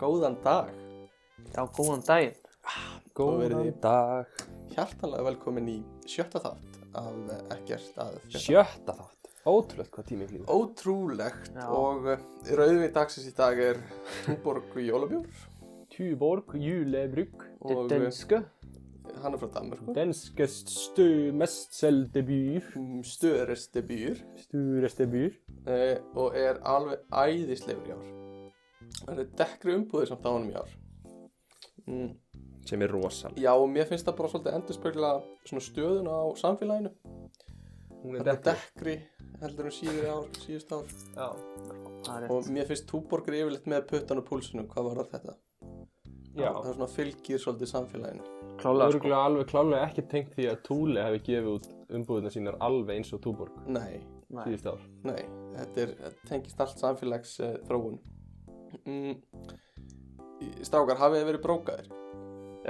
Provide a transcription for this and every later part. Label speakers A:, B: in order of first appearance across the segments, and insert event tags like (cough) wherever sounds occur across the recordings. A: Góðan dag
B: Já, góðan daginn.
A: verið
C: Góðan
A: þið-
C: dag
A: Hjartalega velkomin í sjötta þátt af eh, ekkert að frétta.
C: Sjötta þátt Ótrúlegt hvað tíminn flýgur
A: Ótrúlegt
B: Já.
A: og eh, rauðvið dagsins í dag er Túborg Jólabjór
C: Tuborg julebrygg
A: og eh,
B: Dönnsku.
A: hann er frá Danmarku
C: Denskest stu mest selde býr
A: stöðresti býr
C: Stureste býr
A: eh, og er alveg æðislegur í ár Það eru dekkri umbúðir samt á honum í ár mm,
C: Sem er rosalega
A: Já, og mér finnst það bara svolítið endurspegla svona stöðuna á samfélaginu
C: Hún
A: Það eru dekkri heldur en síður ár, síðust ár
C: Já
B: Það er
A: og
B: rétt.
A: mér finnst Túborg er yfirleitt með puttan og púlsunum hvað var þetta?
C: Já
A: Það er svona fylgir svolítið samfélaginu
B: Klálega sko.
C: Örgulega alveg klálega ekki tengt því að Túli hefði gefið út umbúðina sínar alveg eins og Tuborg
A: Nei,
B: Nei.
C: síðust ár
A: Nei, þetta, er, þetta tengist allt samfélags uh, þróun mm, í- Strákar, hafið þið verið brókaðir?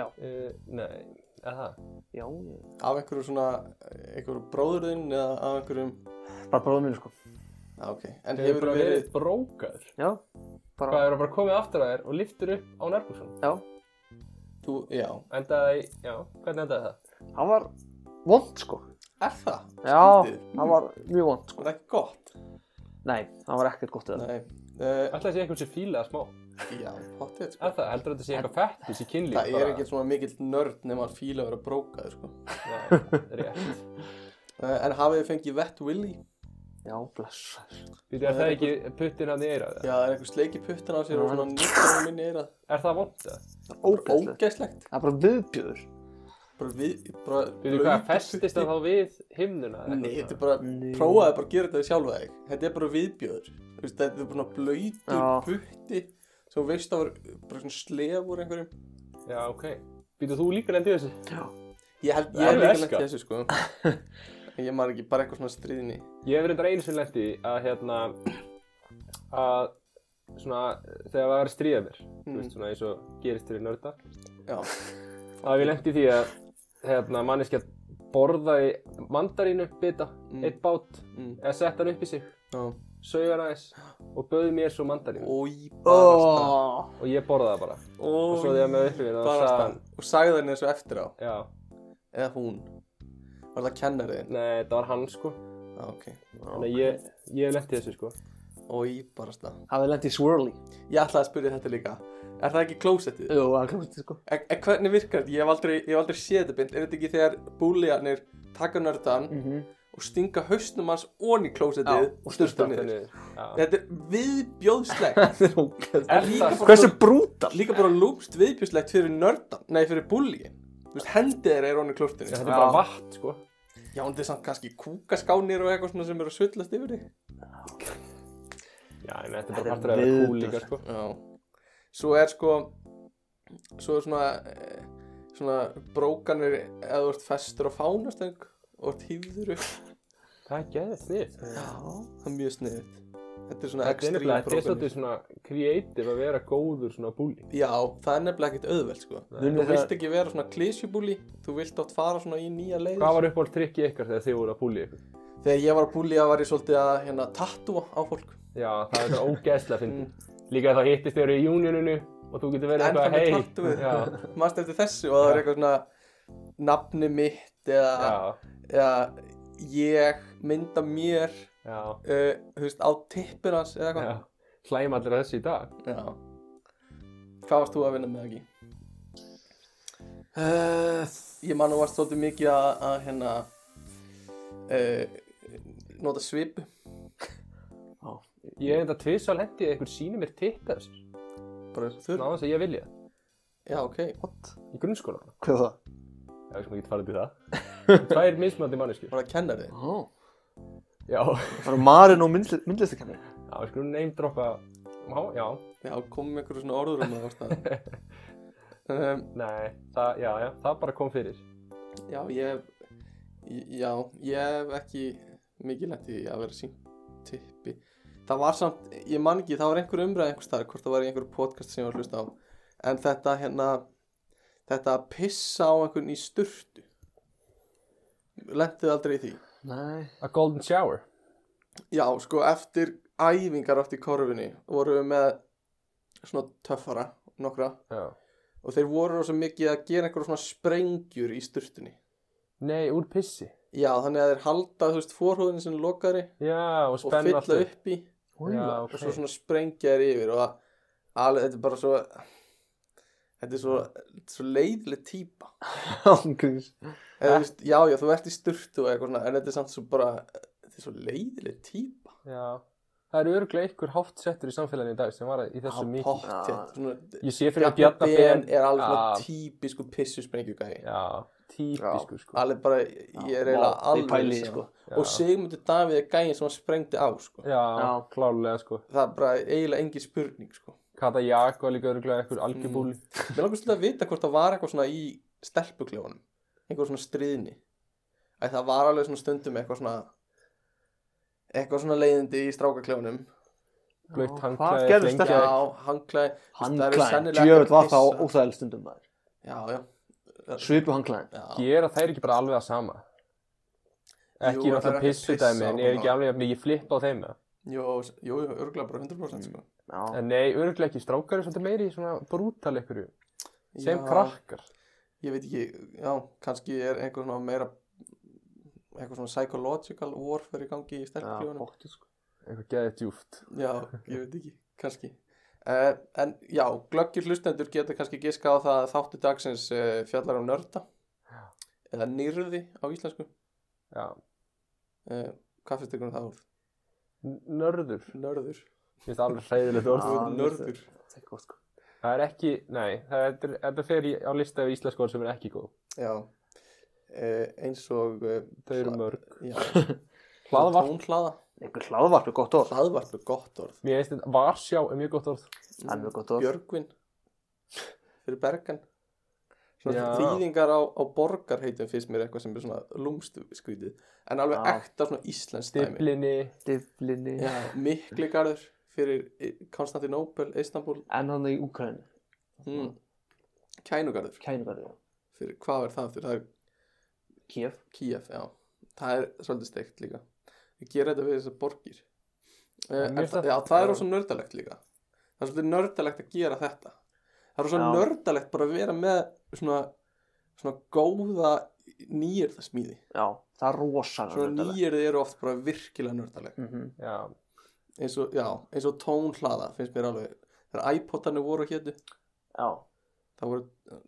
C: uh, Nei, eða það
B: Já, ég-
A: Af einhverju svona, einhverju bróðurðinn eða af einhverjum
B: bara bróðum mínu sko.
A: ah, ok, En
C: Hefur
A: hefur
C: bara
A: verið,
C: verið brókaður
B: Já,
C: Hvað
B: bara,
C: hefur bara komið aftur að þér og liftur upp á nærbúsum
B: já.
A: þú, já,
C: Endaði, já, hvernig endaði það?
B: Hann var vond sko.
A: er það?
B: Já,
A: Skrítið.
B: hann var mjög vond sko.
A: Það er ekki gott
B: Nei, hann var ekkert gott við það.
A: Nei, uh,
C: Ætlaði sé einhvern sem fílaði smá
A: já, hottið
C: Er
A: sko.
C: það, heldur þetta sé eitthvað fættis í kynlíf?
A: Það er ekki svona mikill nörd nema hann fíla að vera brókaður sko.
C: Nei, rétt.
A: uh, En hafið þið fengið vett willy?
B: Já, blessar.
C: Þú veit, er það ekki puttin hann í eirað?
A: Já, það er einhver sleiki puttan á sér og
B: Já.
A: svona nýttur á minni
B: (laughs)
A: er það
C: Er það vond það?
B: Ógæðslegt.
A: Ógæslegt
B: Það er bara viðbjöður.
A: Bara við, bara
C: Þú veit hvað,
A: blautur
C: festist
A: putti.
C: það þá við himnuna? eða
A: (laughs) Nei,
C: eitthvað
A: þetta er bara,
B: Nei.
A: prófaði bara að gera þetta sjálfa þig Þetta er bara viðbjöður Þú veist, Þetta er bara blöytur
B: Já.
A: putti sem þú veist að var bara svona slef úr einhverjum
C: svona? Já, ok. Býtu þú líka lendið þessu?
A: Ég held,
C: Það
A: ég
C: er
A: er líka
C: veska.
A: lent í þessu sko (laughs) Ég maður ekki, bara eitthvað svona stríðinni
C: Ég hef reyndar einu sem lendi að hérna, að svona, þegar það var að stríða mér, þú
A: Mm.
C: veist, svona eins og gerist fyrir nörda,
A: Já,
C: að við lendi því að, hérna, manneskja borðaði mandarínu bita,
A: Mm.
C: eitt bát,
A: mm,
C: eða sett hann upp í sig,
A: já
C: sög hann aðeins og bauði mér svo mandarínu
A: Og í barasta
B: Oh.
C: og ég borðaði það bara.
A: Og
C: og svo þegar maður upplifir það, þá sagði
A: barasta
C: hann-
A: Og sagði henni þessu eftir á
C: Já,
A: Eða hún Var það kennariðin?
C: nei, þetta var hann sko
A: Já, ok
C: Þannig að ég, ég lenti þessu sko
A: Og í barasta
B: Hafið lent í swirly.
A: Ég ætlaði að spyrja þetta líka Er það ekki klósettið?
B: Jú, hann klúst sko.
A: En, en hvernig virkar þetta? Ég hef aldrei, ég hef aldrei séð þetta beint. Er þetta ekki þegar búlíarnir taka nördan
B: Mhm.
A: og stinga hausnum hans ón í klósettið
B: Já,
A: og sturta hann
C: Þetta
A: niður?
C: niður. Já.
A: Þetta er
C: (laughs)
A: viðbjóðslegt.
B: Það er ógæðslegt.
C: Er
A: líka
C: það sko.
A: bara-
B: Hversu brútal?
A: Líka bara lúmst viðbjóðslegt fyrir nördan, nei fyrir búlíin. Þú veist, hendið þeirra er ón í
C: Þetta er
A: klósettinu.
C: bara
B: Já.
C: vatn sko
A: Já, en þetta er samt kannski kúkaskánir og eitthvað svona sem eru að sullast yfir þig.
C: Já, en þetta er
B: Þetta er
C: bara partur að vera cool
B: viðbjóðslegt.
C: líka sko
A: Já. Svo er sko, svo er svona, eh, svona brókanir eða þú ert festur á fánastöng og ert hýður upp. (laughs)
C: Það er geðið snið
A: Það er mjög sniðið. Þetta er svona
C: Þetta er
A: ekstrím
C: nefnilega, þetta
A: prófanir.
C: er svolítið svona creative að vera góður svona búli
A: Já, það er nefnilega ekkert auðvelt sko.
B: Munið
A: Þú vilt
B: þegar-
A: ekki vera svona klísjubúli, þú vilt átt fara svona í nýja leið.
C: Hvað var uppáhald trikkið ykkar þegar þið voru að búli ykkur?
A: Þegar ég var að búli að var ég svolítið að hérna tattúa á fólk.
C: Já, það er þetta ógeðslega fyndið Líka þá hittist þeir eru í júnioninu og þú getur verið
A: En það
C: eitthvað
A: Mm. með
C: hei
A: tattúið. (laughs)
C: Já,
A: Mast eftir þessu og það var
C: Já.
A: eitthvað svona nafni mitt eða,
C: já,
A: eða ég mynda mér,
C: já,
A: uh, þú veist, á tippin hans eða
C: já
A: eitthvað.
C: Hlæm allir að þessu í dag
A: Já. Hvað varst þú að vinna með ekki?
B: Uh,
A: Ég man að þú varst svolítið mikið að, að hérna, uh, nota svipu.
C: Ég hef enda tvis að lendi að ykkur síni mér tikka þessu
A: Bara þurr.
C: Náðan sem ég vilja
A: Já, ok.
B: what?
C: Í grunnskóla
B: Hvað er það?
C: Já, ég sem ekki farið til það (laughs) Tvær mismandi manneskjur
A: Var það kennari?
B: Ó.
C: Já, já,
B: Það var marinn og myndlistakenni.
C: við skulum neymdroppa Já, já,
A: Já, komum með einhverju svona orður um það varst það. um,
C: nei, það, já, já, það bara kom fyrir
A: já, ég, ég- já, ég hef ekki mikið lent í að vera sínt tippi. það var samt, ég man ekki, það var einhver umræð einhver staðar, hvort það var í einhver podcast sem ég var að hlusta á en þetta hérna þetta að pissa á einhvern í sturtu lendið aldrei í því
B: Nei.
C: A golden shower
A: já, sko, eftir æfingar átt í korfinni vorum við með svona töffara nokkra
C: Já.
A: og þeir voru rosa mikið að gera einhverja svona sprengjur í sturtunni
C: Nei, úr pissi
A: já, þannig að þeir halda, þú veist, forhúðin sem lokari
C: Já, og
A: og
C: spenna
A: fylla upp í
C: Já,
B: (laughs)
A: og
C: ok
A: svo svona sprengja þér yfir og að, alveg, þetta er bara svo þetta er svo, svo leiðileg típa
B: Ángríns.
A: Eða, þú veist, já, já, þú ert í sturtu og eitthvað svona en þetta er samt svo bara, þetta er svo leiðileg típa
C: Já. Það eru örglega einhver hátt settur í samfélaginu í dag sem var í þessu mikið
A: pott,
B: Já.
A: svona
C: Ég sé fyrir að Bjarna Ben
A: Bjarnaben er alveg svona
C: Já.
A: típisku pissu sprengjugæði
C: Já, típisku sko
A: alveg bara, ég er
B: Já,
A: eiginlega
B: vá, ég
A: alveg
B: pæli í,
A: hissa.
B: sko.
C: Já.
A: og Sigmundur Davíð er gæðin sem hann sprengdi á sko.
C: Já,
B: Já.
C: klálega sko
A: það er bara eiginlega engin spurning sko.
C: Kata Jak var líka örglega einhver algjörbúli
A: mér langar svolítið að vita hvort það var eitthvað svona í stelpuklefunum einhver svona stríðni að það var alveg svona stundum eitthvað svona eitthvað svona leiðindi í strákaklefunum
C: Blöitt
B: Já,
C: hangklæði,
B: hvað gerðist
C: flengja-
B: þetta?
A: já, hangklæði Það eru
B: Hangklæðin.
A: sennilega
B: Djöfut var
A: ekki
B: það
A: pissa.
B: óþægileg stundum maður.
A: já, já,
B: Svipu hangklæðin.
A: já.
C: Gera þær ekki bara alveg að sama Ekki
A: Jú, þær eru
C: náttúrulega
A: ekki
C: pissu
A: pissa
C: dæmi
A: á
C: en er
A: hana.
C: ekki alveg að mikið flipp á þeim eða?
A: Jú, jú, jú, örgulega bara 100% sko.
B: Já.
C: En nei, örglega ekki, strákar er svolítið meiri í svona brútal ykkur sem
A: Já,
C: krakkar
A: ég veit ekki, já, kannski er einhver svona meira eitthvað svona psychological warfare í gangi í stelpuklefunum
B: bóttið sko.
C: eitthvað geðið djúft
A: Já, ég veit ekki, kannski uh, En já, glöggir hlustendur geta kannski giska á það að þáttu dagsins uh, fjallar á nörda eða nýrði á íslensku
C: Já,
A: uh, Hvað finnst ykkur um það orð?
C: N- nörður
A: Nörður
C: Mér finnst alveg hræðilegt orð
B: Já.
A: Þú ert Nörður
B: Það er gott sko.
C: Það er ekki, nei, það er, þetta er- þetta fer í, á lista yfir íslensk orð sem er ekki góð.
A: Já uh, Eins og uh,
C: Þau eru mörg.
A: já,
C: Hlaðvarp.
A: Tónhlaða
B: Einhver hlaðvarp er gott orð.
A: Hlaðvarp er gott orð
C: Mér finnst þetta, varsjá er mjög gott orð.
B: Það er mjög gott orð.
A: Björgvin Fyrir Bergan Svona
C: Já.
A: þýðingar á, á borgar heitum finnst mér eitthvað sem er svona lúmstu skrítið En alveg
B: Já.
A: ekta svona íslensk dæmi
C: Stiflinni,
B: Stiflinni.
A: Já, Mikligarður fyrir I- Konstantinópel, Istanbúl
B: En hann í Ukraínu.
A: mm. Kænugarður
B: Kænugarði.
A: fyrir hvað er það fyrir, það er
B: Kiev.
A: Kíef, já það er svolítið steikt líka við gera þetta fyrir þessar borgir uh,
C: En mér
A: en,
C: finnst
A: það,
C: það-
A: já, það
C: já.
A: er rosa nördalegt líka það er svolítið nördalegt að gera þetta það er rosa
B: Já.
A: nördalegt bara að vera með svona, svona góða nýjörðasmíði
B: Já. Það er rosalega.
A: svona nýjörði eru oft bara virkilega nördaleg
B: nýjum.
C: já,
A: eins og, já, eins og tónhlaða finnst mér alveg þegar iPodarnir voru hétu
B: Já.
A: það voru uh,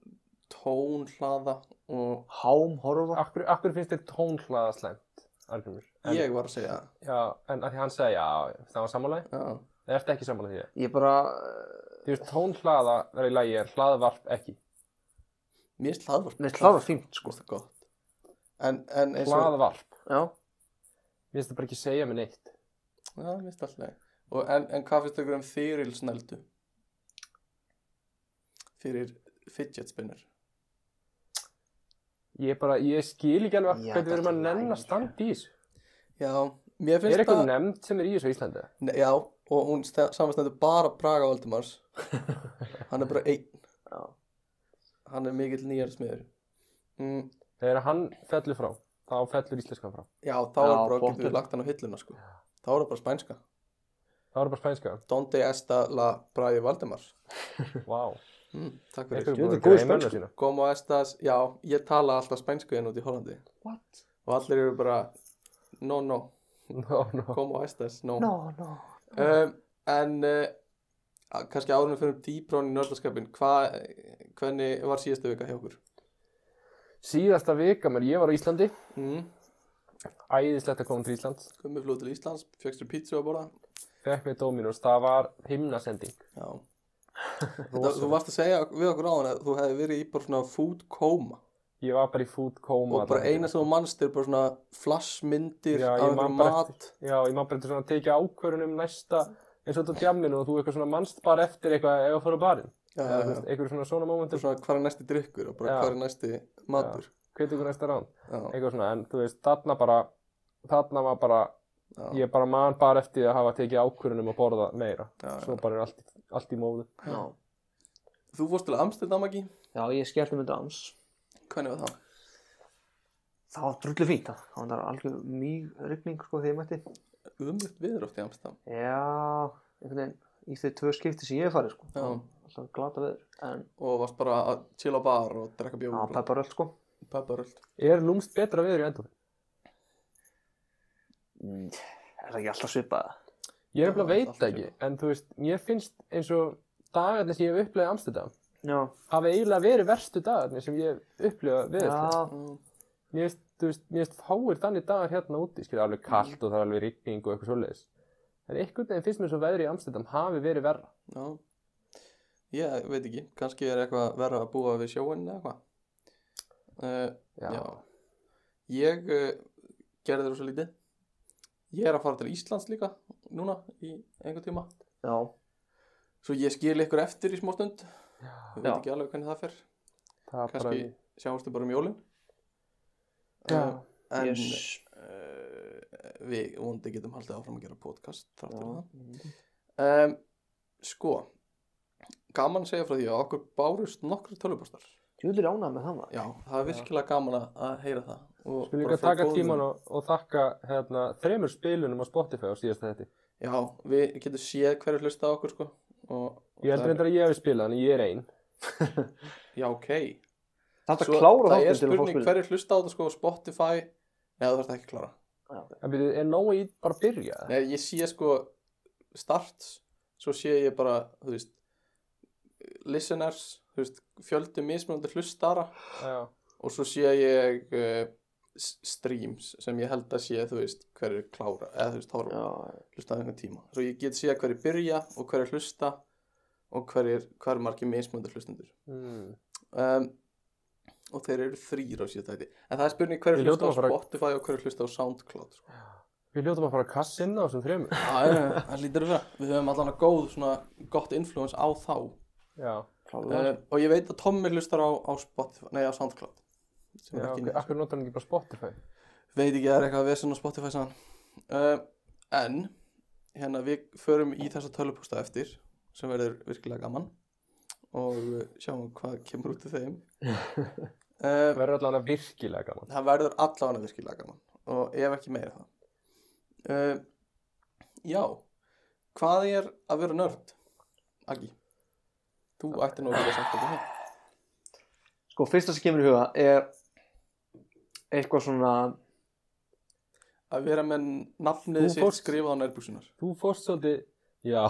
A: tónhlaða og
B: Hám horfa.
C: akkur, akkur finnst þér tónhlaða slæmt, Argrymur?
A: ég var að segja
C: Já, en að því hann segja, já, það var sammálaði,
A: já,
C: það ert ekki sammálaði því.
B: Ég bara... eh,
C: Þú veist, tónhlaða verður í lagi en hlaðvarp ekki.
A: mér er hlaðvarp
B: Mér hláður fínt
A: sko
B: sko.
A: það gott en, en eins og
C: Hlaðvarp,
B: Já.
C: mér finnst það bara ekki segja mig neitt.
A: já, mér er alltaf leið. og en, en hvað finnst ykkur um þyrilsnældu fyrir fidget spinner
C: Ég bara, ég skil ekki alveg
B: Já,
C: hvernig við erum að
B: þetta er
C: nenn að
B: lagi.
C: standa í þessu.
A: já, mér
C: Er
A: finnst
C: eitthvað nefnd sem er í þessu á Íslandi?
A: Nei, já, og hún sta- samanstendur bara Braga Valdimars hann er bara einn
B: Já.
A: hann er mikill nýjar smiður mm,
C: Þegar hann fellur frá, þá fellur íslenskan frá.
A: já, þá
B: Já,
A: er bara getur
B: pottur.
A: við lagt hann á hilluna sko. þá er það bara spænska
C: Það eru bara spænska.
A: (laughs) Donde esta la Bragi Valdimars
C: Vá.
A: Mm, takk
C: Einhver
A: fyrir.
C: er búin
B: Jú,
C: að
B: þetta er góð
C: greina mönnum
B: spænsku.
C: sína.
A: Kom á Estas, já, ég tala alltaf spænsku hérna út í Hollandi
B: What?
A: og allir eru bara, no, no,
C: No, no.
A: kom á Estas, no.
B: No, no.
A: Um, en uh, að- kannski áðurum við fyrir dýbrón í nördaskapin, hva, hvernig var síðasta vika hjá okkur?
C: Síðasta vika mér, ég var á Íslandi.
A: Mm,
C: Æðislegt að koma til Íslands.
A: Komið flóð til Íslands, fjöxtur pítsu að borða.
C: Fekk mér Dominos, það var himnasending.
A: Já.
C: (laughs)
A: Þetta, þú varst að segja við okkur áðan að þú hefði verið í bara svona food coma
C: Ég var bara í food coma.
A: og bara
C: þarna.
A: eina sem þú mannst er bara svona flashmyndir
C: Já,
A: af
C: ég man
A: einhverjum
C: bara
A: mat.
C: Já, ég maður bara eftir svona að tekja ákvörun um næsta, eins og þetta á djamminu og þú eitthvað svona manst bara eftir eitthvað ef að fara á barinn.
A: Já, já,
C: Eða, þú
A: já.
C: veist, Eitthvað svona svona
A: Þetta er
C: momentum,
A: svona hvað er næsti drikkur og bara
C: Já.
A: hvað er næsti matur
C: hvetur ykkur næsta rán.
A: já.
C: Eitthvað svona, en þú veist, þarna bara, þarna var bara
A: já,
C: Ég bara man bara eftir því að hafa tekið ákvörunum að borða meira.
A: já, já.
C: Svo bara er allt, allt í móðu.
B: Já,
A: Þú fórst til Amsterdam ekki?
B: já ég skellti myndi ans
A: Hvernig var það?
B: Það var drullu fínt það. Það var algjör mjög rigning sko þegar ég mætti.
A: Umlugt viður oft í Amsterdam
B: Já, einhvern veginn í þau tvö skipti sem ég hef farið sko.
A: Já.
B: Alltaf glata veður. En
A: og varst bara að chilla á bar og drekka bjór
B: á
A: og
B: pepparöll sko.
A: pepparöld
C: Er lúmst betra viður í endur?
B: Mm. Er það ekki alltaf svipað?
C: Ég er
A: Já,
C: nefnilega veit
A: allt í
C: það ekki, en þú veist, mér finnst eins og dagarnir sem ég hef upplegað í Amsterdam
B: Já.
C: hafi eiginlega verið verstu dagarnir sem ég hef
B: Já,
C: upplegað viður. Mér finnst, þú veist, mér finnst fáir þannig dagar hérna úti, skilja alveg kallt
A: Mhm.
C: og það er alveg rigning og eitthvað svoleiðis. En einhvern veginn finnst mér svo veðri í Amsterdam hafi verið verra.
A: já ég veit ekki, kannski er eitthvað verra að búa við sjóin eða eitthvað uh, já. ég uh, gerði þér svo lítið ég er að fara til Íslands líka núna í einhver tíma
B: já,
A: svo ég skil ykkur eftir í smá stund ég veit
B: Já.
A: ekki alveg hvernig það fer
C: það er
A: kannski
C: bara...
A: sjáumstu bara um jólin
C: Já.
A: Eh, en
B: yes.
A: uh, við vondi getum haldið áfram að gera podcast þráttur
B: já.
A: það um, Sko Gaman að segja frá því að okkur bárust nokkri tölvupostar
B: Júli ránað með það maður. (laughs)
A: Já, það er virkilega gaman að- að heyra það og
C: Skulum
A: bara
C: líka
A: frá
C: taka
A: góðum-
C: tíman og, og þakka hérna, þremur spilunum á Spotify á síðasta þetta.
A: Já, við getum séð hverju hlusta á okkur sko og, og
C: Ég heldur
A: það er-
C: reyndar að ég hefði spilað, en ég er ein.
A: Já, ok
B: Það er
A: Svo
B: að klára
A: Það er
B: þáttinn til að fá
A: spurning
B: spilin.
A: hverju hlusta á þetta sko Spotify Nei, það þarf ekki að klára
C: En byrju, er nógu í bara að byrja?
A: Nei, ég sé sko starts Svo sé ég bara, þú veist Listeners, þú veist Fjöldi mismunandi hlustara
C: Já.
A: og svo sé ég uh, s- streams sem ég held að sé þú veist hverju klára eða þú veist þá
B: Já,
A: er hlustað einhvern tíma svo ég get sé hverju byrja og hverju hlusta og hverju hver margir mismöndur hlustendur
C: Mm.
A: um, og þeir eru þrýr á síðan þætti en það er spurning hverju
C: Við
A: hlusta
C: hljótum
A: á
C: að fara-
A: Spotify og hverju hlusta á Soundcloud sko.
C: Við hljóðum að fara að kassa inn á þessum þremur.
A: það er- það lítur að vera við höfum allan að góð svona gott influence á þá
C: Já.
B: klára
A: uh,
B: það.
A: og ég veit að Tommi hlustar á, á Spotify nei á Soundcloud sem
C: Já,
A: er ekki
C: ok,
A: inni.
C: akkur notar hann ekki bara Spotify?
A: veit ekki að það er eitthvað vesen á Spotify sann uh, en hérna við förum í þessa tölupústa eftir sem verður virkilega gaman og uh, sjáum hvað kemur út af
C: (laughs)
A: þeim
C: Það
A: uh,
C: verður allavega virkilega gaman.
A: það verður allavega virkilega gaman og ef ekki meira það uh, já hvað er að vera nörd Aggi þú ætti nú að vera sagt þetta hér
B: Sko, fyrsta sem kemur í huga er eitthvað svona,
A: að vera með nafnið
C: Þú
A: sitt
C: fórst-
A: skrifað á nærbúksunar
C: Þú fórst svolítið, já,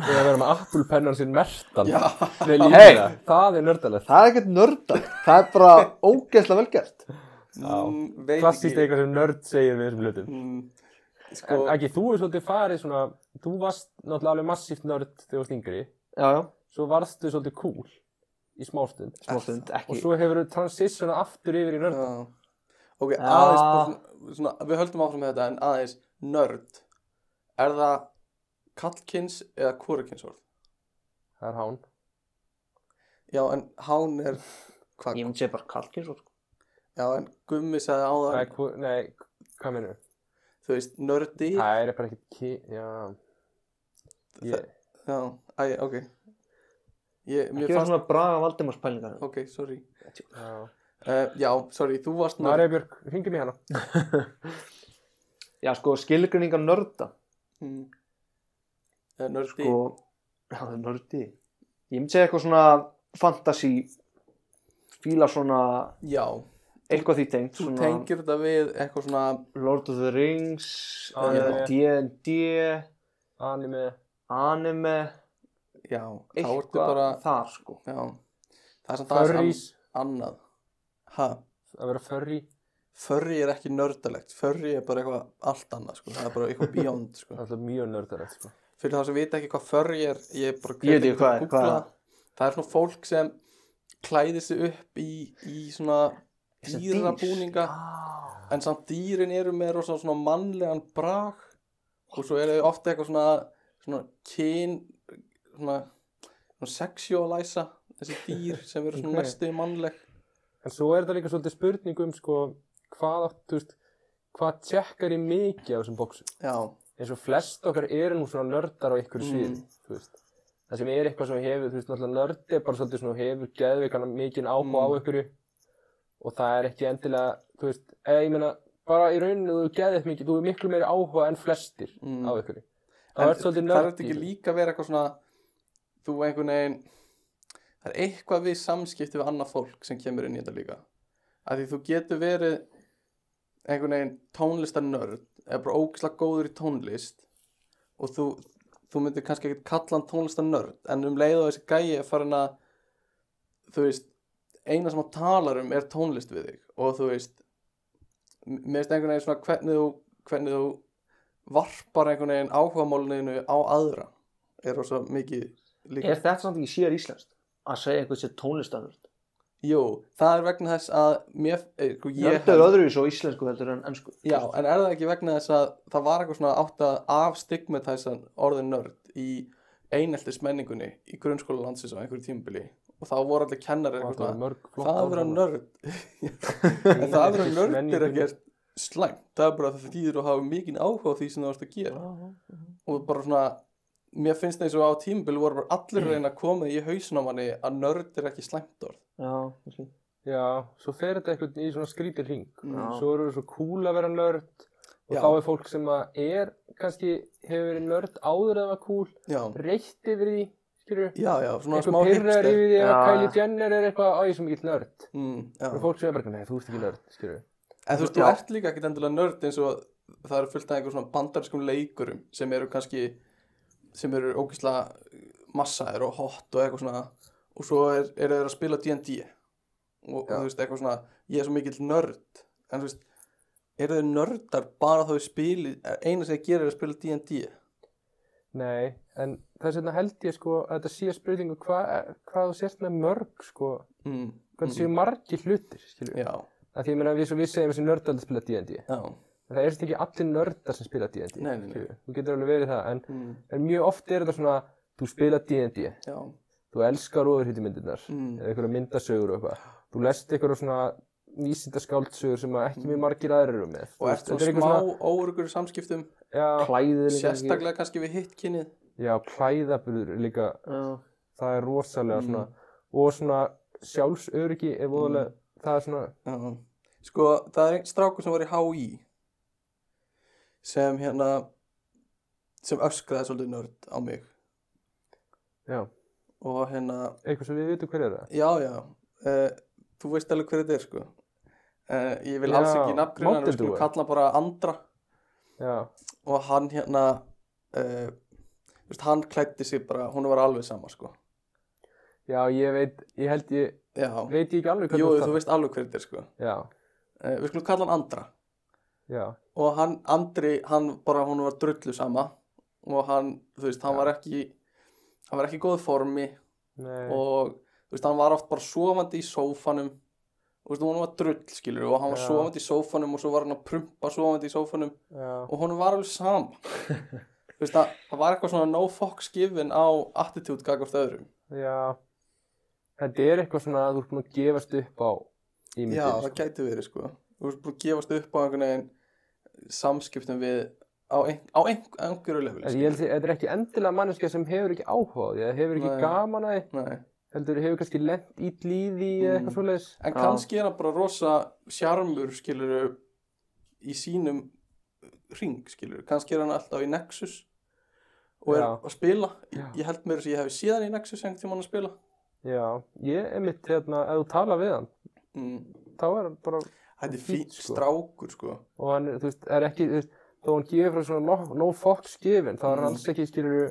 C: við að vera með Apple-pennan sinn mertan.
A: já,
C: Við lína,
B: Hey!
C: það er nördalegt.
B: það er ekkert nörda. það er bara
A: (laughs)
B: ógeðslega velgert.
A: mm, veit
C: Klassíkt eitthvað sem nörd segir við þessum hlutum.
A: mm,
C: En
A: sko,
C: ekki, þú er svolítið farið svona, þú varst náttúrulega alveg massíft nörd þegar þú varst yngri,
B: Já, já,
C: svo varstu svolítið cool í smástund
B: smá stund,
C: og
B: ekki.
C: svo hefur þú transitiona aftur yfir í nörd.
A: Já. Ok,
B: Já.
A: aðeins bara svona, svona, við höldum áfram með þetta en aðeins nörd er það kallkins eða hvorukins orð?
C: Það er hán.
A: Já, en hán er hvað?
B: Ég myndi segja bara kalkins og sko.
A: Já, en gummi sagði á
C: Það
A: það
C: er, hvor- nei, hvað minnur?
A: þú veist, nördi
C: Það er bara ekkert ki... Já. Ég,
A: Já, æ, ok ég,
B: Ekki
A: Mér
B: verið
A: fannst,
B: svona braga Valdimars pælingar.
A: ok, sorry
C: já.
A: uh, Já, sorry, þú varst nörd
C: Marja Björk, hringjum í hana.
B: Já, sko, skilgrinningar nörda.
A: mm. Eða Eh, nördi
B: Sko, já, það er nördi. Ég myndi segja eitthvað svona fantasy, fíla svona,
A: Já,
B: eitthvað því tengt.
A: þú
B: svona-
A: tengir þetta við eitthvað svona
B: Lord of the Rings,
A: Ah,
C: Anime.
B: eh, D&D,
C: Anime.
B: anime,
A: Já, þá ertu
B: eitthvað
A: bara
B: þar sko.
A: Já, það er samt aðeins
C: Furries.
A: an- annað Hæ?
C: Að vera furry.
A: Furry er ekki nördalegt, furry er bara eitthvað allt annað, sko, það er bara eitthvað beyond, sko.
C: Það er alltaf mjög nördalegt, sko.
A: Fyrir það sem vita ekki hvað furry er, ég bara
B: Ég
A: hvet
B: veit ekki
A: ykkur
B: hvað
A: að
B: er,
A: googla
B: hvað
A: það. Það er svona fólk sem klæðir sig upp í, í svona
B: Sem
A: dýrabúninga,
B: Ah,
A: en samt dýrin eru með rosa svona mannlegan brag og svo eru þau ofta eitthvað svona, svona kyn, svona, svona sexualæsa þessi dýr sem eru svona
C: Ok.
A: næstu mannleg.
C: En svo er það líka svolítið spurning um, sko, hvað átt, þú veist, hvað tjekkar ég mikið á þessum bóksum
A: já,
C: eins og flest okkar eru nú svona nördar á ykkur
A: Mm.
C: sviði, þú veist það sem er eitthvað sem hefur, þú veist, náttúrulega nördi er bara svolítið svona hefur geðveikana mikinn áhuga á
A: Mm.
C: ykkur og það er ekki endilega, þú veist, eða ég meina bara í rauninu þú geðið mikið, þú er miklu meiri áhuga en flestir
A: Mm.
C: á ykkur
A: En
C: það er svolítið
A: þarf þetta
C: nördi
A: ekki líka að vera eitthvað svona þú einhvern veginn það er eitthvað við samskipti við annað fólk sem kemur inn í þetta líka að því þú getur verið einhvern veginn tónlistarnörd eða bara ógislega góður í tónlist og þú, þú myndir kannski ekkert kalla hann tónlistarnörd en um leið og þessi gæi er farin að þú veist, eina sem hann talar um er tónlist við þig og þú veist m- mér finnst einhvern veginn svona hvernig þú, hvernig þú varpar einhvern veginn áhugamáluninu á aðra er rosa mikið líka
B: Er þetta samt ekki sér íslenskt? Að segja eitthvað sér tónlistanvöld
A: Jú, það er vegna þess að mér, eh, sko, ég
B: Nörd er öðruvís og íslensku heldur en ennsku
A: Já, en er það ekki vegna þess að það var eitthvað svona átt að afstigmatæsan orðin nörd í eineltis menningunni í grunnskóla landsins á einhverju tímabili og þá voru allir kennar
C: og
A: eitthvað
C: það er
A: svona
C: mörg flott
A: það að vera nörd
C: (laughs)
A: en það að vera nörd (laughs) er ekkert slæmt það er bara að það þýðir að hafa mikinn áhuga á því sem það varst að gera og bara svona mér finnst það eins og á tímabili voru bara allir að reyna að koma því í hausin á manni að nörd er ekki slæmt orð
B: Já, kannski.
C: Já, svo fer þetta eitthvað í svona skrítið ring
A: Mm.
B: Já.
C: svo eru þau svo cool að vera nörd og
A: Já.
C: þá er fólk sem að er kannski hefur verið nörd áður að var cool
A: Já,
C: reytt yfir því, skilur
A: já, já, svona smá
C: eitthvað pyrrar
A: hipster
C: yfir því að
B: Já.
C: Kylie Jenner er eitthvað á ég sem ekki nörd
A: mm, já.
C: og fólk sem er bara, nei, þú ert ekki nörd, skilur
A: En þú veist, þú
B: Já.
A: ert líka ekkert endilega nörd eins og það eru fullt af einhver svona bandariskum leikurum sem eru kannski sem eru ógeðslega massaðir og hot og eitthvað svona og svo er, eru þeir að spila D&D og, og
C: Já.
A: þú veist, eitthvað svona ég er svo mikill nörd en þú veist, eru þeir nördar bara þá í spili eina sem þeir gera er að spila D&D
C: Nei, en þess vegna held ég sko að þetta sé spurningu hva, hvað þú sért með mörg sko
A: mm, Mm.
C: hvað það séu margir hlutir, skilur
A: Já,
C: að því ég meina við, svo við segjum þessi nörd aldrei spila D&D
A: já
C: En það er þetta ekki allir nördar sem spila D&D
A: Nei, nei, nei.
C: skilurðu. þú getur alveg verið það en,
A: mm,
C: en mjög oft er þetta svona þú spila D&D,
A: Já,
C: þú elskar ofurhýttumyndirnar
A: Mm.
C: eða einhverja myndasögur og eitthvað þú lest einhverja svona vísindaskáldsugur sem að ekki mjög margir aðrir eru með Þú
A: og ert
C: veist, þetta
A: svona
C: er
A: smá
C: eitthvað
A: svona... óurugur samskiptum
C: já,
B: Klæðið er líka ekki-
A: sérstaklega kannski við hitt kynnið
C: já, klæðaburður er líka
B: Já.
C: það er
A: Mm.
C: rosalega svona og svona sjálfsöryggi er
A: Mm.
C: voðalega það er svona
A: Já, sko það er einn strákur sem var í HÍ sem hérna sem öskraði svolítið nörd á mig
C: já,
A: og hérna,
C: eitthvað sem við vitum hver er það
A: já já uh, þú veist alveg hver þetta er sko uh, ég vil
C: Já,
A: alls ekki nafngrina hann,
C: Mountain
A: við skulum
C: Dew.
A: kalla hann bara Andra
C: já,
A: og hann hérna uh, veist, hann klætti sig bara, hún var alveg sama sko
C: já, ég veit ég held ég,
A: já,
C: veit ég ekki alveg
A: jú
C: hvernig
A: þú veist alveg hver þetta er sko
C: já,
A: uh, við skulum kalla hann Andra
C: já,
A: og hann, Andri, hann bara hún var drullu sama og hann, þú veist, hann var ekki hann var ekki í góðu formi
C: nei
A: og þú veist, hann var oft bara sofandi í sófanum þú veist, hún var drull, skilur og hann var
C: Já.
A: sofandi í sófanum og svo var hann að prumpa sofandi í sófanum
C: já.
A: og hún var alveg
C: (laughs)
A: sama þú veist, það, það var eitthvað svona no fucks given á attitude gagvart öðrum
C: Já, þetta er eitthvað svona að þú ert búin að gefast upp á
A: já,
C: ímyndinni,
A: það
C: sko.
A: gæti verið, sko þú veist, búin að gefast upp á einhvern veginn samskiptum við á, ein, á ein, einhverju level, sko.
C: En ég held að þetta er ekki endilega manneskja sem hefur ekki áhuga á því, eða hefur ekki
A: Nei.
C: gaman að því,
A: Nei.
C: heldur hefur kannski lent í líði eða
A: Mm.
C: eitthvað svoleiðis.
A: En
B: Já.
A: kannski er hann bara rosa sjarmur, skilur, í sínum ring, skilur. Kannski er hann alltaf í Nexus og er
C: Já.
A: að spila.
C: Já.
A: Ég held mér þess að ég hefði síðan í Nexus einhvern tímann að spila.
C: Já, ég er mitt hérna, ef þú tala við hann,
A: Mm.
C: þá er hann bara,
A: Þetta er
C: Fínt,
A: fínt
C: sko.
A: strákur, sko.
C: og hann, er, þú veist, er ekki, þú veist, þó hann gefur frá svona no, no fucks gefin, þá er hann
A: Mm.
C: alls ekki, skilur,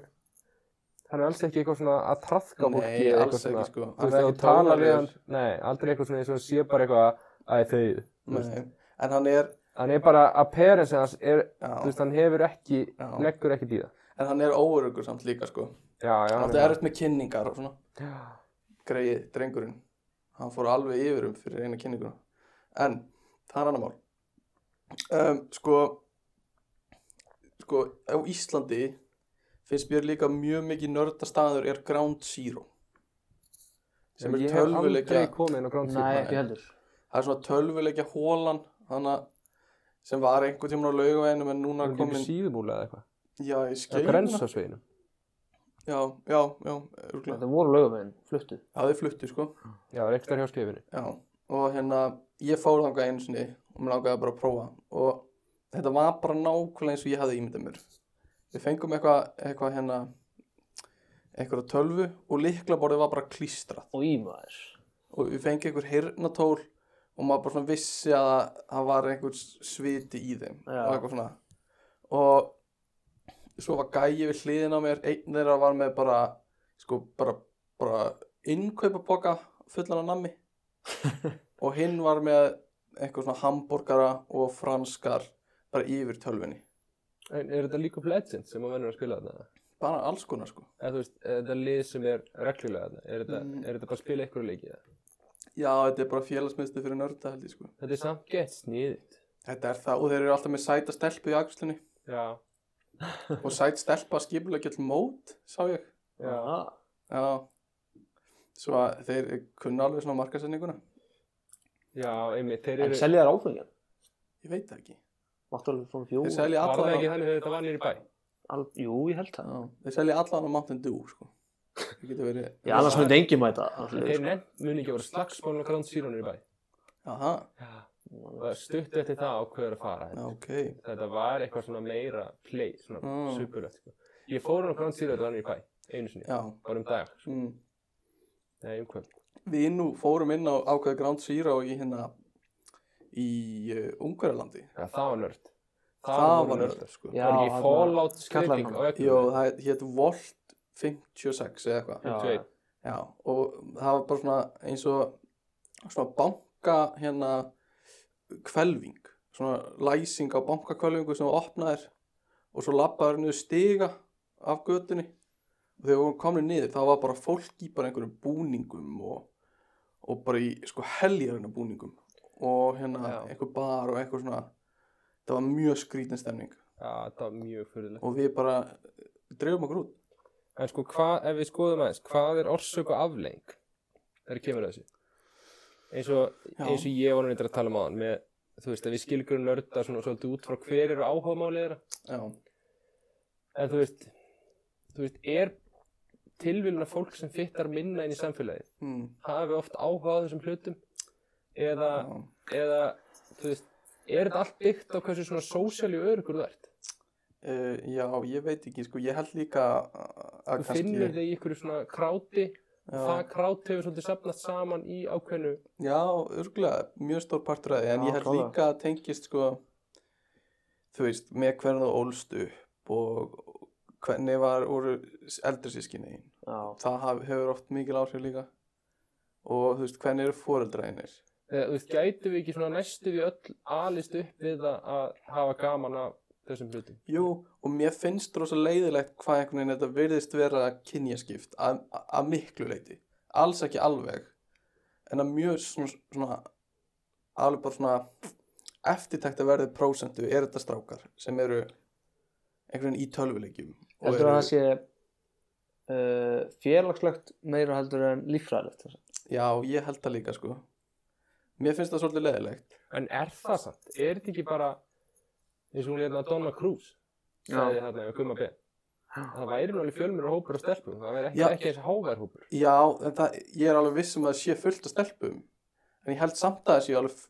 C: hann er alls ekki eitthvað svona að trafka fólki
A: Nei,
C: eða
A: alls
C: svona.
A: ekki, sko.
C: Þú
A: Hann
C: veist,
A: er
C: ef þú
A: ekki
C: talar við hann,
A: tónarlegur.
C: nei, aldrei eitthvað svona eins og hann sé bara eitthvað að þau, þú veist.
A: Nei, En hann er,
C: hann er bara appearance hans er, þú
A: já,
C: veist, hann hefur ekki
A: Já.
C: leggur ekki í það
A: en hann er óurugur samt líka, sko.
C: já, já,
A: Hann átti
C: já.
A: erfitt með kynningar og svona. greið drengurinn hann fór alveg yfir um fyrir eina kynninguna en það er annar mál um, sko sko á Íslandi finnst mér líka mjög mikið nördastaður er Ground Zero sem er
C: ég hef
A: tölvuleikja
C: aldrei komið inn á Ground Zero
B: Nei,
A: Nei.
B: ekki heldur
A: það er svona tölvuleikja hólan þannig að sem var einhvern tímann á laugaveginum en núna
C: Það er
A: komin
C: ekki síðumúla eða eitthvað.
A: já, í
C: Það
A: skeina
C: er grensasveginum.
A: já, já, já, örgulega
B: Þetta voru lögumegin, fluttu
A: já, þið fluttu sko
C: Já, það er ekstra hjá skefinu.
A: já. og hérna, ég fór þangað einu sinni og mér langaði bara að prófa og þetta var bara nákvæmlega eins og ég hafði ímyndað mér við fengum eitthvað eitthvað hérna eitthvað tölvu og liklaborðið var bara klístrað
B: og í maður
A: og við fengið einhver hirnatól og maður bara svona vissi að það var einhver sviti í þeim
B: Já.
A: og eitthvað svona og svo var gæi við hliðin á mér einn þeirra var með bara sko bara, bara innkaupaboka fullan af (laughs) nammi og hinn var með eitthvað svona hambúrgara og franskar bara yfir tölvunni
C: En er þetta League of Legends sem maður vennur að spila þarna?
A: bara alls konar sko
C: Eða þú veist, er þetta lið sem er reglulega þarna? Er þetta,
A: Mm.
C: er þetta bara að spila einhverju leikið?
A: já þetta er bara félagsmiðstöð fyrir nörda held ég sko
C: Þetta er samt gett sniðið.
A: þetta er það og þeir eru alltaf með sæta stelpu í akslunni
C: Já.
A: og sætt stelpa skipulegja all mót sá ég
C: Já.
B: Ah,
A: já svo að þeir kunna alveg svona markasendinguna
C: Já, einmitt, þeir
B: En
C: eru...
B: selja þær áfengjan
A: ég veit það ekki
B: Máttu alveg svona
A: þeir
B: fjóð
A: selja
C: Var
A: allan á,
C: það ekki þannig þegar þetta var nýri bæ?
B: al... Jú, ég held það
A: já, þeir selja allan á Mountain Dew sko. það getur verið
B: Já, annars myndi engin mæta annars
C: En
B: liði,
C: Þeir
B: sko.
C: nefnt muni ekki að vera slagsmálun og Grand Zero nýri bæ.
A: aha,
C: Já. Og stutt eftir það ákveður að fara.
A: já, ok
C: Þetta var eitthvað svona meira play, svona
A: Mm.
C: superlegt, sko. Ég fór hann á Grand Zero þetta var nýri bæ, einu sinni.
A: já,
C: Bara um dag, sko.
A: mm.
C: Nei, um kvöld.
A: við nú fórum inn á ákveð Ground Zero í hérna í uh, Ungverjalandi
C: Já, það var nörd.
A: það var
C: nörd.
A: nörður sko
B: Já,
C: Var ekki
B: þarna-
C: Fallout
B: kallaði
C: skrifing
B: hann.
C: á
A: Jó,
C: öllum?
A: það hétt Volt 56 eða eitthvað
B: Já,
C: 21.
A: Já, og það var bara svona eins og svona banka hérna kvelving, svona læsing á bankakvelvingu sem var opnaðir og svo labbaður niður stiga af götunni og þegar við vorum komnir niður þá var bara fólk í bara einhverjum búningum og, og bara í sko heljarina búningum og hérna
C: Já.
A: einhver bar og einhver svona það var mjög skrítin stemning
C: Já, það var mjög fyrirlegt.
A: og við bara dreifum okkur út
C: En sko, hvað, ef við skoðum aðeins, hvað er orsök og afleng? Það er kemur að þessu. Eins og,
A: Já.
C: eins og ég var nú eitthvað að tala um á hann með, þú veist, að við skilgjum nörda svona svolítið út frá hver eru áhugamálið þeirra.
A: Já,
C: En þú veist, þú veist, er tilvílun að fólk sem fittar minna inn í samfélagið
A: mm,
C: hafi oft áhuga á þessum hlutum eða,
A: já.
C: eða, þú veist, er þetta allt byggt á hversu svona sósíali örugur þú ert?
A: Uh, já, ég veit ekki, sko, ég held líka að- að
C: Þú finnur þig í einhverju svona kráti
A: já,
C: það krát hefur svolítið safnast saman í ákveðnu
A: já, örgulega, mjög stór partur að því, en
B: Já,
A: ég held
B: klálega.
A: líka að tengist, sko, þú veist, með hvernig þú ólst upp og hvernig var úr eldri sískinni þín.
B: Já,
A: Það haf, hefur oft mikil áhrif líka og, þú veist, hvernig eru foreldræðinir.
C: eða, þú veist, gætu við ekki svona næstu við öll alist upp við það að hafa gaman af þessum hlutum
A: Jú, og mér finnst rosa leiðilegt hvað einhvern veginn þetta virðist vera kynjaskipt að, að miklu leiti, alls ekki alveg en að mjög svona, svona alveg bara svona eftirtækt að verði prósentu er þetta strákar sem eru einhvern veginn í tölvuleikjum og
B: heldur
A: eru-
B: að það sé uh, félagslegt meira heldur en líffræðilegt sem sagt.
A: Já, ég held það líka sko Mér finnst það svolítið leiðilegt
C: en er það samt, er þetta ekki bara eins og hún er að Donna Cruz
B: Já.
C: sagði þarna við Gumma B það væri nú alveg fjölmur hópur og stelpum það væri ekki,
A: Já.
C: ekki eins hóvar hópur
A: Já, en það, ég er alveg viss um að það sé fullt af stelpum en ég held samt að það sé alveg f-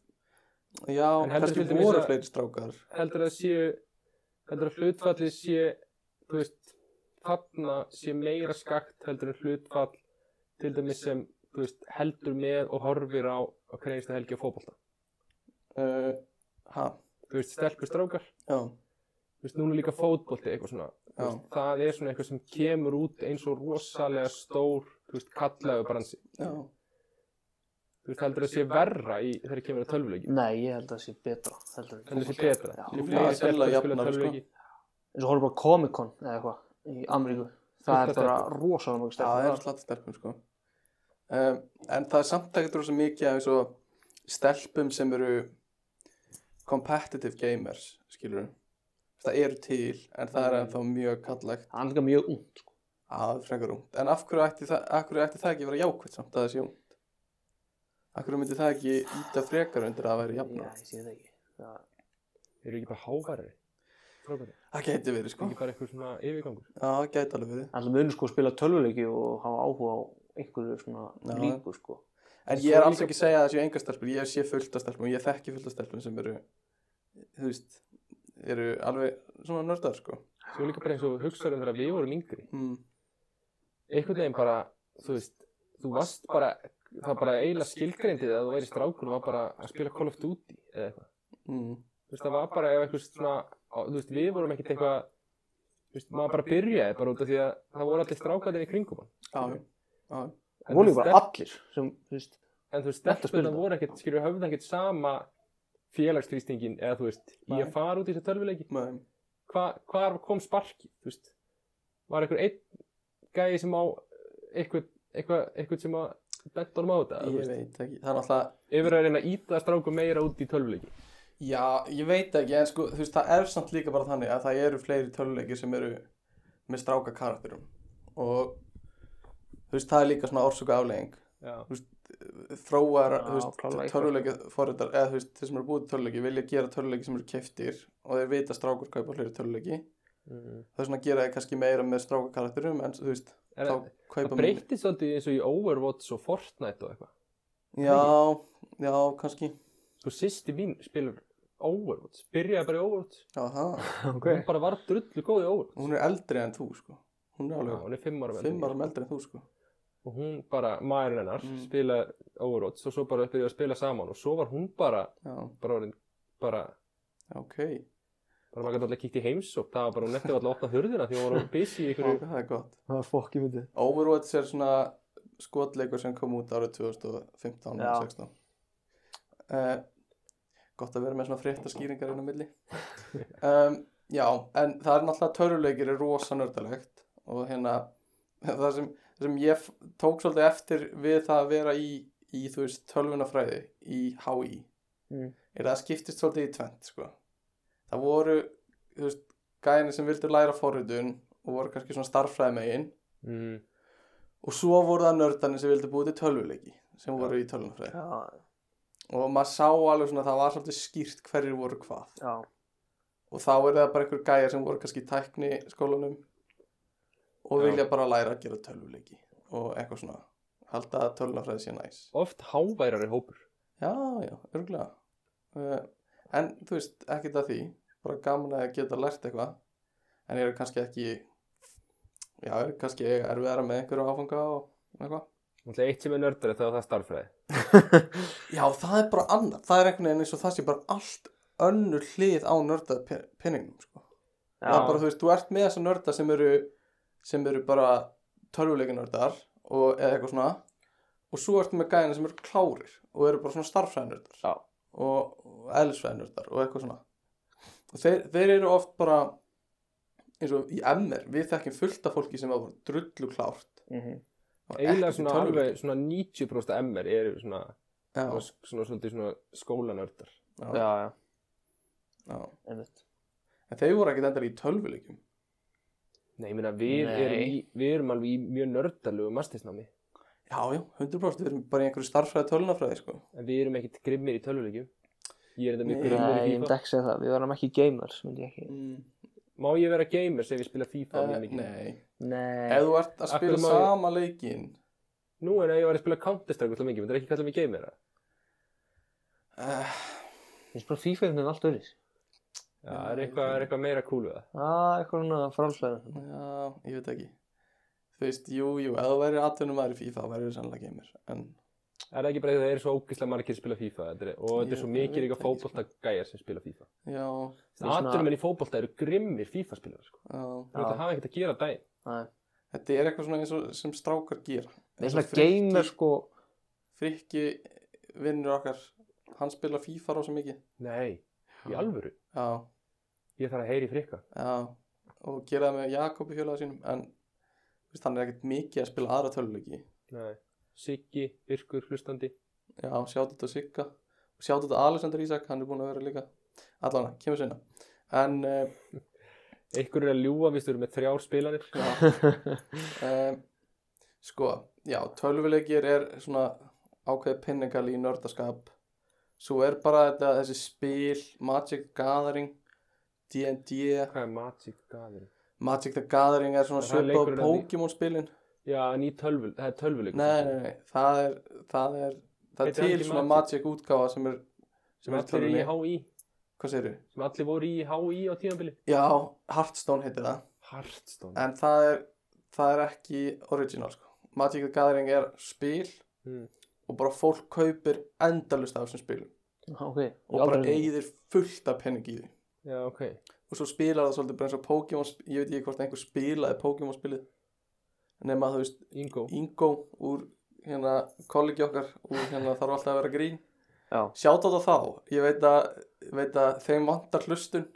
A: Já,
C: En heldur
A: kannski
C: til dæmis
A: voru
C: að-
A: fleiri strákar
C: heldur að séu heldur að hlutfallið sé þú veist, þarna sé meira skakt heldur en hlutfall til dæmis sem þú veist, heldur með og horfir á á hverja einstu helgi á fótbolta
A: uh, ha,
C: þú veist, stelpur strákar
A: já
C: þú veist, núna er líka fótbolti eitthvað svona þú
A: Já.
C: veist, það er svona eitthvað sem kemur út eins og rosalega stór þú veist, kallaðu bransi
A: Já,
C: þú veist, heldur að sé verra í þegar kemur að tölvuleiki
B: Nei, ég held að það sé betra heldur en
C: heldur að sé betra
B: Já.
C: Sé
A: Já,
C: fleiri
A: sennilega
C: stelpur að spila
A: jafnara, sko.
C: tölvuleiki
B: eins og horfum bara á Comic Con eða eitthvað í Ameríku það
C: Fullt
B: er
C: af
B: bara rosalega mjög
A: Já, það er
B: stærkt
A: alltaf stelpum sko um, En það er samt ekkert rosa mikið af eins og stelpum sem eru competitive gamers skilur það eru til en það er
B: Mm.
A: ennþá mjög kallegt
B: það er líka mjög ung sko.
A: að frekar ungt en af hverju ætti það, af hverju ætti það ekki að vera jákvæmt samt að það sé ungt af hverju myndi það ekki íta frekar undir að það væri
B: já,
A: jafna
B: ég sé það ekki það...
C: Þeir eru ekki bara háværari Frábæri
A: það gæti verið sko
C: Ekki bara eitthvað svona yfirgangur
A: já, það gæti alveg verið
B: Alltaf munu sko að spila tölvuleiki og hafa áhuga á einhverju svona
A: Já.
B: líku sko.
A: en
C: En
A: ég
C: svo
A: er alls
C: líka-
A: ekki að segja að það séu enga stelpur ég sé fullt af stelpum, ég þekki fullt af stelpum sem eru þú veist eru alveg svona nördar sko
C: Svo líka bara eins og hugsaðum þegar við vorum yngri
A: mm.
C: Einhvern veginn bara, þú veist Þú varst bara, það var bara eiginlega skilgreindið að þú væri strákur og var bara að spila Call of Duty eða eitthvað
A: Mm.
C: þú veist, það var bara ef eitthvað svona, á- þú veist, við vorum ekkert eitthvað, þú veist, maður bara byrjaði bara út af því að það voru allir strákarnir í kringum hann.
A: Já, já, já,
C: En
B: Vólu
C: þú
B: bara
C: stelp-
B: allir sem, þú veist,
C: En þú veist,
B: Þetta spila
C: stelpunar
B: það.
C: voru ekkert, skilur, höfðu ekkert sama félagsþrýstingin, eða þú veist, í
A: Nei.
C: að fara út í þessu tölvuleiki.
A: Nei.
C: Hva, hvar kom sparkið, þú veist? Var einhver einn gæði sem á eitthvað, eitthvað, eitthvað sem að bent honum á þetta? eða þú
A: ég
C: veist?
A: veit ekki það er náttúrulega
C: Yfir að reyna að íta stráku meira út í tölvuleiki.
A: Já, ég veit ekki, en sko, þú veist, það er samt líka bara þannig að það eru fleiri töluleikir sem eru með stráka karakterum og þú veist, það er líka svona orsöka aflegging
C: Já.
A: þróar,
B: Já,
A: þú veist,
B: klárlega eitthvað.
A: töluleiki forritar, eða þú veist, þeir sem eru búið töluleiki vilja gera töluleiki sem eru keftir og þeir vita að strákur kaupa fleiri töluleiki
C: Mm.
A: það er svona að gera þeir kannski meira með stráka karakterum en þú veist,
C: Er,
A: þá
C: það
A: kaupa minni.
C: breytist svolítið eins og í Overwatch og Fortnite og eitthvað.
A: Já, já, kannski
C: sko sýsti mín spilur Overwatch, byrjaði bara í Overwatch
A: Já, það,
C: hún bara var drullu góð í Overwatch
A: hún er eldri en þú, sko hún er
C: Já,
A: alveg
C: hún er fimm ára með
A: fimm árum eldri en þú, sko
C: og hún bara, maður hennar,
A: Mm.
C: spilaði Overwatch og svo bara byrjaði að spila saman og svo var hún bara,
A: Já,
C: bara orðin bara,
A: ok
C: bara maður gæti alltaf kíkt í heimsók það var bara, hún eftir alltaf að opna hurðina því hún var of busy í
A: Já,
C: ykkur
A: það er gott
B: það var fokkið myndið.
A: Overwatch er svona skotleikur sem kom út árið 2015
B: Já.
A: 16 uh, Gott að vera með svona fréttaskýringar inn á
B: (laughs)
A: milli um, Já, en það er náttúrulega töruleikir er rosa nördalegt og hérna það sem, sem ég f- tók svolítið eftir við það að vera í, í þú veist, tölvunafræði í HÍ
B: Mm.
A: er að það skiptist svolítið í tvent sko. það voru þú veist, gæðinni sem vildu læra forritun og voru kannski svona starffræði megin
C: mm.
A: og svo voru það nördarnir sem vildi búið til tölvuleiki sem
C: Já.
A: voru í tölvunafræði
B: Já,
A: og maður sá alveg svona að það var svolítið skýrt hverjir voru hvað
B: já.
A: og þá eru það bara einhver gæjar sem voru kannski í tækni skólanum og
C: Já.
A: vilja bara læra að gera tölvuleiki og eitthvað svona halda að tölvunafræði sé næs
C: oft háværari hópur
A: já, já, örgulega uh, en þú veist, ekkert að því bara gaman að geta lært eitthvað en eru kannski ekki já, eru kannski erfiðara með einhverju áfanga og eitthvað
C: Alltaf eitt sem er nördari þá er það starffræði
A: Já, það er bara annað, það er einhvern veginn eins og það sé bara allt önnur hlið á nördað pe- peningnum sko.
B: Já,
A: það er bara, þú veist, þú ert með þessa nörda sem eru sem eru bara tölvuleikinördar og eða eitthvað svona og svo ertu með gæðina sem eru klárir og eru bara svona starffræðinördar
B: Já.
A: og, og eðlisfræðinördar og eitthvað svona og þeir, þeir eru oft bara eins og í MR, við þekkjum fullt af fólki sem var drullu klárt
B: mhm.
A: og
C: eiginlega
A: ekkert í
C: svona
A: tölvuleikjum.
C: alveg svona 90% MR eru svona, svona,
A: Já,
C: svona, svona, svona skólanördar
A: já,
B: já, já,
A: já.
B: einmitt.
A: en þeir voru ekkert endar í tölvuleikum
C: Nei, ég meina, við,
B: Nei.
C: erum í, við erum alveg í mjög nördalögu mastisnámi
A: Já, já, 100% við erum bara í einhverju starffræði tölunafræði sko.
C: en við erum ekkert grimmir í tölvuleikjum Ég er þetta mjög
A: Nei.
C: grimmir
B: Nei, ég
C: í
B: myndi
C: FIFA
B: ekki segja það, við varum ekki gamers, myndi ég ekki.
A: mm.
C: Má ég vera gamer sem við spila FIFA mjög mikið?
A: Eh, Nei,
B: Nei,
A: ef þú ert að spila
C: Akkur má ég-
A: sama leikinn
C: Nú en ef ég var að spila Counter-Strike alltaf mikið, myndir ekki kalla mig gamera?
A: uh,
B: ég spila FIFA einhvern veginn allt öðris.
C: Já,
A: Já,
C: það er
A: ég
C: eitthvað,
A: veit
C: er eitthvað meira cool við það
B: Já, eitthvað svona frálslega.
A: Já, ég veit ekki Þú veist, jú, jú, ef þú væri atvinnum aðri FIFA þá væri þú sannlega geimur en,
C: Er það ekki bara því að það eru svo ógeðslega margir sem spila FIFA þetta er, og þetta er
A: Ég-
C: svo
A: ég
C: mikið
A: veit
C: eitthvað
A: það ekki, sko.
C: fótboltagæjar sem spila FIFA
A: Já,
B: er svona-
C: Atunum í fótbolta eru grimmir FIFA-spilar sko.
A: já
C: Þú veit að hafa ekkert að gera dæn
B: Nei,
A: Þetta er eitthvað svona eins og sem strákar gera
B: það er
A: Eins og
B: svona gamer,
A: Frikki-
B: (laughs) sko,
A: Frikki vinnur okkar hann spila FIFA rosa mikið
C: Nei, í alvöru
A: Já,
C: Ég þarf að heyri frikka
A: já og gera það með Jakobi fjölaða sínum en þú veist, hann er ekkert mikið að spila aðra töluleiki
C: Nei. Siggi, Yrkur, hlustandi
A: Já, sjátt þetta Sigga og sjátt þetta Alexander Ísak, hann er búin að vera líka allan, kemur sinna en uh,
C: Ykkur er að ljúga, við stuðum með þrjár spilanir
A: já, uh, sko, já, tölvuleikir er svona ákveði pinningal í nördaskap svo er bara þetta, þessi spil Magic the Gathering D&D
C: Hvað er Magic Gathering?
A: Magic the Gathering er svona
C: Það er
A: svipað á
C: leikurinn að því.
A: Pokémon spilin
C: Já, en í tölvul, það er tölvuleikur sko.
A: nei, nei, nei, það er það er, það er
C: Heitir hann
A: til
C: ekki
A: svona Magic
C: Magic?
A: útgáfa sem er,
C: sem
A: sem er
C: allir eru í
A: tölvunni,
C: HÍ
A: hvað segir þau?
C: sem allir voru í HÍ á tímanbili
A: Já, Hearthstone heitir það
C: Hearthstone
A: en það er, það er ekki original sko. Magic the Gathering er spil
B: Hmm.
C: Mm.
A: og bara fólk kaupir endalust af þessum spilum
B: ok
A: og bara eigðir fullt af penning í því
C: Já, ok
A: og svo spilar það svolítið bara eins og Pokémon sp- ég veit ekki hvort einhver spilaði Pokémon spilið nema þú veist
C: Ingo
A: Ingo úr hérna kollegi okkar úr hérna þarf alltaf að vera grín
B: Já.
A: sjátt á þá ég veit að, veit að þeim vantar hlustun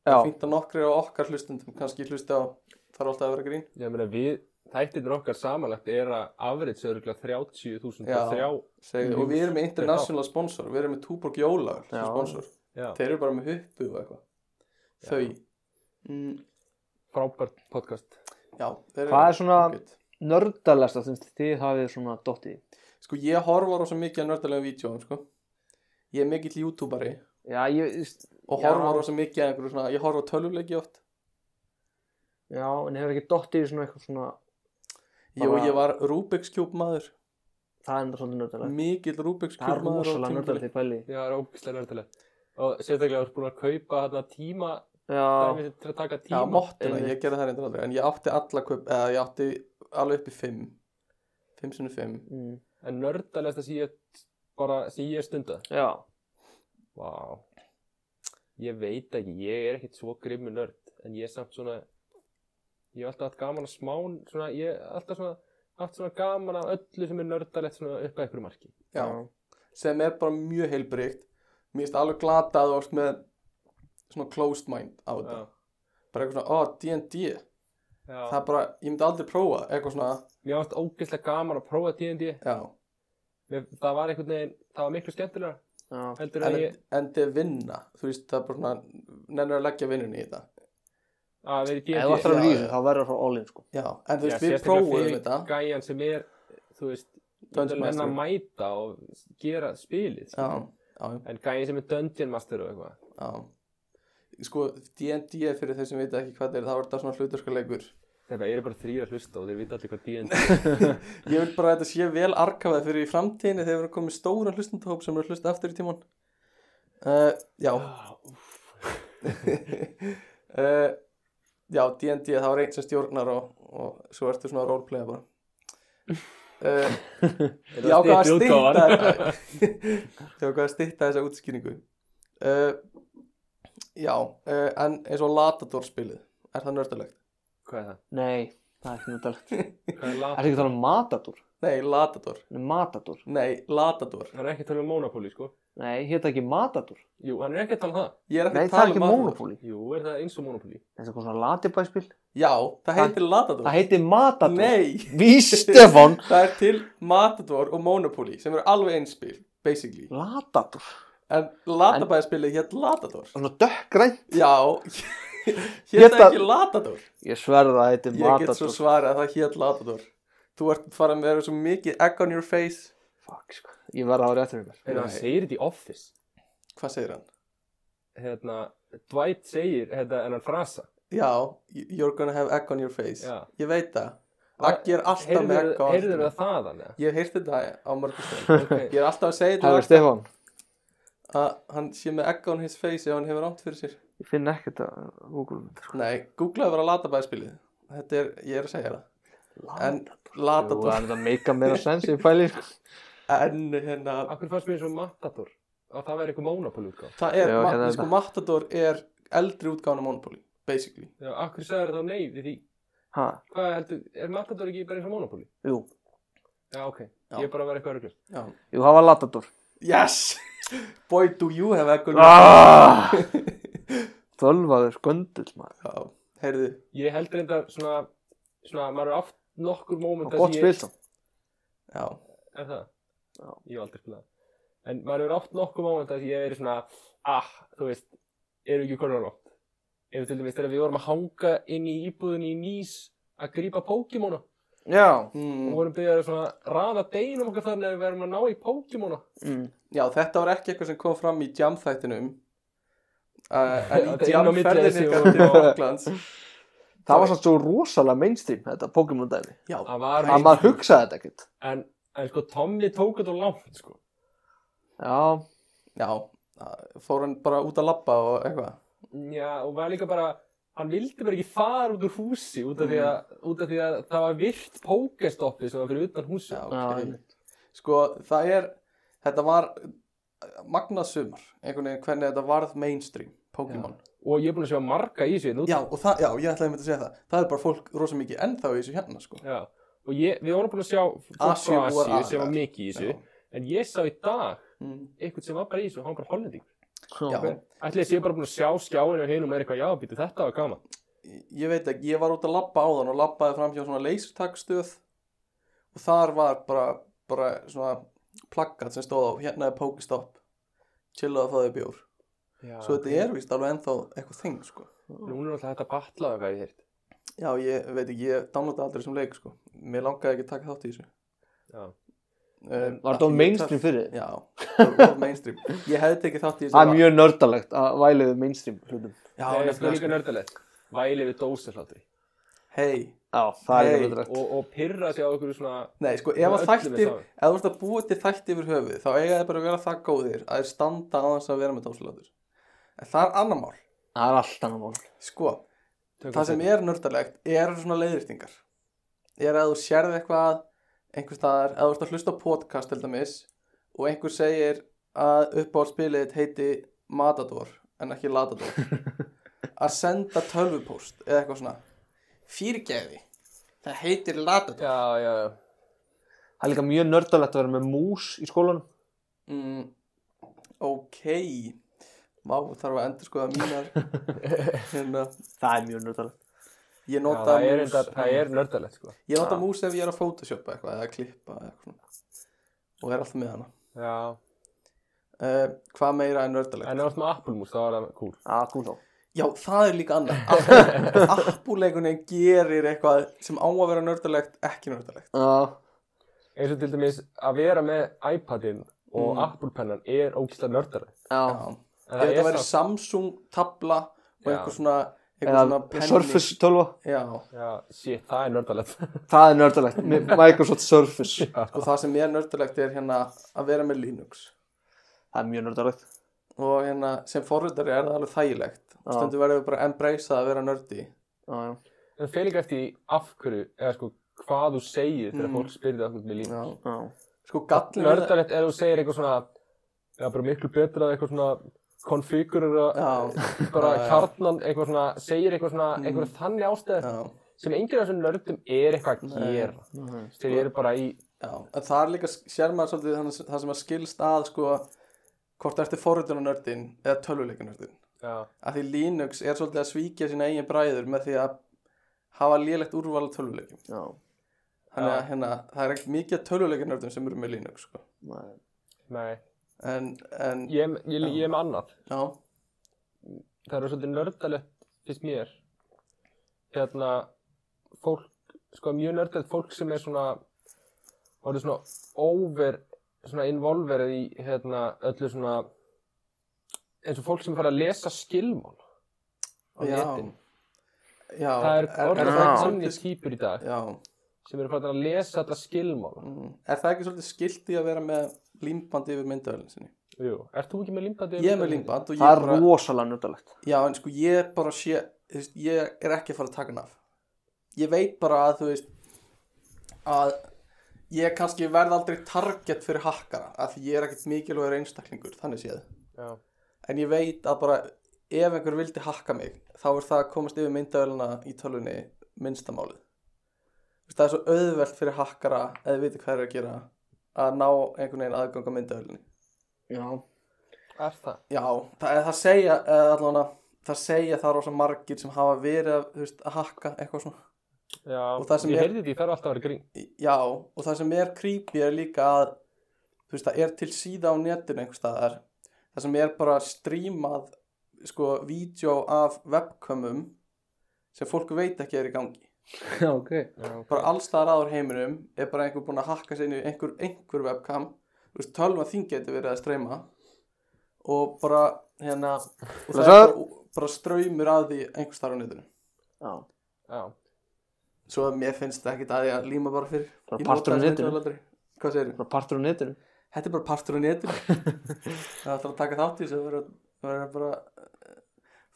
B: Já.
A: það fínt að nokkri á okkar hlustundum kannski hlusti á þarf alltaf að vera grín
C: Já, meina við Þættirnir okkar samanlagt er að afrits örgulega 30.000
A: Já.
C: og þrjá
A: Segðu,
C: Jú,
A: og við erum með
C: fyrir þá.
A: international sponsor við erum með Túborg Jólag sem
B: Já.
A: sponsor
C: Já,
A: þeir eru bara með huppu og eitthvað
C: Já.
A: þau mm,
C: frábært podcast
A: já, þeir eru
B: Hvað er svona-
A: ágæt.
B: nördalegsta sem þið hafið svona dottið í?
A: sko ég horfar á svo mikið að nördalega vídjóum sko ég er mikill youtuberi
B: já ég
A: og
B: Já.
A: horfar á svo mikið að einhverju svona ég horfa á tölvuleiki oft
B: já en hefur ekki dottið í svona eitthvað svona
A: Jú,
B: Bara-
A: ég var Rubik's Cube maður
B: það er enda svolítið nördalegt
A: Mikill Rubik's
B: það
A: Cube
B: er
A: maður á
B: rosalega
A: tímabili.
B: nördalegt í pæli
C: Já, það er ógislega nördilega Og sérstaklega þú ert búin að kaupa þarna tíma
B: já
C: dæmi til að taka
A: Já,
C: tíma
A: móttina,
B: Einmitt.
A: ég gerði það reyndur aldrei En ég átti alla kaup, eða ég átti alveg upp í 5 5 sinni 5
B: mm,
C: En nördalegsta sem ég bara sem ég stunda
B: já
C: Vá Ég veit ekki, ég er ekkert svo grimmu nörd En ég er samt svona Ég hef alltaf hatt gaman að smán svona, Ég hef alltaf svona haft svona gaman að öllu sem er nördalegt svona upp að ykkur marki
A: Já, sem er bara mjög heilbrygt Mér finnst alveg glata að þú varst með Svona closed mind á þetta Bara eitthvað svona, ó, D&D Það
C: Já.
A: er bara, ég myndi aldrei prófa Eitthvað svona,
C: Mér varst ógeðslega gaman að prófa D&D
A: já
C: Mér- Það var einhvern veginn, það var miklu skemmtilega
B: já
C: heldur
A: En,
C: að ég
A: en þið vinna, þú veist, það er bara svona Nennir að leggja vinnunni í þetta
C: að vera í
B: Ef þú
A: Já,
B: ætlar að vera í
C: D&D
B: þessu
A: já.
B: þá verður það frá all-in sko.
A: Já, en þú
C: Já,
A: veist, við
C: sérstaklega
A: prófum
C: fyrir
A: þetta
C: Gæjan sem er, þú veist
A: Dungeon
C: Menn
A: Master.
C: að mæta og gera spilið
A: Já,
C: skilur.
A: já, já
C: En gæjan sem er Dungeon Master og eitthvað
A: Já Sko, D&D er fyrir þeir sem veit ekki hvað það er þá er þetta svona hluturskaleikur
C: Þetta eru bara þrýra hlusta og þeir vita allir hvað D&D er.
A: Ég vil bara að þetta sé vel arkafað fyrir í framtíðinni þegar við erum komið stóra hlustendahóp sem eru að hlusta aftur í tíman uh, Já (laughs) uh, Já, D&D þá er einn sem stjórnar og, og svo ertu svona að roleplaya bara uh, Ég
C: Þetta
A: ákvað
C: er
A: að
C: styttri
A: stýtta
C: útgáfan.
A: Ég ákvað að stýtta þessa (laughs) útskýringu uh, Já, uh, en eins og Latador spilið Er það nördulegt?
C: Hvað er það?
B: Nei, það er ekki nördalegt
C: Hvað er
B: Það
C: lat?
B: er ekki að tala um matador
A: Nei, Latador
B: Nei, Matador
A: Nei, Latador
C: Hann er ekki að tala um Monopoly, sko
B: Nei, hétt ekki matador
C: Jú, hann er ekki að tala um það
A: Ég er ekki
B: Nei,
A: að
B: það
A: tala
B: er ekki
A: um Matador.
B: monopóli
C: Jú, er það eins og Monopoly?
B: Það er eitthvað svona latibæspil
A: Já, það heitir Latador
B: Það heitir matador
A: Nei,
B: Vís Stefán
A: það er til Matador og Monopoly sem eru alveg einspil, basically
B: Latador
A: En Latabæðspilið hétt Latador
B: Svona dökkgræn
A: Já, (laughs) hétt það
B: Hétta-
A: ekki Latador
B: Ég sverða það heitir
A: Ég get svo
B: matador
A: svarið að það hétt Latador Þú ert farað með svo mikið egg on your face
B: Fuck, sko Ég verða á réttur ykkur
C: En hann
A: Nei.
C: segir þetta í Office
A: Hvað segir hann?
C: Hérna, Dwight segir, hérna, en hann frasa
A: Já, you're gonna have egg on your face
C: Já.
A: Ég veit það Aggi er alltaf með egg á
C: Heyrður
A: alltaf
C: það þaðan, eða?
A: Ég hef heyrt þetta á
C: (laughs)
A: mörgustöðum
C: Ok.
A: Ég er alltaf að segja
B: Hæður
A: þetta
B: Stefán
A: að hann sé með egg on his face ef hann hefur átt fyrir sér
B: Ég finn ekkert að Google myndir
A: Nei, googlaðu bara Latabæðspilið Þetta er, ég er að segja það En
B: Jú, það
A: Latador
B: er þetta meika meira sens Ég fæli sko.
A: (laughs) En hérna
C: Akkur fannst mér eins og Matador að það væri eitthvað Monopoly útgáð
A: Það er,
B: Já,
A: ma
B: hérna er
A: sko
B: þetta. Já.
A: Matador er eldri útgáðan af Monopoly Basically
C: Já, akkur sagður þá nei við því
B: Ha,
C: Hvað heldur, er Matador ekki bara eins og Monopoly?
B: Jú,
C: Já, ok,
A: Já.
C: ég er bara að vera eitthvað örglust
A: Já.
B: jú, það var latador
A: Yes! (laughs) Boy, do you have egg on your
B: Ah! Þölvaður sköndull maður
A: (laughs) Já, heyrðu
C: Ég held reyndar svona, svona, maður er aft nokkur
B: Og
C: móment
B: gott spil samt
A: Já,
C: Er það?
B: Já.
C: Ég hef aldrei spilað það. En maður hefur átt nokkuð móment að ég er svona, ah, þú veist, erum við ekki konar nótt. Ef til dæmis þegar við vorum að hanga inn í íbúðinni í Nýs að grípa Pokémona.
B: Já.
C: og
A: mm.
C: vorum byggðið að svona raða deginum okkar þannig að við erum að ná í Pokémona
B: Mm.
A: Já, þetta var ekki eitthvað sem kom fram í jamþættinum uh, En í
C: Þetta er (laughs) inn á milli
A: jamferðinni
C: þessi
A: ykkar
C: og-
A: til Falklands
B: Það var samt svo rosalega mainstream þetta Pokémon dæmi.
A: Já,
C: það var
B: Að maður hugsaði þetta ekkert.
C: en, en sko Tommy tók þetta of langt sko.
B: Já.
A: já uh, Fór hann bara út að labba og eitthvað
C: Já, og var líka bara hann vildi bara ekki fara út úr húsi út af, því, að, út af því að það var virt pókestoppi sem var fyrir utan húsi
A: Já,
B: Já,
A: ok
B: einmitt.
A: Sko, það er Þetta var magnað sumar einhvern veginn hvernig þetta varð mainstream Pokémon
C: og ég er búin að sjá marga í þessu hérna úti.
A: Já, og það, já, ég ætlaði einmitt að segja það Það er bara fólk rosa mikið ennþá í þessu hérna, sko
C: Já. og ég, við vorum búin að sjá fólk frá
A: Asíu voru
C: Asíu sem
A: aðilar.
C: var mikið í þessu
A: Já.
C: en ég sá í dag
A: Mm,
C: eitthvað sem var bara í þessu og hann var bara hollending
B: sko,
A: já,
C: ætli þessi ég bara búin að sjá skjáinu og hinum er eitthvað já, býtu þetta var gaman
A: Ég- ég veit ekki, ég var út að labba á þann og labbaði fram hjá svona leysertakstöð og þar var bara, bara svona plakkat sem stóð á hérna er Pokestopp chillaði að fá þau bjór
C: já,
A: svo þetta er víst alveg ennþá eitthvað þing sko.
C: núna er alltaf þetta batlað eitthvað ég heilt
A: já, ég veit ekki, ég downloada aldrei sem leik sko. mér langaði ekki að taka þátt í þessu
C: Já.
A: um,
B: Var þetta á mainstream fyrir þið? (laughs)
A: já, það var of mainstream ég hefði tekið þátt í þessu
B: Það er mjög nördalegt að væli við mainstream hlutum.
A: já,
C: það er
A: nefnilega,
C: líka
A: sko.
C: nördalegt væli við dósasláttri
A: hei,
B: Já, það er
A: Nei,
B: nördalegt.
C: og, og pyrra sig á okkur svona
A: nei, sko, ef að
C: Öllum er
A: þættir
C: sama.
A: ef þú ert að búa til þætti yfir höfuð þá eiga þið bara að vera það góðir að þið standa á þess að vera með dásalöður en það er annar mál
B: Það er allt annað mál.
A: sko,
C: Tökum
A: það sem
C: þetta.
A: er nördalegt eru svona leiðrýtingar er að þú sérð eitthvað einhver staðar, að þú ert að hlusta á podcast til dæmis og einhver segir að uppáhaldspilið þitt heiti Matador en ekki
C: (laughs)
A: Latador að senda tölvupóst eða eitthvað svona fyrirgefi, það heitir Latador
C: já, já, já
B: Það er líka mjög nördalegt að vera með mús í skólanum.
A: mm, ok má þarf að endur skoða mínar
C: (laughs)
A: hérna
B: Það er mjög nördalegt.
A: Ég
C: Já,
A: nota
C: það er,
A: mús
C: enda, það er nördalegt sko.
A: Ég nota
B: Já.
A: mús ef ég er að photoshopa eitthvað eða klippa eða eitthvað svona. og er alltaf með hana
C: Já.
A: uh, Hvað meira er nördalegt?
C: En ef þú ert með appulmús þá er það cool
B: Já, þú þá.
A: Já, það er líka annað
C: (laughs)
A: Appuleikunin gerir eitthvað sem á að vera nördalegt, ekki nördalegt
B: Já,
C: Eins og til dæmis að vera með iPadin og
A: Mm.
C: mm. Apple-pennan er ógislega nördalegt
B: já.
A: Já.
C: En
A: Ef
C: það
A: þetta
C: er
A: væri
C: samt
A: Samsung tabla og
C: Já.
A: einhver svona, einhver svona
B: Eða
A: penni
B: Surface 12.
A: Já,
C: Já, shit, það er nördalegt (laughs)
B: Það er nördalegt. Microsoft Surface.
A: sko það sem er nördalegt er hérna að vera með Linux
B: Það er mjög nördalegt.
A: og hérna sem forritari er það alveg þægilegt
B: Já.
A: stundu verður við bara að embracea að vera nördi
B: Já, já.
C: En fyrir líka eftir í af hverju eða sko hvað þú segir þegar
A: Mm.
C: fólk spyrir það með líf
A: Já.
B: Já.
A: Sko gallin við-
C: Nördalegt er þú segir eitthvað svona Já, bara miklu betra eitthvað svona konfigurera
A: Já.
C: bara
A: Já, já.
C: kjarnan eitthvað svona segir eitthvað svona
A: Mm.
C: eitthvað þannig ástæður
A: Já,
C: sem enginn af þessum nördum er eitthvað að
A: Nei.
C: gera
B: Já.
C: þeir eru bara í
A: já, en það er líka, sér maður svolítið þannig, það sem að skilst að sko hvort ertu forritunarnördin eða tölvuleikunördin
C: já,
A: að því Linux er svolítið að svíkja sína eigin bræður með því að hafa lélegt úrval af tölvuleikum
B: Já.
A: þannig að
C: Já.
A: hérna, það er ekkert mikið af tölvuleikunördum sem eru með Linux sko.
B: Nei.
C: nei
A: en, en,
C: ég, ég, ég er með annað
A: já,
C: það eru svolítið nördalegt fyrst mér hérna fólk, sko mjög nördalegt fólk sem er svona orðið svona over svona involverið í hérna öllu svona eins og fólk sem fara að lesa skilmál á
A: Já.
C: netin
A: já
C: það er orðið
B: það
C: svona
B: ekki
C: þannig típur í dag
A: já,
C: sem eru farin að lesa alla skilmál
A: mm, er það ekki svolítið skilt í að vera með límbandi yfir myndavælinn sinni
C: Jú, ert þú ekki með límbandi?
A: ég er með límband og ég
B: Það er
A: bara
B: rosalega nördalegt.
A: Já, en sko ég bara sé þú veist, ég er ekki að fara að taka hann af ég veit bara að þú veist að ég kannski verð aldrei target fyrir hakkara af því ég er ekkert mikilvægur einstaklingur þannig séð,
C: Já,
A: en ég veit að bara ef einhver vildi hakka mig þá er það að komast yfir myndavélina í tölunni minnstamálið Þú veist, það er svo auðvelt fyrir hakkara eða viti hvað er að gera að ná einhvern veginn aðgang á myndavélinni
B: Já. (laughs)
C: er það?
A: Já, það, eh, það segja eða allavega, það segja það rosa margir sem hafa verið að, þú veist, að hakka eitthvað svona.
C: Já,
A: Og það sem
C: ég
A: er-
C: heyrði því þarf alltaf að vera grín
A: Í- Já, og það sem er creepy er líka að þú veist, það er til síða á netinu einhvers staðar það sem er bara strímað sko, vídeo af webcamum sem fólk veit ekki er í gangi
B: Já, ok.
C: Já,
A: bara alls staðar aður heiminum er bara einhver búinn að hakka sér inn í einhver, einhver webcam þú veist, tölva þín getur verið að streyma og bara hérna og það er
B: Blessaður.
A: bara, bara ströymur að því einhver staðar á netinu
B: Já.
C: já.
A: svo að mér finnst það ekkit að ég að líma bara fyrir
B: Bara
A: Ég
B: partur
A: nota
B: á
A: þessa
B: netinu.
A: tölvu aldrei. hvað segir
B: Bara partur á netinu.
A: þetta er bara partur á netinu það ætlar að taka þátt í þessu það verður- það verður bara eh,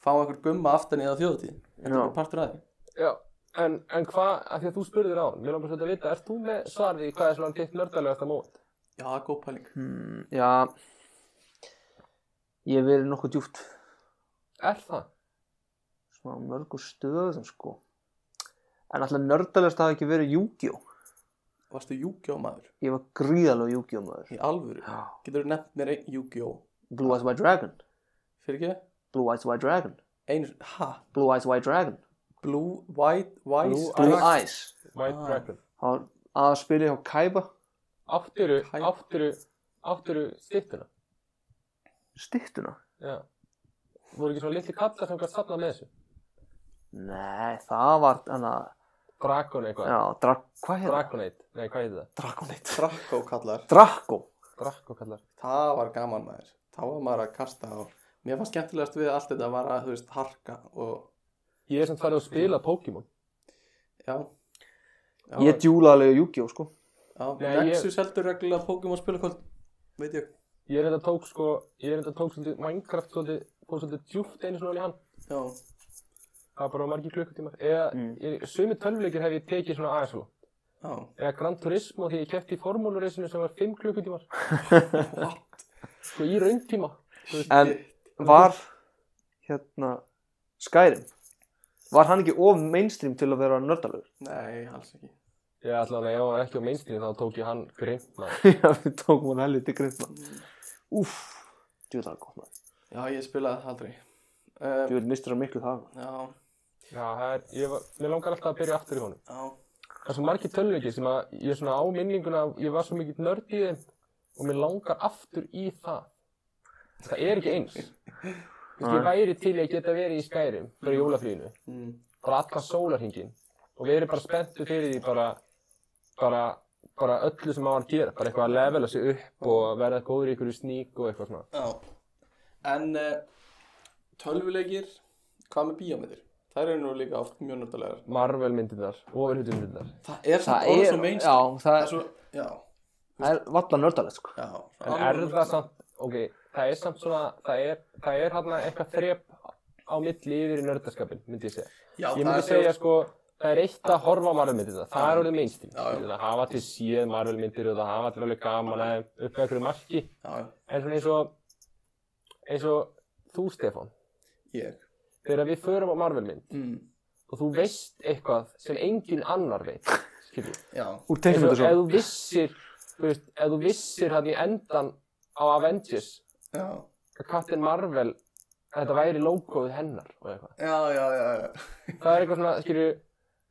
A: fá einhver gumma aftan í það þjóðatíð þetta er
B: Já.
A: bara partur að því
C: Já, en, en hvað, af því að þú spurðir á hann, mér langar svolítið að vita, ert þú með svarið í hvað er svona þitt nördalegasta mót?
A: já, það er góð pæling
B: Hmm, já. Ég hef verið nokkuð djúpt.
C: Er það?
B: Svona á mörgum stöðum, sko. En alltaf nördalegast hafi ekki verið Yu-Gi-Oh!
A: varstu Yu-Gi-Oh maður
B: Ég var gríðalega Yu-Gi-Oh! maður.
A: í alvöru
B: Já.
A: getur þú nefnt mér einn Yu-Gi-Oh
B: Blue Eyes White Dragon.
A: fyrir ekki
B: Blue Eyes White Dragon.
A: einu, ha,
B: Blue Eyes White Dragon.
A: Blue, White, White
C: Blue
B: Blue
C: Eyes.
B: Eyes.
C: White
A: Ah.
C: Dragon.
B: Það var að spila hjá Kaiba.
C: Áttiru,
A: Hæ.
C: áttiru, áttiru stittuna.
B: Stittuna.
C: Já. Voru ekki svona litli kallar sem hvað safna með þessu?
B: Nei, það var, hann að,
C: Dragon eitthvað.
B: já, dra hvað hefði?
C: Dragonite. Nei, hvað heitir það?
B: Dragonite.
A: Drakko kallar
B: Draco.
C: Draco kallar.
A: Það var gaman maður Þá var maður að kasta á Mér fannst skemmtilegast við allt þetta var að þú veist harka og
C: Ég er samt farið að spila Pokémon.
A: já Já,
B: Ég djúla alveg Yu-Gi-Oh! sko.
A: já
C: Nei, ég-
A: Nexus heldur reglulega Pokémon spilakvöld Veit ég
C: Ég er enda tók sko, ég er enda tók svolítið Minecraft svolítið, fór svolítið djúpt einu svona alveg hann.
A: Já,
C: Það var bara margir klukkutímar. Eða,
B: Mm.
C: mm. sumi tölvleikir hef ég tekið svona aðeins svona.
A: já
C: eða Gran Turismo því ég kæfti í formúlureysinu sem var 5 klukkutímar
A: What?
C: sko í rauntíma
B: En var, hérna, Skyrim, var hann ekki of mainstream til að vera nördalegur?
A: Nei, alls ekki
C: ég ætla að ég var ekki á mainstream þá tók ég hann grimt maður.
B: (laughs) Já, við tókum hann helviti grimt mann. Mm. Úff, djúla gott mann.
A: Já, ég spilaði það aldrei uh,
B: Djúla mistur hann miklu það.
A: Já,
C: já, það er, ég var, mér langar alltaf að byrja aftur í honum
A: já
C: það er svo margir tölvöki sem að ég svona á minninguna af- ég var svo mikið nörd í þeim og mér langar aftur í það það er ekki eins Þú veist, ég væri til í að geta verið í skærim fyrir jólafrínu,
A: mm.
C: bara allan sólarhingin og verið bara spenntu fyrir því bara, bara, bara öllu sem maður gera, bara eitthvað að levela sig upp og verða góður í einhverju sník og eitthvað svona
A: Já En uh, tölvuleikir Hvað með bíómyndir? Það eru nú líka oft mjög nördalegar
C: Marvel myndirnar, ofurhutum myndirnar
A: Það er samt orðið svo meinst
B: já,
A: Það
B: það
A: er svo, já,
B: það er valla nördalegt, sko.
A: já
C: En er það samt, ok, það er samt svona það er, það er hann eitthvað þrep á milli yfir í nördaskapin myndi ég segja,
A: Já,
C: ég
A: það
C: myndi
A: er
C: segja sko það er eitt að horfa á Marvel myndirnar, það er orðið mainstream
A: Já, já.
C: Skilur, það hafa allir síðan Marvel myndir og það hafa allir alveg gaman að þeim upp að einhverju marki
A: Já,
C: en svona eins og eins og þú Stefán
A: ég
C: þegar við förum á Marvel mynd
A: mm,
C: og þú veist eitthvað sem engin annar veit skilur
A: Já,
B: Úr
C: eins og ef
B: teiknumyndasögum.
C: þú vissir þú veist, ef þú vissir hann í endan á Avengers
A: já,
C: að Captain Marvel að þetta væri logoð hennar og eitthvað
A: já, já, já, já.
C: það er eitthvað svona, skilur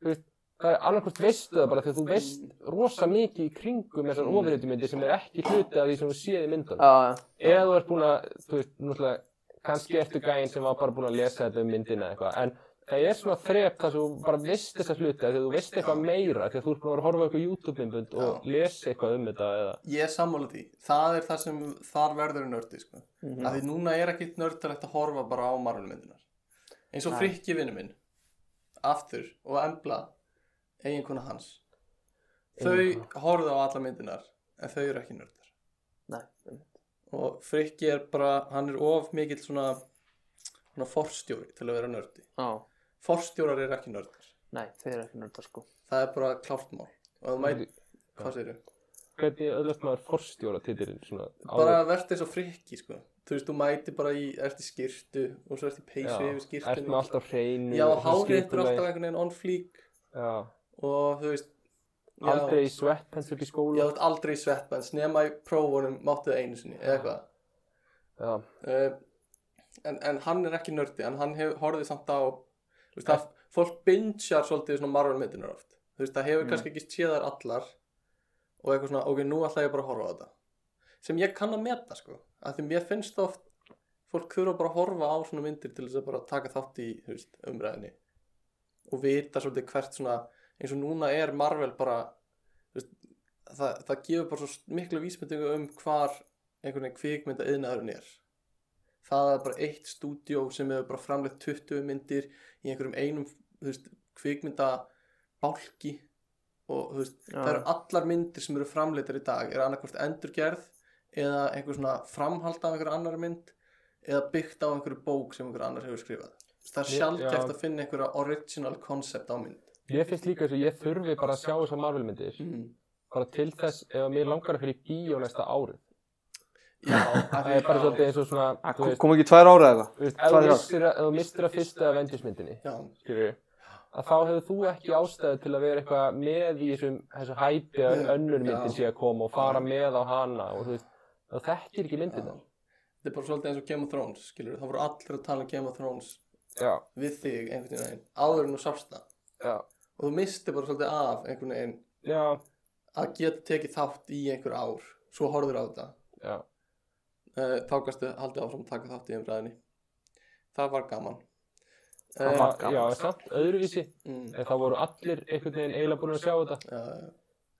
C: þú veist, það er annarkvort veistu það bara þegar þú veist rosa mikið í kringum þessar ofriðutumindir sem er ekki hluti af því sem þú séð í myndunum
B: Já, já.
C: eða þú ert búin að, þú veist, náttúrulega kannski ertu gæinn sem var bara búin að lesa þetta um myndina eða eitthvað, en það er svona þrep þar sem þú bara veist þessa hluti þegar þú veist eitthvað meira, þegar þú ert búin að vera að horfa á eitthvað YouTube-myndbund og lesa eitthvað um þetta eða,
A: Ég er sammála því Það er það sem þar verður nördi sko. mm Af því núna er ekkit nördalegt að horfa bara á marvulmyndunar Eins og frikki vinnu minn Aftur og embla eiginkona hans Þau horfðu á alla myndunar En þau eru ekki nördar
B: Nei.
A: Og frikki er bara, hann er of mikill svona, svona forstjóri til að vera nördi
B: Já.
A: Forstjórar eru ekki nördar
B: Nei, þeir eru ekki nördar, sko.
A: Það er bara klárt mál og þú mætir, hvað segir þau?
C: hvernig öðvöld maður forstjóra titilinn svona
A: Bara verður eins og frikki sko Þú veist, þú mætir bara í, ert í skirtu og svo ert í peysu yfir
C: ert með
A: skirtunni
C: alltaf hreinu
A: Já,
C: og svona
A: hárið er alltaf
C: skipulagi.
A: einhvern veginn on fleek
C: já,
A: og þú veist já,
C: aldrei í sweatpants upp í
A: Já,
C: skóla
A: þú ert aldrei í sveppens nema í prófunum máttu það einu sinni eða eitthvað
C: já,
A: uh, en, en hann er ekki nördi en hann hef, horfði samt á þú veist, það, fólk bingear svolítið svona marvunmyndunar oft þú veist, það hefur kannski ekki séð þær allar og eitthvað svona, ok, nú ætla ég bara að horfa á þetta sem ég kann að meta, sko af því mér finnst það oft fólk þurfa bara að horfa á svona myndir til þess að bara taka þátt í, þú veist, umræðinni og vita svolítið hvert svona eins og núna er Marvel bara þú veist, það, það gefur bara svo miklu vísmyndingu um hvar einhvern veginn kvikmynda yðnaðurinn er það er bara eitt stúdíó sem hefur bara framleitt 20 myndir í einhverjum einum þú veist, kvikmynda bálki og þú veist,
B: Já.
A: það eru allar myndir sem eru framleittar í dag er annarkvort endurgerð eða einhver svona framhald af einhver annar mynd eða byggt á einhverju bók sem einhver annar hefur skrifað það er
C: Ég-
A: sjálfgeft
C: já.
A: að finna einhverja original concept á mynd
C: Ég finnst líka þess að ég þurfi bara að sjá þess að Marvel myndir
A: mm.
C: bara til þess ef að mér langar að fyrir bíó næsta árið
A: já,
C: (laughs)
A: af
C: það
A: því
C: er bara
A: að-
C: svolítið eins og svona þú
B: Ah, Kom,
C: veist,
B: kom ekki tvær ára eða eitthvað?
C: þú veist, ef
B: tvær ár.
C: þú missir að- ef þú mistir að fyrsta Avengers myndinni
A: já,
C: skilur að þá hefur þú ekki ástæðu til að vera eitthvað með í þessum þessu hæpi að
A: Nei,
C: önnur myndin
A: já.
C: sé að koma og fara með á hana og þú veist, það þekkir ekki
A: já.
C: myndin
A: þetta er bara svolítið eins og Game of Thrones skilur, það voru allir að tala um Game of Thrones
C: já,
A: við þig einhvern veginn áður en þú sást það
C: já,
A: og þú misti bara svolítið af einhvern veginn
C: já,
A: að geta tekið þátt í einhver ár svo horfður á þetta
C: já.
A: uh, þá kannstu haldið áfram að taka þátt í umræðinni það var gaman
B: Það
A: Eh,
B: var
C: já,
B: gaman.
C: samt öðruvísi
A: mm,
C: en það voru allir einhvern veginn eiginlega búin að sjá þetta
A: já,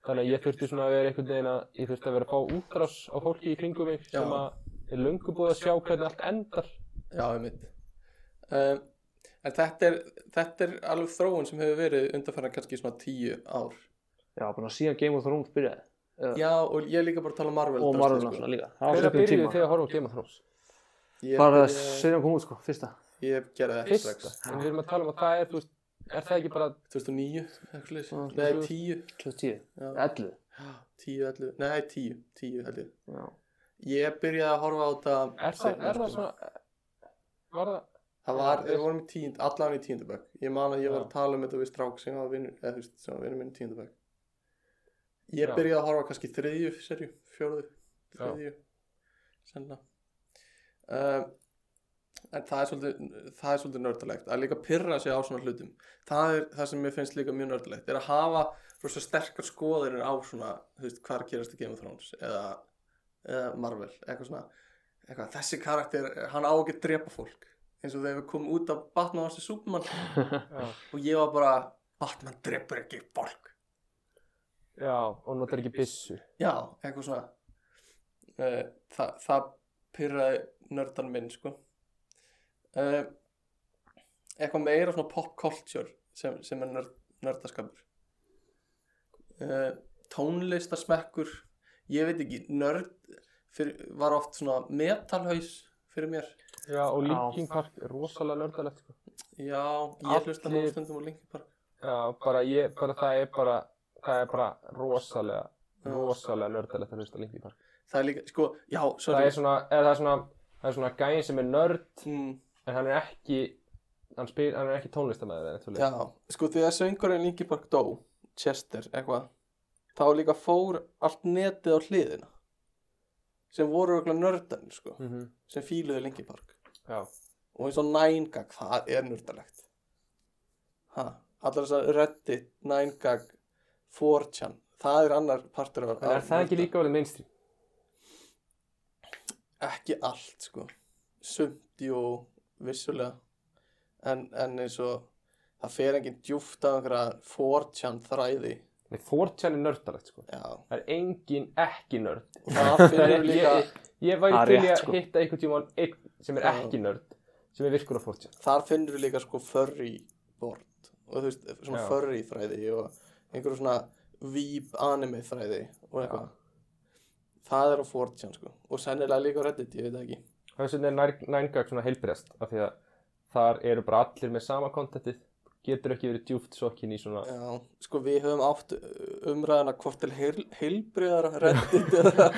C: þannig að ég þurfti svona að vera einhvern veginn að ég þurfti að vera að fá útrás á fólki í kringum mig
A: Já.
C: sem að er löngu búið að sjá hvernig allt endar
A: já, ég mitt uh, en þetta er, þetta er alveg þróun sem hefur verið undanfæra kannski svona tíu ár
B: Já, bara síðan Game of Thrones byrjaði
A: já, og ég er líka bara að tala um Marvel
B: og
A: drastli,
B: Marvel
A: sko.
B: náttúrulega líka Það var
C: hvernig
B: svipum
C: byrjuðu
B: tíma
C: þegar að horfa á Game of Thrones
A: ég,
B: Bara
A: byrjaði-
B: síðan kom út sko, fyrsta
A: ég gerði það ekki
C: fyrsta,
A: strax
C: en við erum að tala um að það er þú veist, er það ekki bara
A: 2009, eitthvað leys
B: Já,
A: nei,
B: tvö-
A: 10
B: 2010,
A: já,
B: 11
A: 10, 11, nei, 10 10, held ég
B: Já.
A: ég byrjaði að horfa á þetta
C: er það,
A: seinna,
C: er
A: sko.
C: það svona var það
A: Það var,
C: Já,
A: við
C: ég-
A: vorum í tíund, allan í tíundabæk Ég man að ég var
C: Já.
A: að tala um þetta við strák sem var vinnur, eða þú veist, sem var vinnur minn í tíundabæk Ég
C: Já.
A: byrjaði að horfa á kannski þriðju serju, fjóruðu,
C: Já.
A: þriðju sennilega um, En það er svolítið það er svolítið nördalegt, að líka pyrra sig á svona hlutum, það er það sem mér finnst líka mjög nördalegt, er að hafa rosa sterkar skoðinir á svona, þú veist, hvað er að gerast í Game of Thrones eða, eða Marvel, eitthvað svona eitthvað, þessi karakter, hann á ekki að drepa fólk eins og þegar við komum út af Batman vs. Superman
C: já,
A: og ég var bara, Batman drepur ekki fólk
C: já, og notar ekki byssu
A: já, eitthvað svona uh, það, það pyrraði nördan minn sko uh, eitthvað meira svona pop culture sem, sem er nörd, nördaskapur uh, tónlistarsmekkur ég veit ekki, nörd fyrir, var oft svona metalhaus fyrir mér
C: já, og
B: Já.
C: Linkin Park er rosalega nördalegt sko.
A: Já, ég
C: Allir-
A: hlusta nú stundum á Linkin Park
C: já, bara ég, bara það er bara það er bara rosalega
A: Já.
C: rosalega nördalegt að hlusta á Linkin Park
A: Það er líka, sko, já,
C: það
A: sorry
C: er svona, eða það er svona það er svona gæin sem er nörd
A: mm,
C: en hann er ekki hann, spyr, hann er ekki tónlistamæður eða eitthvað
A: Já, sko þegar söngurinn Linkin Park dó Chester, eitthvað þá líka fór allt netið á hliðina sem voru örugglega nördarnir, sko
C: mm -hmm.
A: sem fíluðu Linkin Park
C: já,
A: og eins og nængag, það er nördalegt ha, allar þess að Reddit, nængag 4chan, það er annar partur af,
C: en er
A: af
C: það ekki
A: nörda.
C: líka verið mainstream
A: ekki allt sko sumt jú vissulega en, en eins og það fer enginn djúft af einhverja 4chan þræði
C: Nei, 4chan er nördalegt sko
A: já,
C: það er engin ekki nörd
A: og það
C: Það er
A: finnur líka
C: ég, ég væri
B: Það er
C: til í
B: rétt,
C: að
B: sko.
C: hitta einhvern tímann einn sem er
A: Já.
C: ekki nörd sem er virkur á fórtján
A: þar finnur við líka sko furry bort og þú veist, svona
C: Já.
A: furry þræði og einhverju svona víb anime þræði og eitthvað það er á 4chan sko og sennilega líka á Reddit, ég veit það ekki
C: þess vegna er nær- nængag svona heilbreyðast af því að þar eru bara allir með sama kontentið getur ekki verið djúft sokkin í svona
A: já, sko við höfum átt umræðina hvort til heil, heilbriðara
C: (laughs)
A: Reddit eða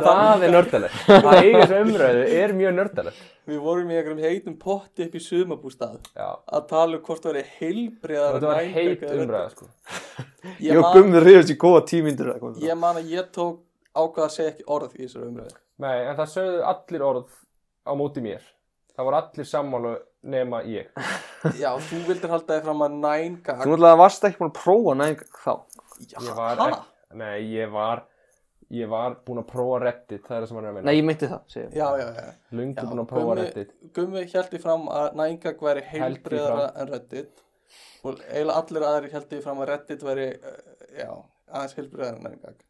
C: það er nördalegt að eiga þessu umræðu er mjög nördalegt
A: Við vorum í einhverjum heitum potti upp í sumabústað
C: já
A: að tala um hvort það væri heilbriðar
C: þetta var heit umræða sko
A: ég,
B: Ég og
A: man-
B: Gummi reyðast í góða tímyndur eða eitthvað
A: ég man að ég tók ákvað að segja ekki orð í þessari umræðu
C: nei en það sögðu allir orð á móti mér það voru allir sammálu nema ég
A: Já, þú vildir halda þig fram að nænga
B: Þú náttúrulega varst ekki búin að prófa næðingar þá
C: ég var ekki, nei ég var ég var búin að prófa reddit það er það sem hann er að
B: Nei,
C: meina
B: ég meinti það, segir
A: Já, já, já
C: lungu
A: Já,
C: búin að prófa
A: Gummi-
C: reddit
A: Gummi held því fram að nænga væri
C: Held því
A: heilbriðara en reddit og eiginlega allir aðrir heldur fram að Reddit væri eh, já, aðeins heilbriðar en engag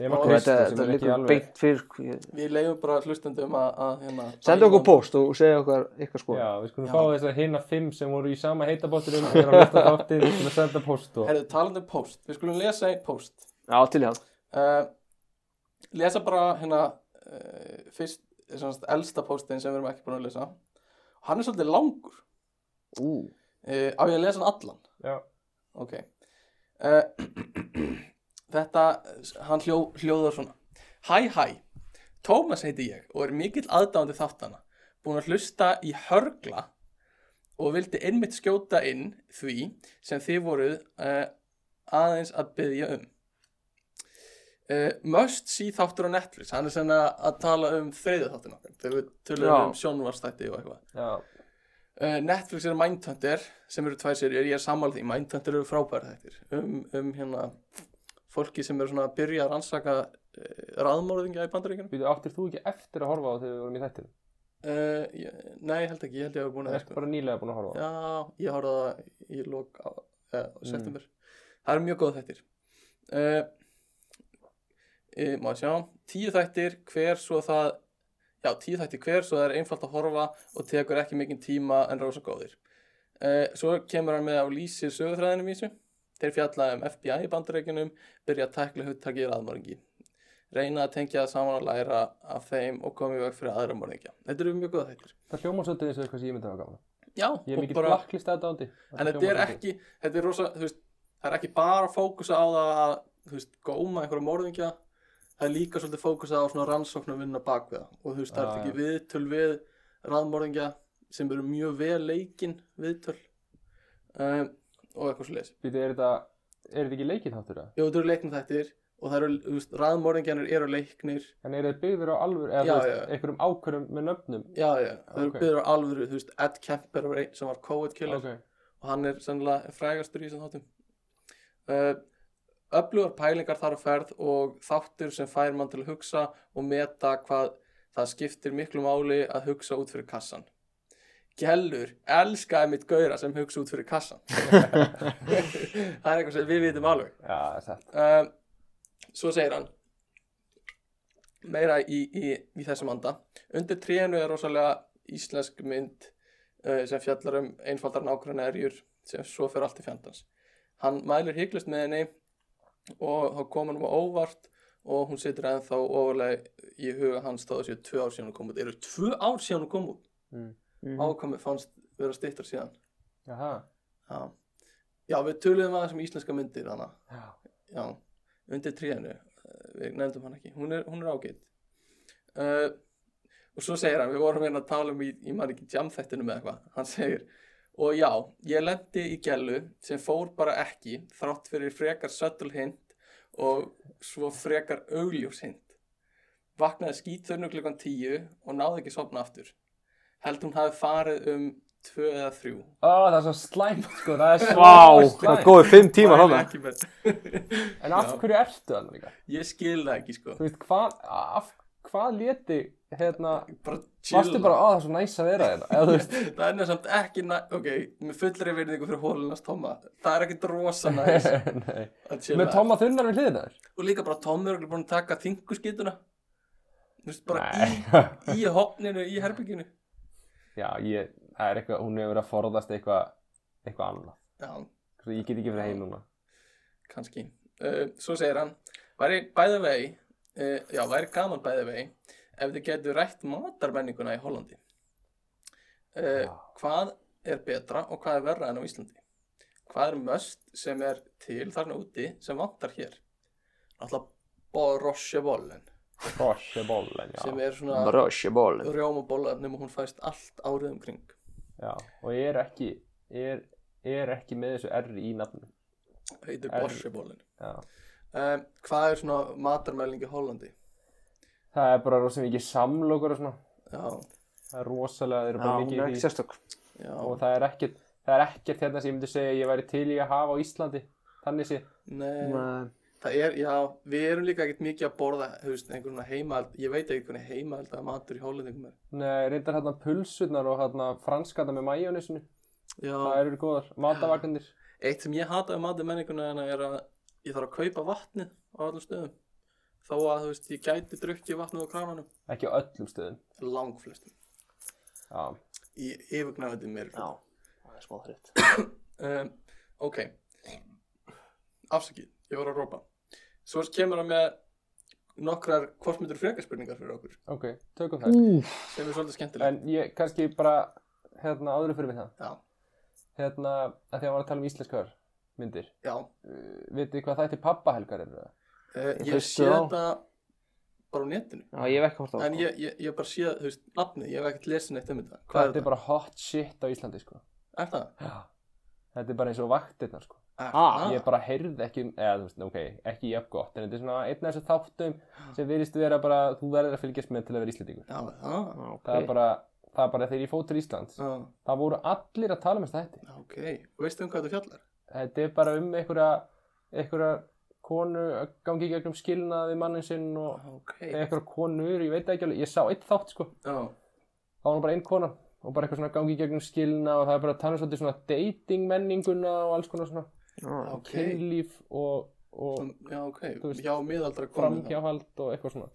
C: Nema
B: Ok,
C: Krista
B: þetta
C: sem
B: þetta
C: er ekki
B: liggur
C: alveg-
B: beint fyrir sko, hví-
A: við leiðum bara hlustendum að, að hérna,
B: Senda okkur post og segja okkar ykkar sko
C: Já, við skulum
A: Já.
C: fá þess að hinna fimm sem voru í sama heitabótturum er að hlusta á þáttið til að senda post og
A: Herðu, talandi um post, við skulum lesa einn post
B: Já, til í hann
A: uh, lesa bara hérna uh, fyrst, semast, elsta postin sem við erum ekki búin að lesa og hann er svolítið langur
B: Ú,
A: uh, á ég að lesa hann allan
C: Já.
A: ok uh, (clears throat) þetta, hann hljó, hljóðar svona hæ hæ, Tómas heiti ég og er mikill aðdáðandi þáttana búin að hlusta í hörgla og vildi einmitt skjóta inn því sem þið voruð uh, aðeins að byggja um Uh, must see þáttur á Netflix hann er sem að, að tala um þriðið þáttin okkar þegar við tölum
B: Já.
A: um sjónvarstætti og eitthvað
C: já,
A: Uh, Netflix er Mindhunter sem eru tvær serjur, ég er sammála því Mindhunter eru frábæri þættir um, um hérna fólki sem eru svona að byrja að rannsaka uh, raðmórðingja í bandaríkjunum
C: við áttir þú ekki eftir að horfa á þegar við vorum í þættinu
A: uh, ég- Nei, ég held ekki, ég held ég hafa búin
C: Það
A: að
C: er bara nýlega búin að horfa á það.
A: Já, ég horfði á það í lok á, eh, september Það eru mjög góð þættir uh, e, Má sjá Tíu þættir hver svo það Já, tíu þættir hver svo það er einfalt að horfa og tekur ekki mikinn tíma en rosa góðir uh, Svo kemur hann með á lýsir sögutræðinum í þessu Þeir fjalla um FBI í bandarækjunum byrja að tækla hugtaki í raðmörningi reyna að tengja það saman og læra af þeim og koma í veg fyrir aðra morðingja Þetta eru mjög góða þættir
C: Það hljóma svolítið eins og eitthvað sem ég myndi að hafa gaman. af.
A: Já,
C: Ég er
A: og
C: mikill blacklist aðdándi.
A: en þetta er ekki þetta er rosa, þú veist, það er ekki bara að fókusa á það að, þú veist, góma einhverja morðingja, það er líka svolítið fókusa á svona rannsóknum vinna bak við það og þú veist, það
C: Já,
A: er ekki viðtöl við raðmorðingja sem eru mjög vel leikin viðtöl um, og eitthvað svo leis
C: Býtu, er þetta, er þetta ekki leikið þáttur það?
A: Jú, þetta eru leiknir þættir og það eru, þú veist, raðmorðingjanir eru leiknir
C: En eru þetta byggður á alvör, eða
A: Já,
C: þú veist,
A: já.
C: einhverjum ákvörðum með nöfnum?
A: já, já, það eru
C: Ok.
A: okay. byggður á alvöru, þú veist, Ed Kemper var einn sem var co-ed killer
C: Ok.
A: og hann er sennilega frægastur í þessum þáttum uh, öflugar pælingar þar á ferð og þáttur sem fær mann til að hugsa og meta hvað það skiptir miklu máli að hugsa út fyrir kassan Gjellur, elskaði mitt gauðra sem hugsa út fyrir kassan (laughs) það er eitthvað sem við vitum alveg
C: Já, það er sett.
A: um, svo segir hann meira í, í, í þessum anda undir trénu er rosalega íslensk mynd uh, sem fjallar um einfaldar nákvæmna erjur sem svo fer allt í fjandans hann mælir hygglust með henni og þá kom hann á óvart og hún situr ennþá ofalega í huga hans þá þessi tvö ár síðan hún kom út eru tvö ár síðan hún kom út
C: Mm.
B: Mhm.
A: ákomið fannst vera stittar síðan
C: Jaha.
A: já, já við töluðum aðeins um íslenska myndir þannig
C: Já.
A: já, undir tríðinu við nefndum hann ekki, hún er, hún er ágætt uh, og svo segir hann við vorum hérna að tala um í, í mann ekki jamþættinu með eitthvað, hann segir og já, ég lendi í gælu sem fór bara ekki, þrátt fyrir frekar söttul hint og svo frekar augljós hint vaknaði skítþörnu klukkan tíu og náði ekki sopna aftur held hún hafi farið um tvö eða þrjú
C: Ó, það er svo slæmt, sko, það er svo
B: Vá, það er
C: slæmt.
B: góðið fimm tíma
A: Mæli
B: hana
A: ekki með. (laughs)
C: En af
A: Já.
C: hverju ertu þannig líka?
A: ég skil það ekki sko
C: Þú veist, hvað, af, hvað leti, hérna,
A: bara chill
C: varstu bara, á, það er svo næs að vera þetta, eða þú
A: (laughs)
C: veist,
A: það er nefnisamt ekki næ... ok, með fullri verðingu fyrir hólunars Tomma það er ekkit rosa næs
C: (laughs) nei.
A: að chilla.
C: Með Tóma Þunnar við hliðina þér?
A: og líka bara Tommi er örugglega búinn að taka þinguskituna þú veist bara í,
C: Nei.
A: í hopninu, í herbygginu
C: (laughs) Já, ég, það er eitthvað, hún hefur verið að forðast eitthvað, eitthvað annað.
A: já,
C: Svo ég get ekki verið heim núna.
A: kannski uh, svo segir hann væri bæði vegi uh, já, væri gaman bæði vegi ef þið getur rætt matarmenninguna í Hollandi uh,
C: Já.
A: hvað er betra og hvað er verra en á Íslandi hvað er möst sem er til þarna úti sem vantar hér náttúrulega borosjabollen
C: Krossebóllen, já.
A: sem er svona
B: Brösjaból
A: rjómabollar nema hún fæst allt árið um umkring
C: Já, og ég er ekki, er, er ekki með þessu R í nafnum.
A: heitir
C: Er-
A: borosjabollen
C: Já.
A: um, hvað er svona matarmæling í Hollandi
C: Það er bara rosa mikið samlokur og svona.
A: já,
C: Það er rosalega, þeir eru
B: Já,
C: bara
B: hún
C: mikið
B: er
C: í
B: ekki
C: því.
B: sérstök
A: já,
C: Og það er ekkert, það er ekkert hérna sem ég myndi segja að ég væri til í að hafa á Íslandi. Þannig sé, Eh.
A: nei
B: Nei.
A: Það er, já, við erum líka ekkert mikið að borða, þú veist, einhvern veginn heimahald, ég veit ekki hvernig
C: eh,
A: heimahald að matur í hólendingum er.
C: nei, reyndar hérna pulsurnar og hérna franskata með majónisinu. það
A: Já,
C: eru góðar, matavagnir
A: eitt sem ég hataði matið menninguna hérna er að ég þarf að kaupa vatnið á öllum stöðum þó að þú veist, ég gæti drukkið vatnið á krananum
C: ekki á öllum stöðum
A: langflestum
C: já,
A: í yfirgnæfandi mér
B: Já, það er smá þreytt
A: um, ok afsakið, ég var að rópa svo kemur hann með nokkrar kvortmyndur frekarspurningar fyrir okkur
C: ok, tökum það
B: Úf,
A: sem er svolítið skemmtileg
C: en ég kannski bara hérna áður en fyrir við það
A: já,
C: hérna, að því að var að tala um íslenskar myndir
A: já,
C: uh, vitið hvað þættir pappahelgar eru það?
A: uh,
B: Ég
A: ég
B: hlusti
A: sé
B: á.
A: þetta bara á netinu
B: já, ég hef ekki hort á
A: en
B: það
A: ég, ég, ég bara sé, þú veist, nafnið ég hef ekkert lesin eitt um þetta hvað er
C: þetta er
A: þetta?
C: bara hot shit á Íslandi sko.
A: Er það?
C: Já. þetta er bara eins og vaktirnar sko.
A: Er
B: Ah,
A: það?
C: ég bara heyrði ekki um- eða þú veist, ok, ekki jafn gott en þetta er svona einn af þessum þáttum sem virðist vera bara, þú verður að fylgjast með til að vera Íslandingur
A: já, það
B: Já, ok. Ah.
C: það er bara, það er bara þegar ég fóð til Íslands
A: Já,
C: það voru allir að tala með þetta
A: ok, veistu um hvað þetta fjallar?
C: þetta er bara um einhverja einhverja konu að gangi í gegnum skilnaði mannin sinn og
A: Ok, já,
C: einhverja konur, ég veit það ekki alveg ég sá eitt þátt sko, þá var nú bara einn kona og bara eitthvað svona gangi í gegnum skilna og það er bara að tala um svolítið svona dating menninguna og alls konar svona
B: Já,
A: ok Um,
C: kynlíf og, og
A: Já, ok,
C: Þú veist,
A: já, miðaldra konu þá.
C: framhjáhald og eitthvað svona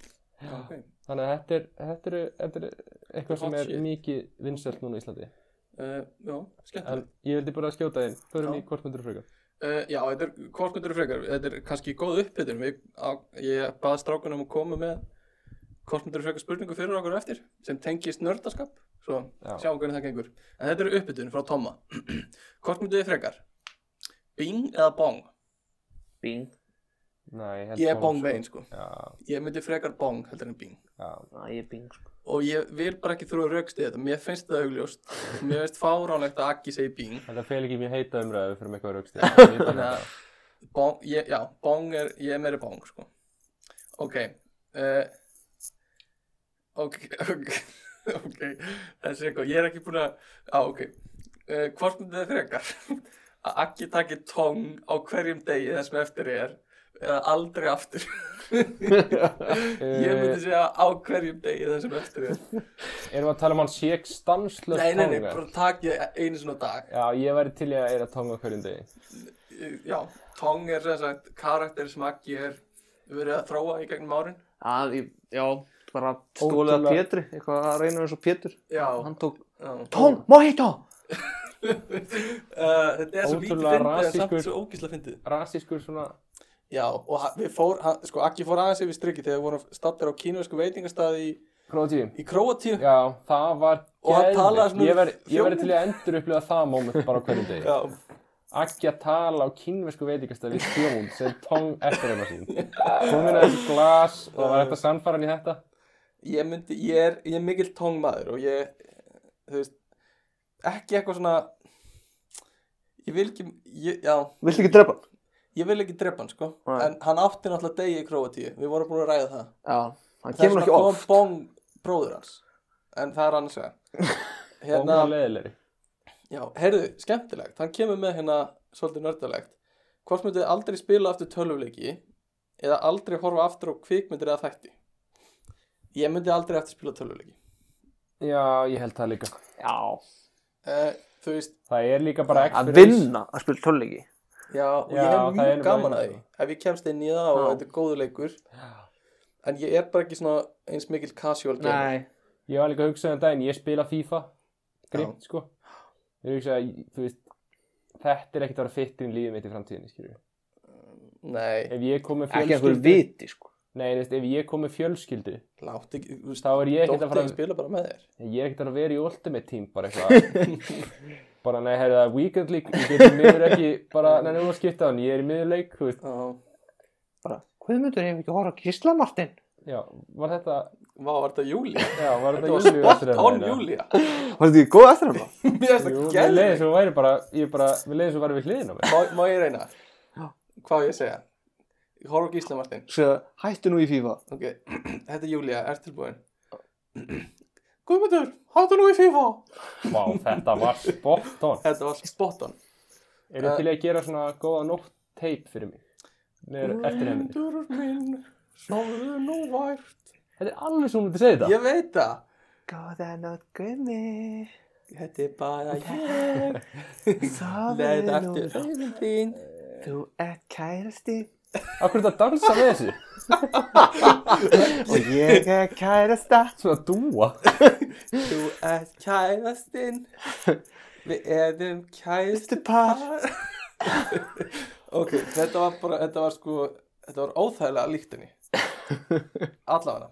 A: Ok,
C: þannig að þetta er, þetta er, þetta er eitthvað sem
A: Hot
C: er
A: shit.
C: mikið vinsælt núna í Íslandi
A: uh, já, skemmtilegt
C: en ég vildi bara skjóta þinn,
A: Já.
C: förum í hvort myndir fruga
A: Uh, já, þetta er kvortmyndur frekar, þetta er kannski góð uppbytun, ég, á- ég baði strákunum að koma með kvortmyndur frekar spurningu fyrir okkur á eftir sem tengist nördaskap, svo
C: Já.
A: sjáum hvernig það gengur. En þetta er uppbytun frá Tomma. (clears throat) kvortmyndur frekar, bing eða bong?
B: bing
C: Nei, held
A: Ég er bong
C: bong, sko.
A: veginn sko,
C: já,
A: ég myndi frekar bong heldur en bing.
C: já,
B: Já, ég er bing sko
A: Og ég vil bara ekki þrjóða raukst í þetta, mér finnst það augljóst, mér finnst fáránlegt að Akki segi bing.
C: þetta fel ekki mjög heita umræðu fyrir með eitthvað
A: (laughs)
C: raukst
A: Þannig að bong, ég, já, bong er, ég er meiri bong, sko. Ok, uh, ok, (laughs) ok, ok, þessi eitthvað, ég er ekki búin að, á, ok, uh, hvort myndið þið frekar? (laughs) Að ekki taki tóng á hverjum degi þess með eftir er, eða aldrei aftur. (laughs)
C: Eh,
A: ég myndi segja á hverjum degi þess með eftir er.
C: erum við að tala um hann sék stanslöf
A: Nei, nei, nei, bara takið einu svona dag.
C: já, ég væri til í að eira tonga hverjum degi
A: Eh, Já, tóng er sem sagt karakter sem ekki er verið að þróa í gegnum árin.
B: Já, ég- já, bara stólið að
C: Ótrúlega.
B: Pétri eitthvað að reyna eins og Pétur
A: Já,
B: hann tók
A: já.
B: Tón, má heita
A: Uh, þetta er svo lítið fyndið
C: Ótrúlega
A: en samt
C: rasískur.
A: svo ógísla fyndið
C: rasískur svona
A: Já, og ha- við fór, ha- sko, Akki fór aðeins yfir strikki þegar við vorum stattir á kínversku veitingastaði í,
C: krótíum
A: í Króatíu
C: Já, það var
A: Og hann
C: geðveikt.
A: talaði svona
C: Ég verð- Ég
A: þjófinn.
C: verði til í að endur upplifa það moment bara á hverjum degi
A: Já,
C: Akki að tala á kínversku veitingastæði við þjón sem tóng eftir hennar sín Komin að þessu glas og var þetta sannfæran í þetta
A: ég myndi, ég er, ég er mikill tóngmaður og ég, þú veist, ekki eitthvað svona, ég vil ekki, ég, já,
B: Viltu ekki drepa? hann?
A: ég vil ekki drepa hann, sko,
B: Nei.
A: en hann átti náttúrulega degi í Króatíu, við vorum búin að ræða það.
B: Já, hann
A: Það er
B: kemur
A: svona
B: ekki oft
A: kom bong bróður hans, en það er Hérna- hann að segja.
B: (laughs)
C: Tóng var leðilegri
A: Já, heyrðu, skemmtilegt, hann kemur með hérna svolítið nördalegt. Hvort myndið þið aldrei spila aftur tölvuleiki eða aldrei horfa aftur á kvikmyndir eða þætti? Ég myndi aldrei aftur spila tölvuleiki.
C: Já, ég held það líka
B: Já,
C: Eh,
A: Uh, þú veist,
C: Það er líka bara
B: að
C: experience.
B: vinna að spila tölleiki
A: já, og
C: Já,
A: ég
C: það
A: hef
C: er
A: mjög
C: bara
A: gaman að
C: eins
A: því
C: og-
A: ef ég kemst inn í það og
B: Já.
A: þetta er góðu leikur
C: Já.
A: en ég er bara ekki svona eins mikil casual gamer.
B: Nei,
C: Ég var líka að hugsa um daginn, ég spila FIFA Grimt, sko Ég hugsa að, þú veist Þetta er ekkert að vera fyrt í lífið mitt í framtíðinni, skilju
A: Nei,
C: Ef ég kom með
B: ekki einhverju
C: fjölskyldu
B: viti sko
C: Nei, þú veist, ef ég kom með fjölskyldu
A: látt ekki, þú veist,
C: Þá er ég ekkert að
A: dóttið
C: fara
A: að spila bara með þér.
C: Ég er ekkert að vera í Ultimate Team bara eitthvað (laughs) Bara nei, heyrðu það, er Weekend League Ég getur miður ekki, bara, nei, nú að skipta hann Ég er í miðurleik, þú veist
A: Já,
B: bara, hvað myndur ég ekki að horfa á Gísla Martin?
C: Já, var þetta,
A: vá, var þetta Júlía?
C: já,
A: Þetta
C: var þetta
A: var
C: Júlíu
A: spot
C: eftir
A: on
C: hérna?
A: Júlía. (laughs)
B: Var þetta ekki góð eftir hann það?
A: Mér finnst
C: Jú,
A: það
C: við
A: gæðið.
C: leiðum svo væri bara, ég bara, við leiðum svo væri við hliðin á mig
A: má, má ég reyna?
B: Já.
A: Hvað á ég að segja? Ég horf á Gísla Martin.
B: (laughs) Svo hættu nú í FIFA
A: Ok, (clears throat) þetta er Júlia, er tilbúin? (clears throat) Guðmundur, hættu nú í FIFA!
C: Vá, þetta var spot on
A: Þetta var spot on.
C: Er þið til í að gera svona góða nótt tape fyrir mig? Neður eftir henni
A: Guðmundur minn, sláðu nú vært.
C: Þetta er alveg svo hún myndi segja þetta
A: Ég veit það.
B: Góða nótt gummi
A: Þetta er bara ég (laughs) Leð eftir ræðin þín
B: Þú ert kærasti
C: Akkur þetta dansa með þessu
B: og ég er kærasta
C: Svona dúa
A: Þú ert kærastinn Við erum kærastu
B: par
A: Ok, þetta var bara, þetta var sko Þetta var óþægilega líkt (laughs) henni Allavega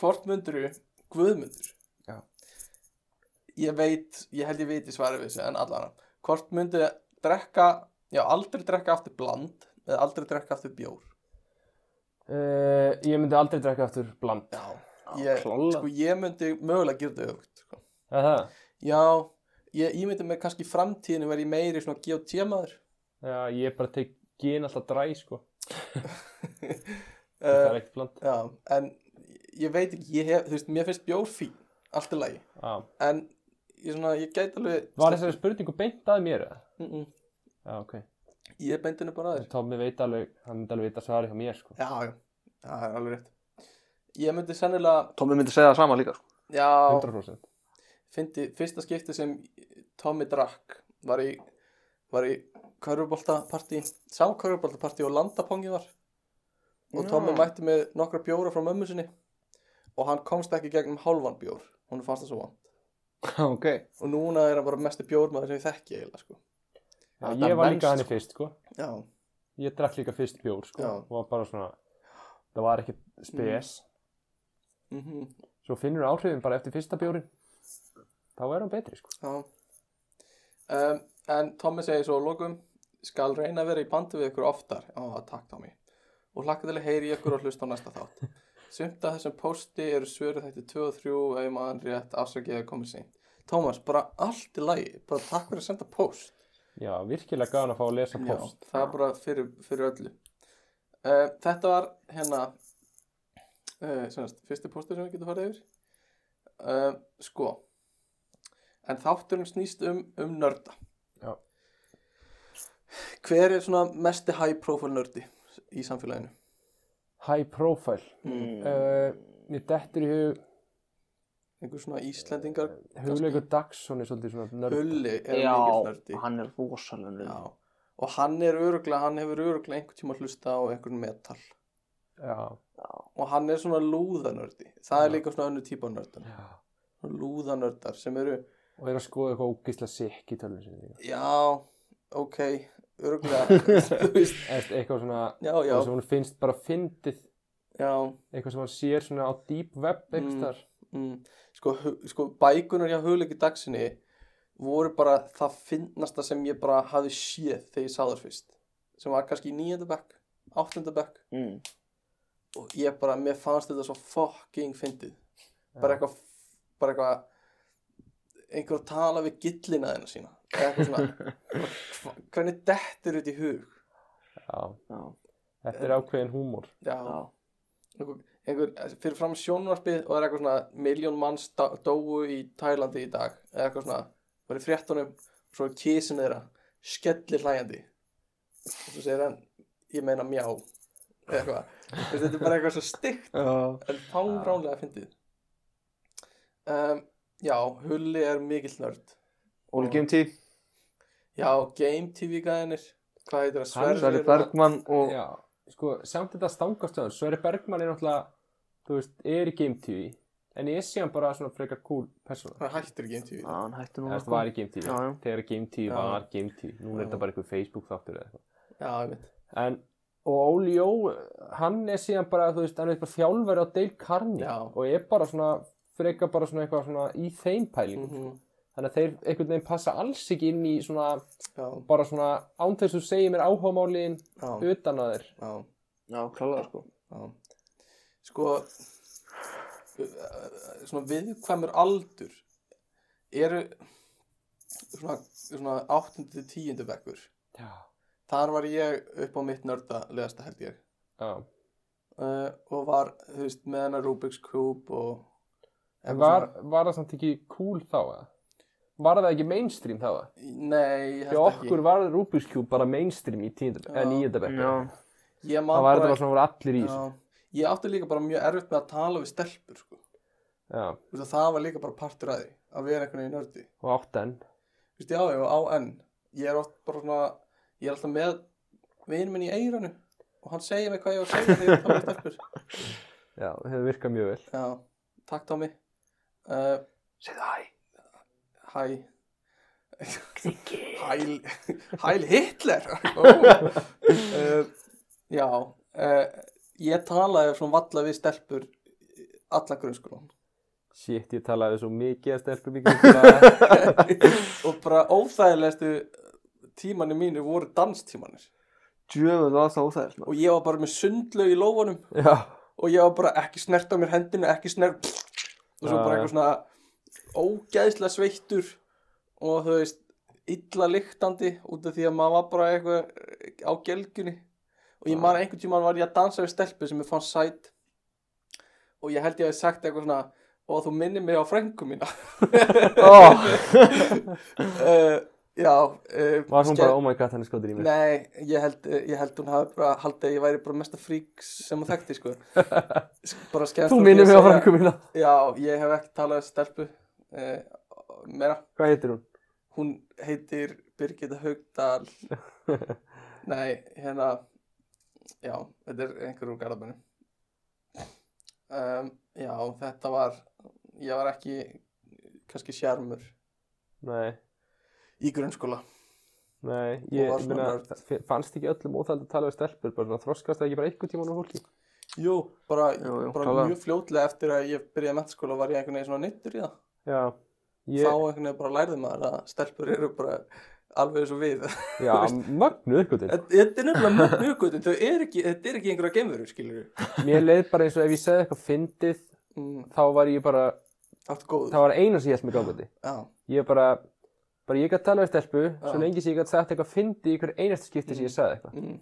A: Hvort myndur við Guðmundur
C: Já.
A: Ég veit, ég held ég veit í svari við þessu En allavega Hvort myndu drekka Já, aldrei drekka aftur bland Eða aldrei drekka aftur bjór
C: uh, Ég myndi aldrei drekka aftur bland
A: Já, ég,
C: klálega.
A: sko, ég myndi mögulega gera þetta öfugt sko.
C: Það það?
A: Já, ég, ég myndi með kannski í framtíðinu verði ég meiri svona GOT maður
C: Já, ég bara tek gin alltaf dræ sko Það
A: uh,
C: er ekkert bland
A: Já, en ég veit ekki, ég hef, þú veist, mér finnst bjór fín Allt er lagi,
C: Já.
A: en ég svona, ég gæti alveg
C: Var þessari spurningu beint að mér eða?
A: mm -mm,
C: Já, ok
A: Ég beindi henni bara að þér
C: Tómi veit alveg, hann myndi alveg vita svari hjá mér sko
A: Já, já, það er alveg rétt Ég myndi sennilega,
B: Tommi myndi segja það sama líka sko.
A: já
C: 100%
A: fyndi, Fyrsta skipti sem Tommy drakk var í, var í körfuboltapartí Sama körfuboltapartí og landapongi var Og
B: Já.
A: Tommy mætti með nokkra bjóra frá mömmu sinni Og hann komst ekki gegnum hálfan bjór Hún fannst það svo vant
B: (laughs) ok,
A: Og núna er hann bara mestu bjórmaður sem ég þekki eiginlega sko
C: Já,
B: Þetta
C: Ég var
B: venst,
C: líka hann fyrst sko
A: Já,
C: Ég drakk líka fyrst bjór sko
A: Já.
C: Og var bara svona Það var ekkert spes
A: mm
C: Svo finnur áhrifin bara eftir fyrsta bjórin Þá er hann betri sko
A: já um, En Tommy segir svo að lokum Skal reyna að vera í bandi við ykkur oftar Já, takk Tommy Og hlakka til að heyri í ykkur og hlusta á næsta þátt Sumt að þessum pósti eru svöru þætti 2 og 3 og ef maður rétt afsakið að komið sín Tómas, bara allt í lagi Bara takk fyrir að senda póst
C: Já, virkilega gaman að fá að lesa
A: Já,
C: post
A: það er bara fyrir, fyrir öllu uh, Þetta var hérna uh, semast, fyrsti póstur sem við getum farið yfir uh, Sko En þátturinn snýst um, um nörda
C: Já.
A: Hver er svona mesti high profile nördi í samfélaginu?
C: High profile
B: Mm. Hmm. Eh,
C: uh, Mér dettur í hug
A: Einhver svona Íslendingar
C: Hugleikur Dagsson er svolítið svona Eh, nörd
A: Hulli er
B: já,
A: mikill nördi
B: hann er rosalega
A: Já Og hann er öruglega, hann hefur öruglega einhvern tíma hlusta á einhvern metal
C: Já,
A: Og hann er svona lúðanördi Það er
C: Já.
A: líka svona önnu típa nördan
C: já
A: lúðanördar sem eru
C: Og er að skoða eitthvað ógisla sikk í tölunum sinni líka
A: já, ok, örgulega þú veist,
C: Eða eitthvað svona
A: já, já,
C: eitthvað sem hún finnst bara fyndið
A: já
C: Eitthvað sem hann sér svona á deep web
A: Mm.
C: mm.
A: mm, sko, hu- sko bækunar hjá hugleiki dagsinni voru bara það finnasta sem ég bara hafi séð þegar ég sá þar fyrst sem var kannski í nýjönda bekk, áttunda bekk
B: mm.
A: og ég bara, mér fannst þetta svo fucking fyndið bara eitthvað bara eitthvað einhver að tala við gillina þeirna sína eða eitthvað svona bara, hva- hvernig dettur þetta í hug
C: Já,
B: já,
C: þetta er ákveðin húmor
B: já,
A: einhver, einhver fyrir fram sjónvarpið og er eitthvað svona miljón manns dá- dóu í Tælandi í dag eða eitthvað svona, var í fréttunum og svo er kísin þeirra, skellir hlæjandi og svo segir hann ég meina mjá eða eitthvað, Þú veist, þetta er bara eitthvað svo stygt
B: já.
A: en fánránlega fyndið um, já, Hulli er mikill nörd
B: Óli Gimti,
A: já, Game TV gæðinir hvað heitir það,
C: Hann er
B: Sverri
A: Sverrir hérna.
B: Bergmann og
C: Já, sko, samt þetta stangast á hann Sverri Bergmann er náttúrulega, þú veist, er í Game TV En ég sé hann bara svona frekar cool persóna
A: hann hættir Game TV
B: Já, hann hætti nú
C: Eða
B: að
C: það var í Game TV,
B: Já, já.
C: þegar Game TV
A: Já.
C: var Game TV Nú er
A: Já.
C: þetta bara eitthvað Facebook þáttur eða eitthvað
A: já, ég veit
C: en, og Óli Jó hann er síðan bara, þú veist, hann er bara þjálfari á Dale Carney
A: Já.
C: og er bara svona freka bara svona eitthvað svona í þeim pælingum,
A: mm
C: þannig að þeir einhvern veginn passa alls ekki inn í svona
A: já,
C: bara svona án þess að þú segir mér áhugamálin
A: já,
C: utan að þér
A: já
B: Já, klálega sko
A: Já. Sko uh, svona viðkvæmur aldur eru svona, svona 8. til 10. bekkur
C: já,
A: þar var ég upp á mitt nörda leðasta held ég
C: já.
A: uh, og var þú veist með hennar Rubik's Cube og
C: en
A: eitthvað
C: var,
A: svona.
C: var það samt ekki cool þá eða? var það ekki mainstream þá eða?
A: Nei, ég
C: Því
A: held
C: okkur
A: ekki
C: var Rubik's Cube bara mainstream í tíundabæk,
A: Já.
C: eða nýjundabæk
B: Já,
A: Ég man
C: það var
A: bara-
C: þetta bara svona voru allir í
A: Já. Ég átti líka bara mjög erfitt með að tala við stelpur sko.
C: já,
A: Þú veist að það var líka bara partur að því að vera einhvern veginn nördi
C: og átt enn
A: Þú veist, já, já, á enn Ég er oft bara svona Ég er alltaf með vinn minn í eiranu og hann segir mér hvað ég á að segja þegar ég tala um stelpur
C: já, það hefur virkað mjög vel
A: Já, takk Tómi uh,
B: Segðu hæ
A: Hæ
B: Kningi
A: (laughs) Hæl, hæl Hitler (laughs) oh. uh, Já uh, Ég talaði svona valla við stelpur alla grunnskólan
C: shit, ég talaði svo mikið að stelpum mikið
A: (laughs) og bara óþægilegastu tímanir mínir voru danstímanir
B: Djöfum var það óþægir
A: og ég var bara með sundlaug í lófanum
C: já,
A: og ég var bara ekki snert á mér hendinu ekki snert og svo
C: Já,
A: bara
C: já.
A: eitthvað svona ógæðslega sveittur og þú veist illa lyktandi út af því að maður var bara eitthvað á gelgjunni og ég man einhvern tímann var ég að dansa við stelpu sem ég fann sæt og ég held ég að sagt eitthvað svona og þú minnir mig á frængu
C: (laughs)
A: mína
B: oh.
A: uh, já uh,
C: var hún bara, oh my god, hann er skoður í mér
A: Nei, ég held, ég held hún hafi bara haldið að ég væri bara mesta frík sem hún þekkti,
C: (laughs)
A: sko. Sk- bara skemmst frá
C: þú
A: því
C: minnir
A: að
C: mig á
A: segja-
C: frængu mína
A: Já, ég hef ekki talað um stelpu eh, meira.
C: hvað heitir hún?
A: Hún heitir Birgitta
B: (laughs)
A: Haugdal. Nei, hérna, já, þetta er einhver úr garðabænum. Um, já, þetta var, ég var ekki, kannski sjarmur
C: nei,
A: í grunnskóla.
C: nei,
A: Hún var
C: ég
A: svona
C: meina,
A: nörd.
C: f- fannst ekki öllum óþæld að tala við stelpur, bara svona, þroskast það ekki bara einhvern tíman á fólki
A: Jú, bara,
B: Jú, jú,
A: bara
B: klálega.
A: mjög fljótlega eftir að ég byrjaði mentaskóla var ég einhvern veginn svona neittur í það.
C: já,
A: Þá
C: ég,
A: einhvern veginn bara lærði maður að stelpur eru bara alveg eins og við.
C: (laughs) já, mögnuð ykkur til
A: Þetta- þetta er nefnilega mjög mjög gutin, þau er ekki, þetta er ekki einhverja geimverur, skilur við.
C: mér leið bara eins og ef ég segði eitthvað fyndið
A: Mm,
C: þá var ég bara,
A: allt góð.
C: það var eina sem ég held mig gangandi
A: Já,
C: ég bara, bara ég gæti talað við stelpu svo lengi sem ég gæti sagt eitthvað fyndi í hver einasta skipti sem ég sagði eitthvað
A: mm,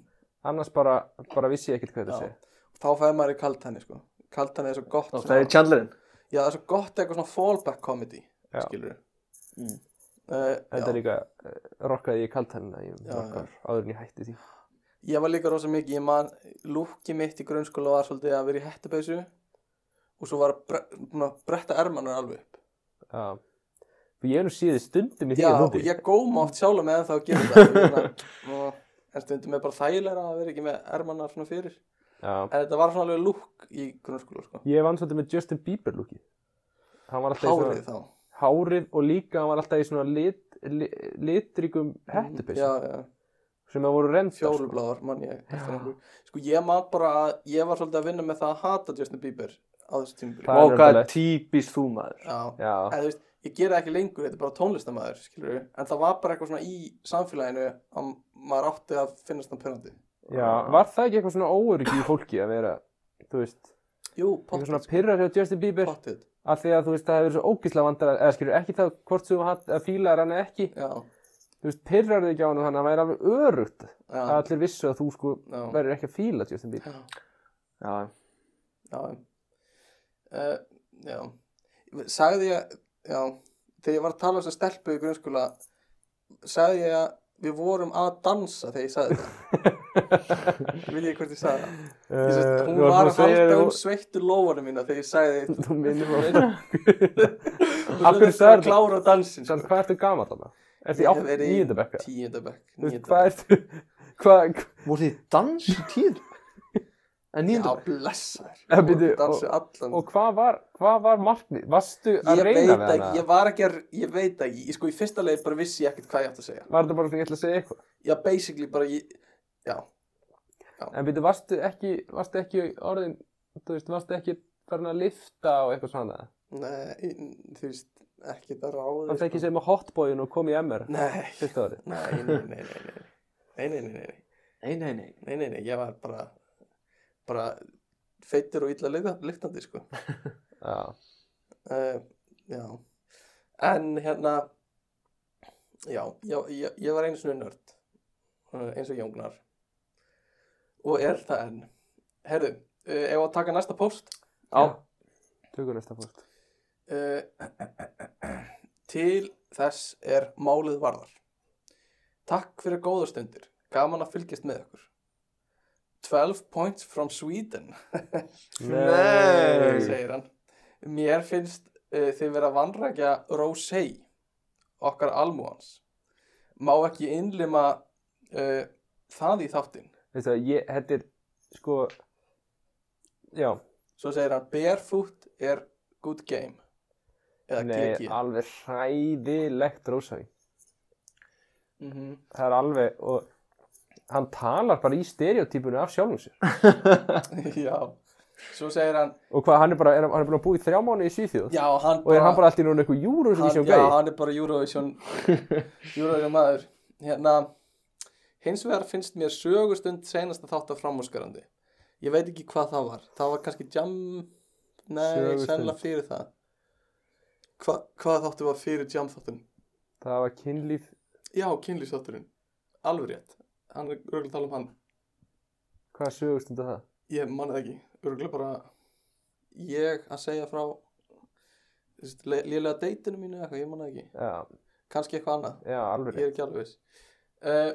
C: annars bara, bara vissi ég ekkert hvað þetta
A: já.
C: segja
A: Þá fæði maður í kaltæni, sko. Kaltæni er svo gott.
B: Það er Chandlerinn
A: Já, það er svo gott eitthvað svona fallback comedy,
C: Já.
A: skilur við.
B: Mm.
A: Uh,
C: þetta er
A: já.
C: líka, uh, rokkaði ég kalt hann ég
A: Já,
C: rokkar áður en ég hætti því
A: Ég var líka rosa mikið, ég man, lúkki mitt í grunnskóla var svolítið að vera í hettupeysu og svo var að bre, búin að bretta ermanar alveg upp.
C: já. Og ég hef nú síðið stundum í
A: Já,
C: því að
A: og
C: núti
A: ég góma oft sjálf með það að gera það. Ég meina, og- En stundum er bara þægilega að vera ekki með ermanar svona fyrir.
C: já.
A: En þetta var svona alveg lúk í grunnskóla, sko.
C: ég vann svolítið með Justin Bieber lúki hann var alltaf í
A: Hárið
C: svona
A: þá.
C: hárið og líka hann var alltaf í svona lit, lit, litrikum
A: Já,
C: hettupeysum
A: já,
C: sem að voru sko. reynd
A: fjólubláðar mann ég eftir einhverju. Sko, ég man bara að ég var svolítið að vinna með það að hata Justin Bieber á þessu tímabili.
C: Það er
B: Vá, hvað er
C: nefnilegt.
B: típist þú maður
A: Já,
C: já,
A: eða þú veist, ég gera það ekki lengur, þetta er bara tónlistamæður, skilur við, en það var bara eitthvað svona í samfélaginu að maður átti að finnast það pyrrandi.
C: já, var það ekki eitthvað svona óöryggi í fólki að vera þú veist,
A: Jú,
C: eitthvað
A: pottið,
C: svona pyrrar hjá Justin Bieber
A: sko, pottið,
C: af því að þú veist það hefur verið svo ógislega vandar eða skilur ekki það hvort þú hatt að fílar hann eða ekki
A: já,
C: þú veist pyrrar þig ekki á hann þannig að það væri alveg örugt
A: já,
C: að allir vissu að þú sko
A: já,
C: verður ekki að fíla Justin Bieber
A: já,
B: Já,
A: já, uh, já, sagði ég, já, þegar ég var að tala um þess að stelpu í grunnskóla, sagði ég að við vorum að dansa þegar ég sagði þetta.
C: (laughs)
A: Vil ég hvort ég sagði það? Ég sem sagt,
C: Eh,
A: Hún
C: þú varst
A: var að
C: búin
A: halda
C: þér
A: um sveittu lófanum mína þegar ég sagði
C: og-
A: þetta.
C: þú minnir
A: Af
C: mér
A: hverju sagði
C: sagðirðu það?
A: að klára dansin,
C: Sann, hvað ertu gamall þarna? Ertu
A: Ég
C: í
A: hef
C: átt
A: verið í
C: nýjönda bekka?
A: Tíunda bekk
C: Þú veist,
A: níunda
C: hvað ertu (laughs) hvað,
B: voru þið dans í tíð (laughs) En
A: bekk. Já,
B: nýjöndur
A: blessaður
C: Eh, bíddu,
A: Ég dansi allan
C: og hvað var, hvað var marknið? Varstu að
A: Ég
C: reyna
A: veit
C: við
A: ekki,
C: hana?
A: ég var ekki að Ég veit ekki, ég, sko í fyrsta leið bara vissi ég ekkert hvað ég átt að segja
C: Var þetta bara svona, ég ætla að segja eitthvað?
A: Já, basically bara ég Já,
C: En byrju, varstu ekki, varstu ekki orðin, þú veist, varstu ekki farin að lifta og eitthvað svona?
A: nei, þú veist Ekkert að ráði
C: Varstu ekki sem að hotboyin og kom í MR
A: Nei,
C: fyrsta árið?
A: nei, nei, nei, nei Nei, nei, nei, nei, nei,
B: Nei, nei, nei
A: nei, nei, nei, ég var bara Bara feitur og illa lykt- lyktandi, sko
C: Já.
A: uh, já en hérna já, já ég, ég var einu svona nörd uh, eins og jóngnar og er það enn herðu, uh, ef að taka næsta post
B: Já.
C: Tökum næsta fólk.
A: uh, Eh, (clears throat) til þess er málið varðar takk fyrir góða stundir gaman að fylgjast með okkur 12 points from Sweden
B: Nei.
A: segir hann Mér finnst uh, þið vera að vanrækja Rosey, okkar almúans. Má ekki innlima uh, það í þáttinn.
C: Veistu það, ég, þetta er, sko, já,
A: Svo segir hann, barefoot er good game. Eða
C: nei,
A: GG.
C: alveg hræðilegt Rósavík.
A: Mm
C: það er alveg og hann talar bara í stereotypunni af sjálfum sér
A: (laughs) Já. Svo segir hann,
C: og hvað hann er bara, er, hann er búin að búa í þrjá mánu í Svíþjóð
A: já, hann
C: og er hann bara alltaf í núna eitthvað Eurovision
A: já,
C: gæi
A: hann er bara
C: (laughs)
A: Eurovision Eurovision maður hérna, hins vegar finnst mér sögustund senasta þátt af framúrskarandi ég veit ekki hvað það var það var kannski jam nei,
C: Sögustund.
A: sennilega fyrir það Hva, hvað þáttu var fyrir jam þáttunum
C: það var kynlíf
A: já, kynlýsþátturinn, alveg rétt hann er örgulega að tala um hann
C: hvað sögustund er það
A: ég manna það ekki, örgulega bara ég að segja frá þú veist, lé- lélega deytinu mínu eða eitthvað, ég manna það ekki
C: já,
A: kannski eitthvað annað
C: já alveg
A: ég er ekki alveg viss uh,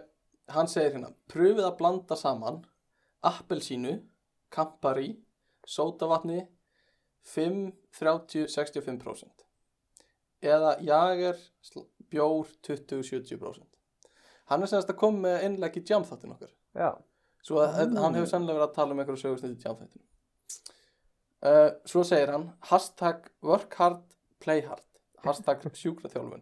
A: hann segir hérna pröfið að blanda saman appelsínu, kampari sótavatni 5, 30, 65% eða jager bjór 20, 70% hann er semst að koma með innlegg í jamþáttin okkar
C: já,
A: Svo að
C: Mm.
A: hann hefur sannlega verið að tala um einhverju sögustund í tjáþættinu. Uh, svo segir hann hashtag work hard, play hard hashtag sjúkraþjálfun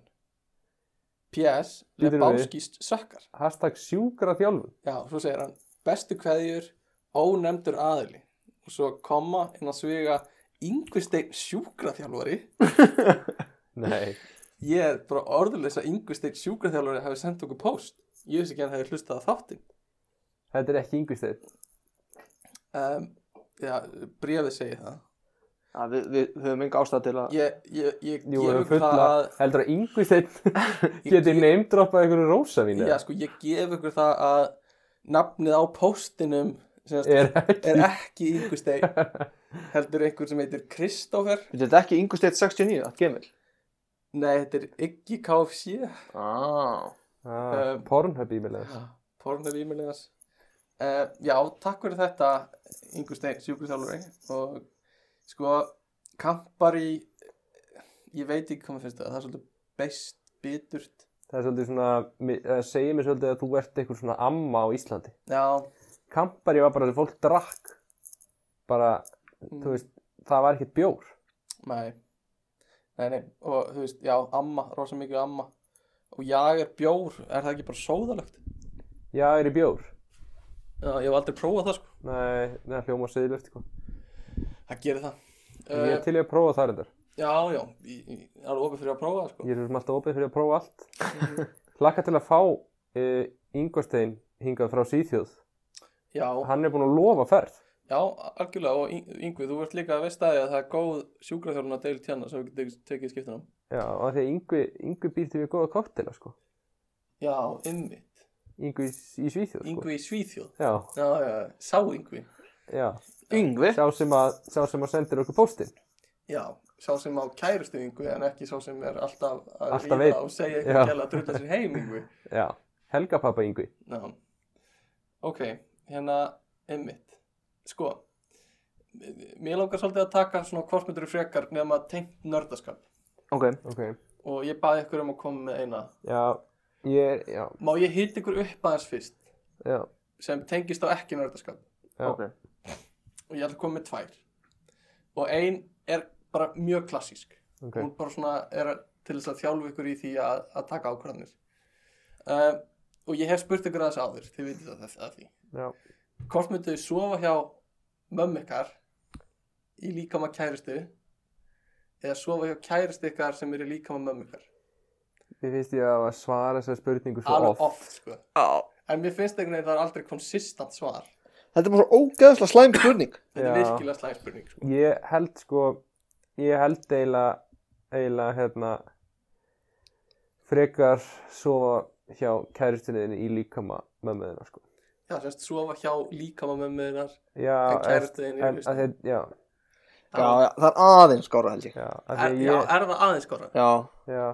A: PS
C: Býtur við?
A: Lebáskist sökkar.
C: hashtag sjúkra þjálfun
A: Já, svo segir hann bestu kveðjur, ónefndur aðili og svo koma inn að sviga yngvisteinn sjúkraþjálfari
C: nei,
A: ég er bara orðurleis að yngvisteinn sjúkraþjálfari hafi sendt okkur post ég veist ekki að hann hefur hlustað að þáttin
C: þetta er ekki yngvisteinn
A: um, já, bréfið segir það
B: Ja, við, við, við höfum enga ástæð til að
A: ég, ég, ég
C: Jú,
A: gefur
C: fulla,
A: það
C: heldur að
A: (laughs)
C: yngvisteinn geti
A: ég-
C: neymdroppað einhverju
A: að,
C: rósavín
A: já, sko, ég gef ykkur það að nafnið á póstinum semast, er,
C: er ekki
A: sko, er ekki yngur
C: (laughs)
A: stein heldur einhver sem heitir Kristófer
B: Þetta er ekki yngusteitt 69, að gemil
A: nei, þetta er Iggy KFC
B: ah.
C: ah,
A: um,
C: pornhub ímiðlega
A: pornhef ímjöliðas uh, já, takk fyrir þetta yngur stein, sjúkurþjálfur og sko kampari ég veit ekki hvað maður finnst það, það er svolítið beist biturt,
C: það er svolítið svona, mi- eh, segir mér svolítið að þú ert einhver svona amma á Íslandi
A: já
C: Kampari var bara þegar fólk drakk bara,
A: mm.
C: þú veist, það var ekkert bjór
A: Nei. nei, nei, og þú veist, já, amma, rosa mikið amma og jager bjór, er það ekki bara sóðalögt?
C: Já, er í bjór
A: Já, ég hef aldrei prófað það, sko.
C: Nei, neða hljóma seðilegt sko.
A: Það gerir það.
C: Ég
A: Uh,
C: er til í að prófa það reyndar
A: já, já, ég, ég er alveg opið fyrir að prófa það, sko.
C: Ég er svo sem alltaf opið fyrir að prófa allt Hlakka til að fá uh, Ingolstein hingað frá Svíþjóð
A: Já,
C: Hann er búinn að lofa ferð
A: já, algjörlega, og Yng- Yngvi, þú ert líka að veist að því að það er góð sjúkraþjálfuna deil tjanna sem við getum tekið skiptunum.
C: Já, og af því að Yngvi, Yngvi býr til við góða koktela sko.
A: Já, ymmit.
C: Yngvi í, í Svíþjóð sko.
A: Yngvi í Svíþjóð.
C: Já,
A: Já, já, já, sá Yngvi.
C: já
B: Yngvi
C: Sá sem að, sá sem að sendir okkur póstinn
A: Já, sá sem á kærustu Yngvi en ekki sá sem er alltaf að
C: Alltaf
A: ríða
C: einn.
A: og segja
C: Já.
A: eitthvað gæla að drulla sér heim Yngvi.
C: Já, helgapappa Yngvi
A: Já, ok, hérna, einmitt, sko, m- mér langar svolítið að taka svona hvort myndur frekar nefnum að tengt nördaskap
B: Ok,
C: okay.
A: og ég baði ykkur um að koma með eina.
C: Já, ég er, já,
A: Má ég hýtt ykkur upp aðeins fyrst
C: já,
A: sem tengist á ekki nördaskap
C: já.
B: ok
A: og ég ætla að koma með tvær og ein er bara mjög klassísk.
C: ok.
A: hún bara svona er að- til þess að þjálfa ykkur í því að, að taka ákvarðanir um, og ég hef spurt ykkur aðeins áður þið vitið það þess að því
C: Já.
A: hvort myndu þið sofa hjá mömmu ykkar í líkama kæristu eða sofa hjá kæristu ykkar sem er í líkama mömmu ykkar
C: Mér finnst ég að svara þessar spurningu svo
A: alveg
C: oft.
A: oft sko
B: ah.
A: en mér finnst einhvern veginn að það er aldrei konsistant svar
B: Þetta er bara svo ógeðslega slæm spurning
A: þetta
C: Já.
A: er virkilega slæm spurning sko.
C: Ég held sko, ég held eiginlega, eiginlega hérna, frekar sofa hjá kærustinniðinni í líkama mömmuðina sko.
A: já, semst sofa hjá líkama mömmu þinnar
C: Já,
A: En kærustuðin í
C: en-
A: listinni.
C: að þið, já,
B: Já, já, það er aðeins skára held ég
C: já, að
A: er,
C: því
A: já,
C: ég,
A: er það aðeins skora
B: Já,
C: já,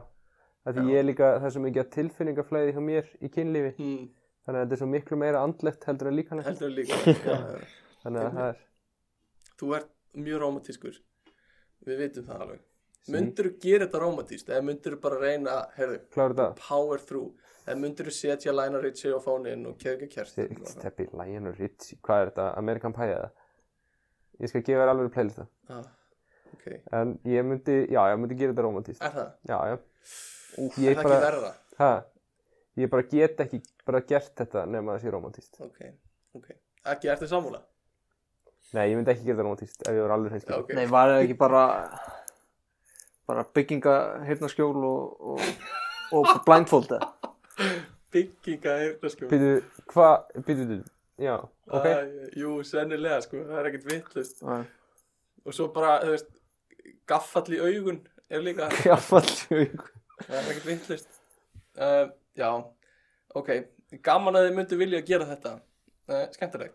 C: að því ég er líka þessu mikið að tilfinningaflæði hjá mér í kynlífi,
A: hmm,
C: þannig að þetta er svo miklu meira andlegt heldur en líkanlegt,
A: heldur
C: (laughs)
A: líka já, já.
C: þannig að það er,
A: þú ert mjög romantískur við vitum það alveg myndirðu gera þetta rómatíst eða myndirðu bara reyna, heyrðu,
C: klára þetta
A: power through eða myndirðu setja Lionel Richie á fónin og keðka kjærst
C: Ste- Steppi, Lionel Richie, hvað er þetta? American Pie eða? Ég skal gefa þér alveg playlista
A: ah, ok, er
C: En ég myndi, já, ég myndi gera þetta romantist
A: það?
C: Já, já
A: Úf,
C: Ég
A: er það
C: bara-
A: ekki verra?
C: ha, Ég bara get ekki bara gert þetta nema það sé romantist
A: ok, ok, ekki ertu samúla?
C: Nei, ég myndi ekki gera þetta romantist ef ég var alveg
A: Já,
C: hreinskil
A: ok,
B: Nei, var það ekki bara bara bygginga heyrnarskjól og, og, og blindfolda
A: bygginga heyrna sko
C: Býtu, hvað, býtu, býtu, já,
A: (laughs)
C: ok
A: Æ, jú, sennilega sko, það er ekkert vittlust
B: Nei.
A: og svo bara, þú veist, gaffall í augun er líka,
B: Gaffall
A: það er ekkert vittlust uh, já, ok gaman að þið myndu vilja að gera þetta uh, skemmtileg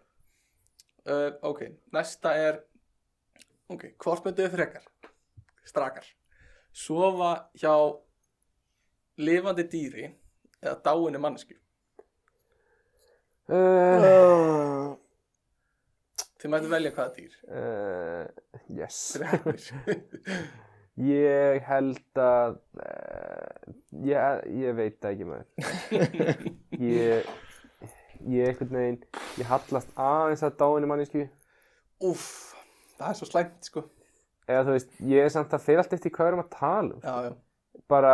A: uh, ok, næsta er ok, hvort myndu þið frekar strakar sofa hjá lifandi dýri eða dáinni mannesku
C: uh,
B: Uh,
A: þið mættu velja hvaða dýr
C: uh, Yes
A: þið er hefnir
C: Ég held að uh, ég, ég veit það ekki maður
A: (laughs)
C: Ég Ég einhvern veginn Ég hallast aðeins að dáinni mannesku
A: Úff, það er svo slæmt sko
C: Eða þú veist, ég er samt að fyrir allt eftir hvað við erum að tala um
A: Já, já,
C: bara,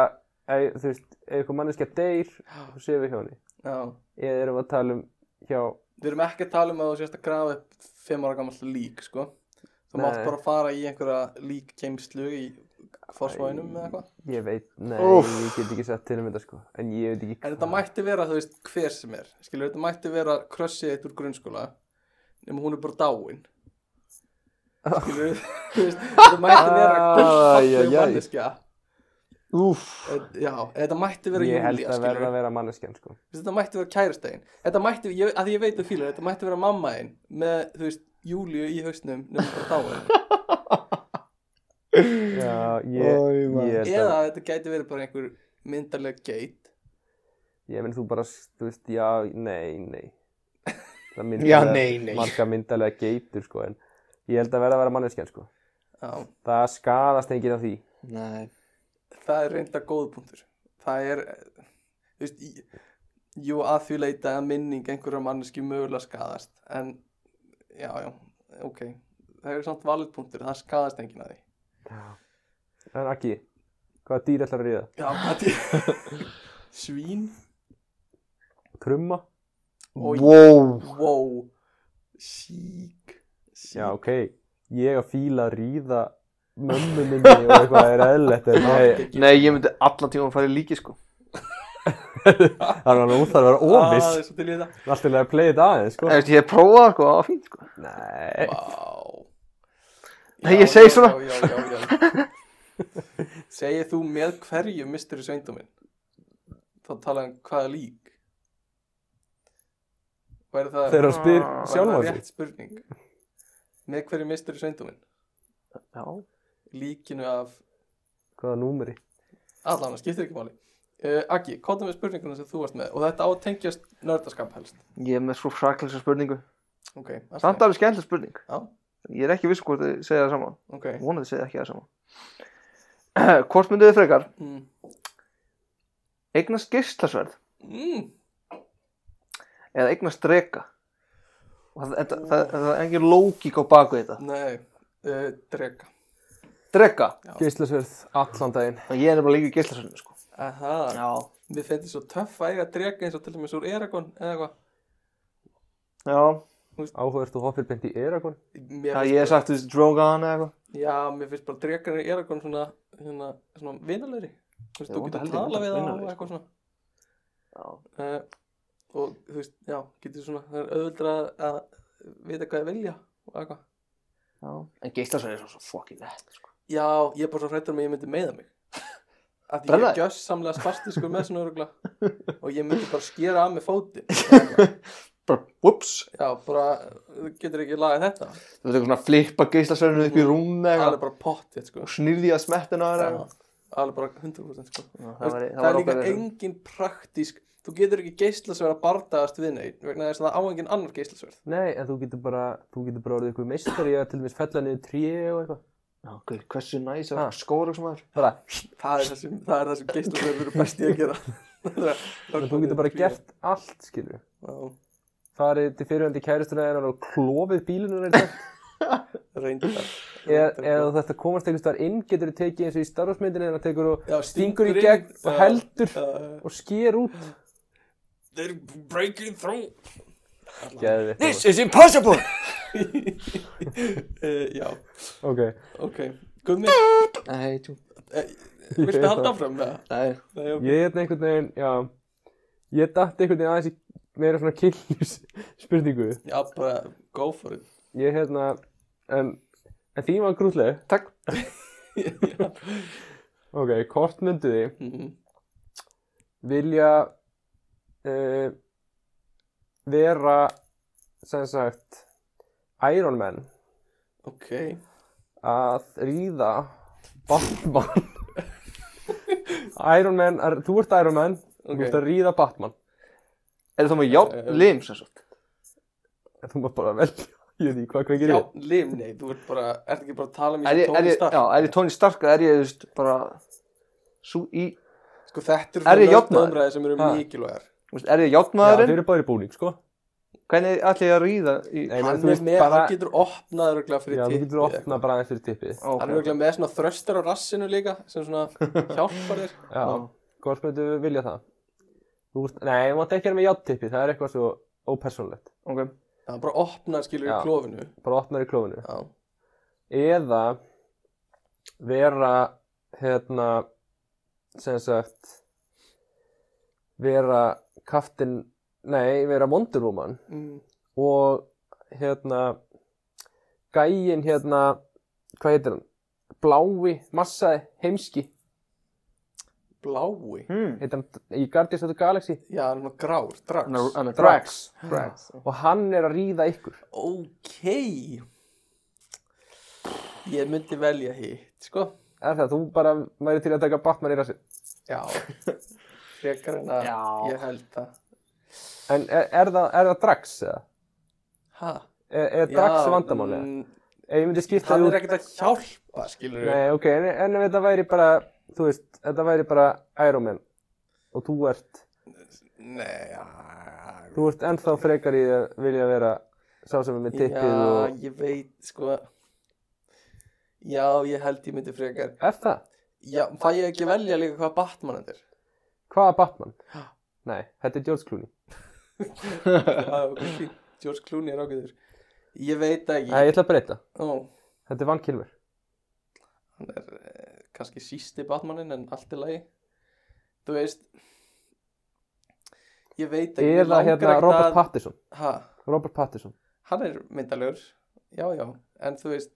C: ef, þú veist, ef eitthvað manneskja deyr, þá séum við hjá henni.
A: já
C: Eða erum við að tala um hjá,
A: Við erum ekki að tala um að þú sérst að grafa upp fimm ára gamall lík sko Þú
C: Nei.
A: mátt bara fara í einhverja líkkeimslu í fórsvæðinum eða eitthvað
C: ég veit, nei,
B: Úff.
C: ég get ekki sett til um þetta sko. En ég veit ekki
A: En þetta mætti vera, þú veist, hver sem er Skilur, þetta mætti vera krössið eitt úr grunnskóla Nefnum hún er bara dáin
C: (laughs)
A: Skilur, þú veist, þetta mætti vera
C: Æ, æ,
A: Kallið
C: æ.
A: manneskja
B: Úff
A: En- Já, þetta mætti vera
C: Ég held
A: Júlía,
C: að verða
A: skilur
C: að vera manneskjan sko.
A: þetta mætti vera kærastegin þetta mætti, ég, að því ég veit að fílar þetta mætti vera mammaðin með, þú veist, júliu í hausnum nefnum bara dáin
C: Já, ég,
B: Oj, maður.
C: ég held
A: eða
C: að,
A: þetta gæti verið bara einhver myndarlega geit
C: ég menn þú bara, þú veist, já, nei, nei.
B: (laughs)
C: Það myndi
B: Já,
C: vera
B: nei, nei.
C: Marga myndalega geitur sko, en ég held að verða að vera manneskjan sko.
A: Já,
C: Það skadast enginn af því.
B: Nei
A: það er reynda góðbúndur það er, eh, þú veist í- jú að því leita að minning einhverja manneski mögulega skadast en, já, já, ok það er samt valutbúndur, það skadast enginn að því
C: En Akki, hvaða dýr ætlar að ríða?
A: já, hvað því
C: (laughs)
A: svín,
C: Krumma?
A: Oj.
B: Wow
A: wow sík, sík
C: Já, ok, ég að fíla að ríða mömmu minni og eitthvað er eðlilegt
B: (laughs)
C: en
B: Ah,
C: nei,
B: Nei, ég myndi allan tíma að fara í líki sko
C: það er alveg óþarf að vera
A: Ah, það
C: óviss
A: er svo til í þetta
C: Allt er að playa þetta aðeins, sko
B: Þú veist, Ég prófaði það sko, það var fínt sko
C: Nei,
A: Vá
B: Nei,
A: Já,
B: ég segi
A: já,
B: svona.
A: Já, já, já, já. (laughs) Segir þú með hverju mistur í sveinduminn? Þá talaði hann hvaða lík Væri það
C: þegar hann spyr
B: Ah,
C: sjálfan
A: sig
C: sig
A: Rétt spurning Með hverju mistur í sveinduminn?
B: Já
A: Líkinu af
C: Hvaða númeri?
A: allan, það skiptir ekki máli uh, Aggi, kóta með spurninguna sem þú varst með og þetta á að tengjast nördaskap helst
B: Ég er með svo hrakleysa spurningu
A: Ok, allt
B: Samt
A: í lagi.
B: alveg skemmtileg spurning
A: Já.
B: Ég er ekki viss hvort þið segja það saman
A: Ok,
B: Vonið þið segja ekki það saman (clears throat) Hvort myndið þið frekar
A: mm.
B: Eignast geislasverð
A: Mm.
B: eða eignast drega Og það, það, það, það er engin lógík á baku þetta
A: nei uh, Drega
B: Drega
C: Geislasverð allan daginn
B: Og ég er bara líka geislasverðinu sko
A: Aha
B: Já
A: Við finnst svo töff að eiga drega eins og til og með svo Eragon eða eitthvað.
B: Já
C: Áhugast þú hoppir beint í Eragon?
A: Mér
B: Já,
A: finnst
B: ég hef
A: bara-
B: sagt þú veist Drogon eða eitthvað
A: Já, mér finnst bara dregan í Eragon svona, svona, svona vinalegri. Þú veist,
B: Já,
A: þú getur
B: vonda held ég
A: tala
B: vonda
A: við það og
B: vinalegri, sko.
A: eitthvað svona.
B: Já
A: Uh, og þú veist, já, getur svona, það er auðvöldra að vita hvað þið vilja og eitthvað.
B: Já. En geislasverð er svo- svo fucking lett sko.
A: Já, ég er bara svo hrættur um að ég myndi meiða
B: (laughs)
A: mig. Af því ég er
B: Brenna þig?
A: gjössamlega spastiskur með svona örugla og ég myndi bara skera af mig fótinn.
B: Bara, whoops
A: Já, bara, þú getur ekki lagað þetta.
B: Þú veist eitthvað svona að flippa geislasverðinu upp í rúm
A: Það
B: eða
A: er
B: eitthvað
A: bara pottið, sko.
B: Og snýrði að smettina
A: Já,
B: eða eitthvað
A: alveg bara 100% sko.
B: Já,
A: það,
B: það
A: var,
B: væri-
A: það,
B: það
A: er
B: var
A: líka
B: ákveðið.
A: engin praktísk þú getur ekki geislasverð að bardaðast við neitt vegna þess að það á engin annar geislasverð
C: Nei, en þú getur bara, þú getur bara orðið ykkur meistari eða til og meins fella niður tré og eitthvað
B: Já, guð, hversu næs að skóra sem maður
C: bara,
A: það er það sem, það er það sem geislasverð eru best í að gera (laughs) Það er að-
C: þú getur bara gert allt, skilur
A: Já,
C: farið til fyrirhandi kæristuna en og klófið bílinu reyndar
A: reyndar
C: eða eða (laughs) þetta komast einhvers staðar inn getur þú tekið eins og í starfsmyndinni en það tekur og
A: Já,
C: stingur í
A: stingur
C: gegn
A: inn,
C: og
A: já.
C: heldur
A: Uh,
C: og sker út
A: they're breaking (laughs) through
C: Geðvitt
B: is impossible
A: uh, Já,
C: Ok
A: ok Gummi,
B: (laughs) Nei, þú,
A: (laughs) viltu halda áfram með það?
B: nei
A: Nei, ok.
C: (laughs) Ég er einhvern veginn, já Ég dætti einhvern veginn aðeins í meira svona kynljus spurningu
A: Já, bara go for (laughs) it
C: Ég hérna En, en því var grútleg
B: Takk
A: Já.
C: Ok, hvort myndu þið
A: Mhm.
C: vilja uh, vera sem sagt Iron Man
A: Ok,
C: að ríða
A: (laughs)
C: Batman Iron Man, er, þú ert Iron Man
A: ok
C: þú ert að ríða Batman
B: Er það með játn lim sem sagt?
C: en þú mátt bara velja (laughs) ég veit ekki hvað, hvað gerir
A: Já,
C: ég
A: lim, nei, þú ert bara, ert ekki bara að tala um
B: Er
A: í
B: ég,
A: tóni
B: er ég,
A: starf
B: já, er ég Tony Stark eða er ég, þú veist, bara sú í,
A: Sko, þetta
B: Er
A: eru
B: ég
A: svona
B: jafnaður?
A: umræði sem eru
C: Ha.
A: mikilvægar
B: þú veist, er ég
C: Já, þeir
B: játnmaðurinn?
C: eru bara í búning, sko
B: Hvernig ætla ég að ríða í
C: Nei,
A: Hann
C: þú
A: er
C: veist,
A: með,
C: bara-
A: hann getur opnað örgulega fyrir
C: Já, þú
A: tippið
C: getur
A: eða
C: opna bara aðeins fyrir tippið
B: Ó,
A: Hann
B: ok.
A: er auðvitað með svona þröstar á rassinu líka sem svona hjálpar þér
C: Já, hvort myndu vilja það? Þú ert, nei, þú mátt ekki vera með játtippið, það er eitthvað svo ópersónlegt
B: Ok,
A: Það er bara að opna skilur í
C: Já.
A: klófinu
C: Bara opnar í klófinu
A: Já,
C: Eða vera, hérna, sem sagt vera kaftin, nei, vera Wonder Woman
A: mm.
C: og hérna gæin hérna, hvað heitir hann? Blái, massaði, heimski
A: blái
B: hmm
C: heitir hann í Guardians of the Galaxy
A: Já, hann er svona grár,
B: Hann er-
A: drags
B: hann er
C: Drax.
B: Drax
C: og hann er að ríða ykkur
A: Ok Ég myndi velja hitt, sko
C: er það, þú bara væri til að taka Batman í rassin
A: Já Frekar en að
B: Já.
A: ég held það
C: en er, er, það, er það Drax eða?
A: Ha?
C: Er, er Drax vandamáli eða?
A: mm,
C: Ef ég myndi skipta
A: Hann
C: því
A: er ekkert að hjálpa, skilur við
C: Nei, ok, en, en ef þetta væri bara þú veist, þetta væri bara Iron Man og þú ert
A: Nei, já
C: þú ert ennþá frekar í að vilja vera sá sem er með tippið
A: Já,
C: og
A: ég veit, sko Já, ég held ég myndi frekar
C: er það?
A: Já, fæ ég ekki velja líka hvað Batman þetta er?
C: Hvaða Batman? Nei, þetta er George Clooney
A: Já, ok,
C: (laughs)
A: George Clooney er ágæður Ég veit það
C: Nei, ég
A: ekki
C: ætla að breyta,
A: Ó,
C: þetta er Van Kilmer
A: hann er eh, kannski sísti Batmanin en allt í lagi Þú veist Ég veit ekki mig
C: Eða
A: langar
C: hérna
A: ekkert
C: Robert
A: að-
C: Pattinson
A: Ha,
C: Robert Pattinson
A: Hann er myndalegur Já, já, en þú veist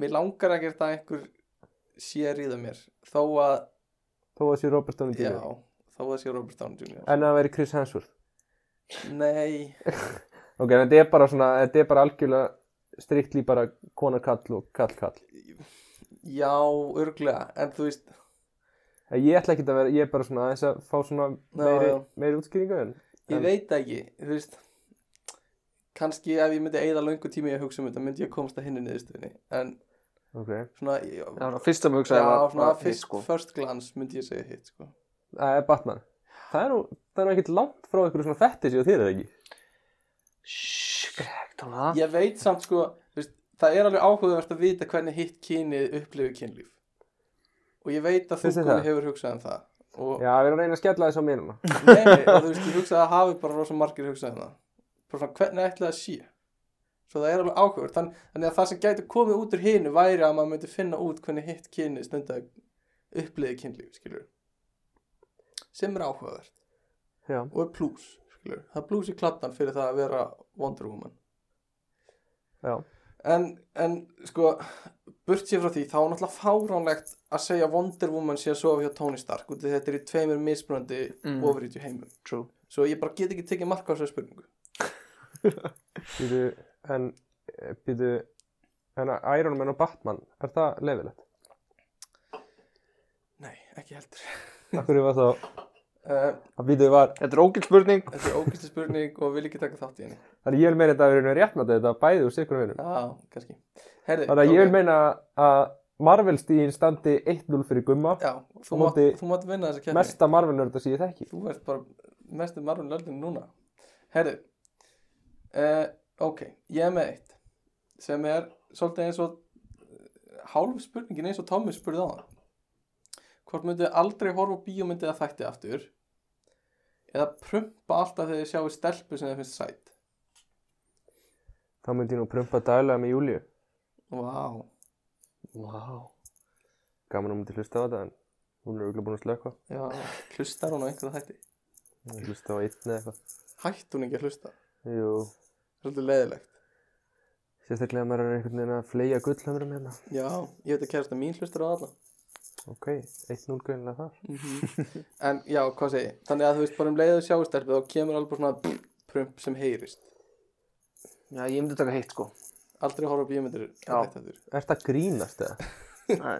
A: Mér langar ekkert að einhver sé að ríða mér Þó að,
C: þó að sé Robert Downey
A: já,
C: Jr.
A: þó að sé Robert Downey Jr.
C: En að veri Chris Hemsworth
A: Nei,
C: Ok, en þetta er bara svona, þetta er bara algjörlega striktli bara kona kall og kall kall.
A: já, örglega En þú veist,
C: En Ég ætla ekki að vera, ég er bara svona aðeins að fá svona meiri,
A: já.
C: meiri útskýringu en
A: Ég
C: En-
A: veit það ekki, þú veist kannski ef ég myndi eigða löngu tími í að hugsa um þetta myndi ég komast að hinni niðurstöðinni en
C: ok.
A: svona já, já,
B: (laughs) Það var það fyrsta mjög
A: já
B: hugsaði var-
A: svona
B: var hitt,
A: fyrst,
B: sko.
A: first glance myndi ég segja hitt sko.
C: Það er Eh, Batman. Það er nú, það er nú ekkert langt frá ykkur svona fettis og þér eða ekki.
B: Shhh, grekt hún það
A: ég veit samt sko þú veist, það er alveg áhugavert að vita hvernig hitt kynið upplifir kynlíf og ég veit að þú
C: Finnst þér
A: Gunni,
C: það?
A: hefur hugsað um það og,
C: Já, við erum að reyna að skella þess á mér (laughs) núna.
A: nei, nei, og þú veist, ég hugsaði að hafi bara rosa margir hugsað um það bara svona hvernig ætlaði að sé svo það er alveg áhugavert Þann, þannig að það sem gæti komið út úr hinu væri að maður myndi finna út hvernig hitt kynið stundaði uppliði kynlíf skilur sem er áhugavert
C: Já.
A: og er plús skilur. það er plús í klattan fyrir það að vera Wonder Woman
C: Já.
A: en, en sko burt sér frá því þá er náttúrulega fáránlegt að segja Wonder Woman sé að sofa hjá Tony Stark út af því þetta er í tveimur mismunandi
B: Mm.
A: ofrítju heimum
B: True
A: svo ég bara get ekki tekið marka á þessu spurningu
C: Býtu, en, eh, býtu, en að Iron Man og Batman, er það leifilegt?
A: nei, ekki heldur
C: Akkur var þá,
A: uh,
C: að býtu var,
B: Þetta er ógild spurning
A: þetta er ógæsli spurning og vil ekki taka þátt í henni
C: þannig ég vil meina þetta að við erum rétt með þetta bæði úr sikkur og vinum.
A: já, kannski Herri,
C: Þannig að ég vil meina að Marvel stíðin standi 1-0 fyrir gumma
A: Já, þú
C: Á
A: mátt,
C: móti-
A: þú mátt vinna þessa keppni
C: mesta Marvel nörda sem ég þekki
A: Þú ert bara mestu marfun löldin núna Herðu uh, Ok, ég er með eitt sem er svolítið eins og eh, hálf spurningin eins og Tommi spurði á það Hvort myndið aldrei horfa á bíómyndið að þætti aftur eða prumpa alltaf þegar þið sjáu stelpu sem þið finnst sætt
C: þá myndi ég nú prumpa daglega með Júliu
A: Vá
B: Vá.
C: gaman að myndi hlusta á þetta en hún er auðvitað búin að slökka
A: Já, hlustar hún á einhverja þætti
C: Hún hlusta á einn eða eitthvað
A: Hætt hún ekki að hlusta
C: jú
A: Svolítið leiðilegt
C: sérstaklega maður er einhvern veginn að fleia gullhamrum hérna
A: Já, ég veit að kærast að mín hlustar á alla
C: ok 1-0 greinlega það
A: En já, hvað segi ég? Þannig að þú veist bara um leiðu sjáustelpu þá kemur alveg bara svona prump sem heyrist
B: Já, ég myndi taka hitt (laughs) sko
A: Aldrei horfa á bíómyndir um
B: Já.
C: er þetta grínast eða
B: Nei.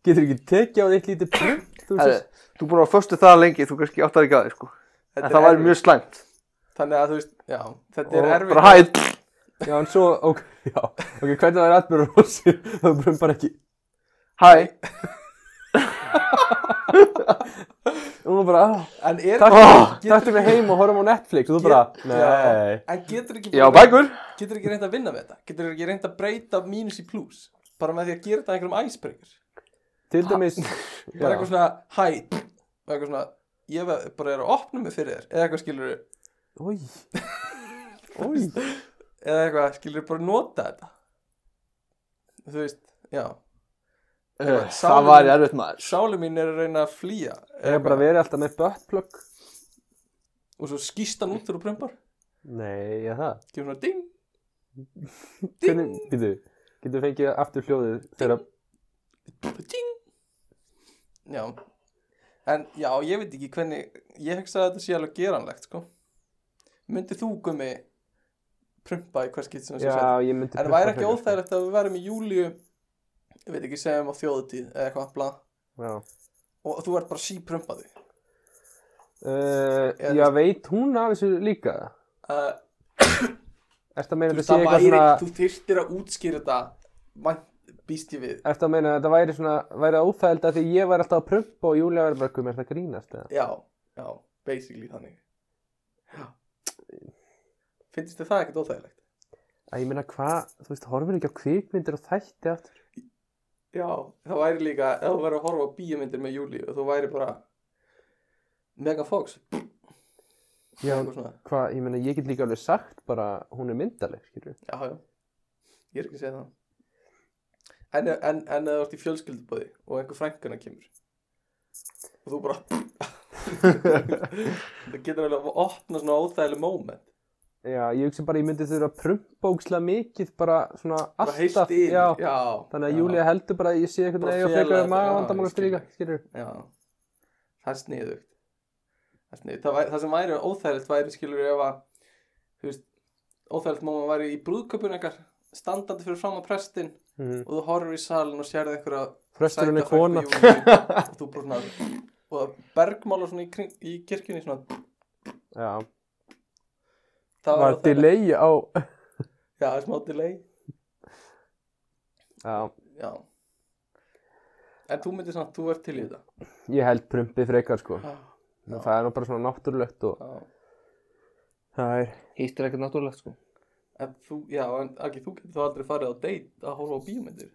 C: getur ekki tekið á eitt lítið prump þú
B: Herri,
C: sést
B: Þú búin að föstu það lengi, þú kannski áttar ekki að þig sko En það væri mjög slæmt
A: Þannig að þú veist, já, þetta er
C: Og
A: erfitt
B: Bara hætt
C: já en svo ok já ok hvernig það er atbyrður rossi þá prumpar ekki
B: Hæ,
C: hún er bara ah,
A: En er
B: Ah,
A: getur,
C: Þetta við heim og horfum á Netflix og þú bara Nei
A: En getur ekki
B: já bækur
A: Getur ekki reynd að vinna með þetta Getur ekki reynd að breyta mínus í plus Bara með því að gera þetta að einhverjum æsbreykir
C: Til dæmis
A: Bara
C: já,
A: eitthvað svona hæ Og eitthvað svona Ég ve- bara er að opna mig fyrir þér Eða eitthvað skilur
C: Új Új
A: Eða eitthvað skilur bara nota þetta Þú veist, já
B: Uh, Það
A: Sálin-
B: væri erfitt maður
A: Sáli mín er að reyna að flýja
C: Ég hef bara verið alltaf með buttplug
A: og svo skýst hann út þegar þú prumpar
C: Nei, já það
A: gefur svona ding ding,
C: Hvernig, býtu Getur við fengið aftur hljóðið þegar
A: ding já en já, ég veit ekki hvernig ég hugsa að þetta sé alveg geranlegt sko myndið þú gummi prumpa í hvers skitt sem þú
C: Já,
A: sagði
C: ég myndi
A: en það væri ekki óþægilegt að við værum í júliu ég veit ekki segjum á þjóðutíð eða eitthvað bla
C: Já
A: og þú ert bara síprumpaði
C: Uh,
A: Eða-
C: já, veit hún af þessu líka
A: uh,
C: Ertu að meina
A: þú,
C: að þetta
A: veist,
C: sé
A: það
C: eitthvað
A: væri-
C: svona
A: þú þyrtir að útskýra þetta vænt- býst ég við
C: Ertu að meina að þetta væri svona væri óþægild að því ég væri alltaf að prumpa og Júlia væri bara "Guð, mér er það grínast eða
A: Já, já, basically þannig Já Finnst þið það ekkert óþægilegt?
C: Að ég meina hvað, þú veist, horfir ekki á kvikmyndir og þætti aftur
A: Já, það væri líka, ef þú væri að horfa á bíómyndir með Júli og þú væri bara Mega Fox
C: Já,
A: eitthvað svona.
C: hvað, ég meina, ég get líka alveg sagt bara, hún er myndaleg, skilju.
A: Já, já, ég er ekki að segja það En, en, en eða þú ert í fjölskyldubóði og einhver frænkana kemur og þú bara (laughs) það getur alveg að opna svona óþægileg moment
C: Já, ég hugsi bara, ég myndi þurfa að prumpa ógslega mikið, bara svona
A: bara heilt
C: alltaf.
A: yfir
C: já,
A: já,
C: þannig að
A: já.
C: Júlia heldur bara að ég sé einhvern
A: Bara
C: veginn og
A: fela
C: frekar
A: þetta,
C: maga
A: já,
C: vandamál
A: ég
C: eftir
A: skil.
C: líka, skilju.
A: Já, það er sniðugt Það er sniðugt, það, væri, það sem væri óþægilegt væri skilur ef að þú veist, óþægilegt móma væri í brúðköpun ekkar standandi fyrir fram á prestin
C: Mhm,
A: og þú horfir í salin og sérði einhverja
C: Presturinn er
A: sæta frænku
C: kona.
A: Júlíu og þú bara
C: (laughs)
A: svona og það bergmála svona í, kring, í kirkjunni svona
C: Já,
A: það
C: var
A: óþægilegt.
C: delay á, (laughs)
A: Já, það er smá delay
C: já,
A: Já En þú myndir svona, þú ert til í þetta
C: ég held prumpi frekar, sko.
A: Já,
C: Já. Það er nú bara svona náttúrulegt og
A: já.
C: það er,
B: Hitt er ekkert náttúrulegt sko
A: En þú, já, en Aki, þú getur þá aldrei farið á date að horfa á bíómyndir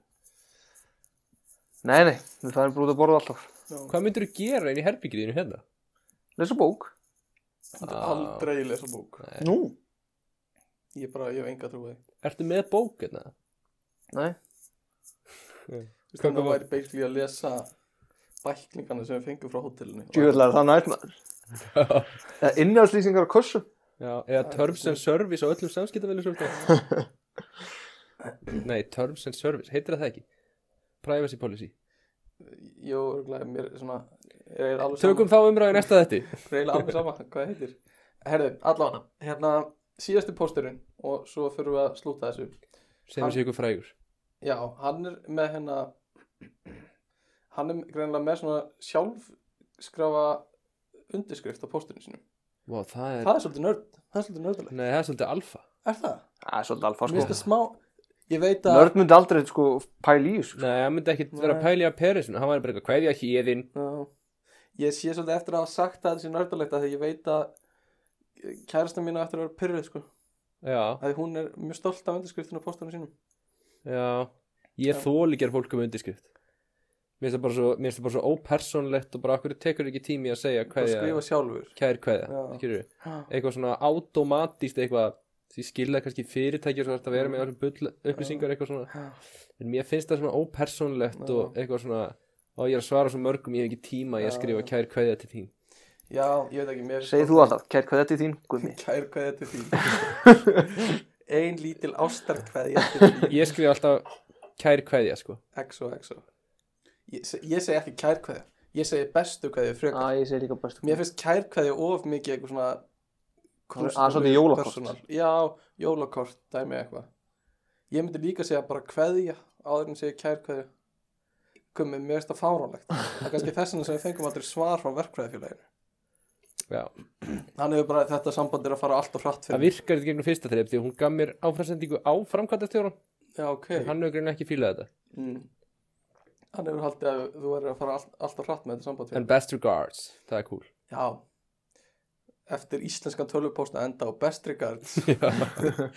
B: Nei, nei, við farum bara út að borða alltaf
D: Hvað myndir þú gera inn í herbyggiðinu hérna?
B: Lesa bók
A: Þú getur aldrei að lesa bók
B: Nú?
A: Ég bara, ég hef enga trúið
D: Ertu með bók hérna?
B: Nei
A: Þú veist,
D: Hvað-
A: það væri basically að lesa bæklingana sem við fengum frá hótelinu
B: Djúvillar það nært maður Eða innhaldslýsingar Eh, á kossu
D: (laughs) Já, eða Terms and Service á öllum samskiptavelið svolítið.
A: (laughs)
D: Nei, Terms and Service, heitir það ekki? Privacy Policy.
A: Jó, örugglega, mér er svona er alveg
D: Tökum þá umræðu í næsta þetti.
A: sama, reyla alveg sama hvað það heitir Herðu, allavega, hérna síðasti pósturinn og svo fyrir við að slúta þessu
D: Sem
A: Hann-
D: sé ykkur frægur.
A: Já, hann er með hérna hann er greinilega með svona sjálfskrafa undirskrift á pósturinn sinu
D: Vá, það er...
A: Það er svolítið nörd, það er svolítið nördulegt
D: Nei, það er svolítið alfa.
A: Er það?
B: Það er svolítið alfa
A: Mér finnst
B: sko
A: það smá Ég veit að
B: Nörd myndi aldrei sko pæla í þessu sko.
C: Nei, hann myndi ekki vera að
A: Nei.
C: pæla í að peri svona, hann var bara eitthvað kveðja híðin
A: Já. Ég sé svolítið eftir að hafa sagt að þetta sé nördalegt af því ég veit að kærasta mín á eftir að vera pyrruð sko.
C: Já,
A: Þegar hún er mjög stolt af undirskriftinu og póstunum sínum.
C: já Ég þóli ger fólk um undirskrift Mér finnst það bara svo, mér finnst það bara svo ópersónlegt og bara okkur tekur ekki tími að segja
A: Það
C: kveðja
A: skrifa sjálfur.
C: Kær kveðja,
A: Já.
C: skilur
A: Já.
C: Eitthvað svona automatist eitthvað Því skilja kannski fyrirtæki og svo þetta vera með alveg bull upplýsingar eitthvað
A: Já.
C: svona En mér finnst það svona ópersónlegt
A: Já.
C: og eitthvað svona Og ég er að svara svo mörgum, ég hef ekki tíma í að
A: Já.
C: skrifa kær kveðja til þín
A: Já, ég veit ekki, mér
B: Segir þú alltaf, kær hvað þetta er þín, gummi
A: Kær hvað þetta er þín. (laughs) Ein lítil ástarkveðja til þín.
C: Ég skrifa alltaf kær kveðja, sko
A: XO, XO. Ég, se- ég segi ekki kær kveðja. Ég segi bestu kveðju frekar.
B: Æ, ég segir líka bestu
A: Mér finnst kærkveðja of mikið eitthvað svona
B: Svona- aðeins svolítið jólakort.
A: personal. Já, jólakort, dæmi eitthvað Ég myndi líka segja bara kveðja áður en segja kærkveðja komið mér finnst það
C: (laughs)
A: fáránlegt það er kannski þess vegna sem við fengum aldrei svar frá verkfræðifélaginu
C: Já
A: hann hefur bara þetta samband er að fara alltaf hratt
C: það
A: fyrir
C: virkar þetta gegnum fyrsta þreip því að hún gaf mér áframsendingu á framkvæmtastjóran
A: já, ok
C: en hann hefur greinilega ekki fílað þetta
A: mm. hann hefur haldið að þú verður að fara all, alltaf hratt með þetta samband fyrir
C: en best regards, það er cool
A: já eftir íslenskan tölvupósta enda á bestrigards
C: (laughs)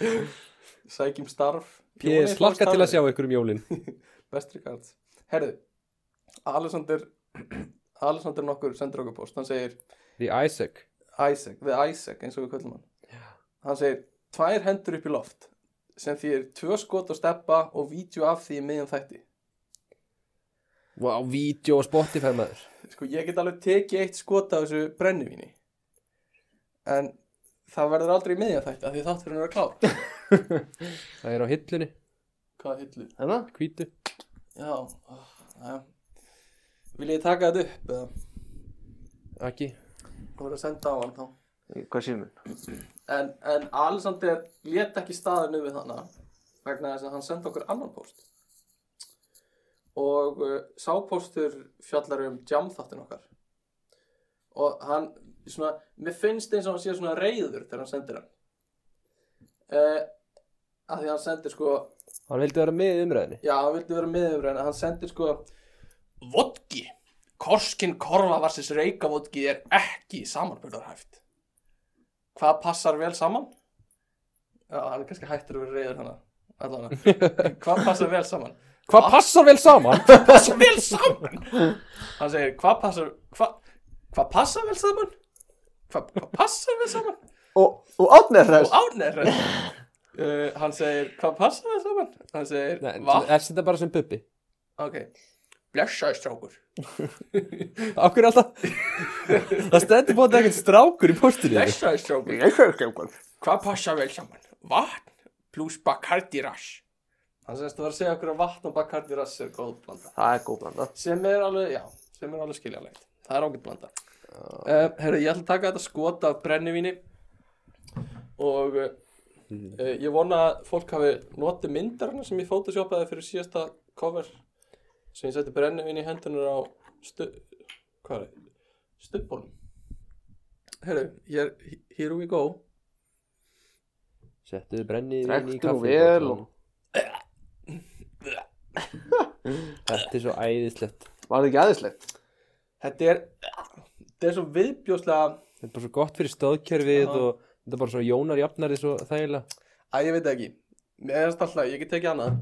A: sækjum starf Jóni,
C: ég
A: slá
C: slakka til
A: starfi.
C: að sjá ykkur um jólin
A: Vestrikard Herðu, Alexander (clears throat) Alexander nokkur sendir okkur post hann segir
C: því Isaac,
A: Isaac, við Isaac eins og við köllum hann hann segir, tvær hendur upp í loft sem því er tvö skot að steppa og vídeo af því í miðjum þætti
C: wow, vídeo og Spotify maður
A: sko, ég get alveg tekið eitt skot af þessu brennivíni en það verður aldrei í miðjum þætti af því þáttur hann er að (laughs) klár
C: það er á hillunni,
A: hvað hillu?
B: Þannig?
C: hvítu
A: Já, ah, já Vil ég taka þetta upp eða?
C: ekki,
A: Þú verður að senda á hann þá
B: Hvað séum við?
A: en, en Alexander let ekki staðinu við hana vegna þess að hann sendi okkur annan post og uh, sápostur fjallar um jamþáttin okkar og hann svona, mér finnst eins og hann sé svona reyður þegar hann sendir hann uh, að því hann sendir sko
C: hann vildi vera með í umræðinni
A: Já, hann vildi vera meður en hann sendir sko Vodki Korskin korfa varsins reikavodki er ekki samanbyrðarhæft Hvað passar vel saman? Já, hann er kannski hættur að vera reyður hana (laughs) Allan Hvað passar vel saman?
C: hvað passar vel saman?
A: Passar vel saman? Hann segir, hvað passar Hvað hva passar vel saman? Hvað hva passar vel saman?
B: Og, og átnið þess
A: Og ánæður (laughs) uh, Hann segir, hvað passar vel saman? Hann segir,
C: Nei,
A: vatn
C: er þetta bara sem bubbi?
A: Ok, blessaði strákur
C: okkur alltaf (laughs) það stendur bóðið ekkert strákur í hérna. postinu
A: Blessaði strákur
B: Ég sé ekki um eitthvað
A: Hvað passa vel saman? Vatn pluss Bacardi Rass Hann semst að vera að segja okkur að vatn og Bacardi Rass er góð blanda
B: Það er góð blanda
A: Sem er alveg, já, sem er alveg skiljanlegt Það er ágætt blanda uh, Herru, ég ætla að taka þetta skot af brennivíni Og uh, uh, ég vona að fólk hafi notið myndarna sem ég photoshopaði fyrir síðasta cover Sem ég setti brennivíni í hendunar á stu... Hvað er það? Stubbólum Herru, hér, here we go
C: settuðu brenni í
B: Drektu
C: kaffi
B: vel og
C: þetta er svo æðislegt
B: Var það ekki aðeinslegt?
A: Þetta er, þetta er svo viðbjóðslega,
C: þetta er bara svo gott fyrir stöðkerfið
A: Já.
C: og þetta er bara svo jónar jafnari svo þægilega
A: að ég veit það ekki, mér er þetta alltaf, ég get ekki annað.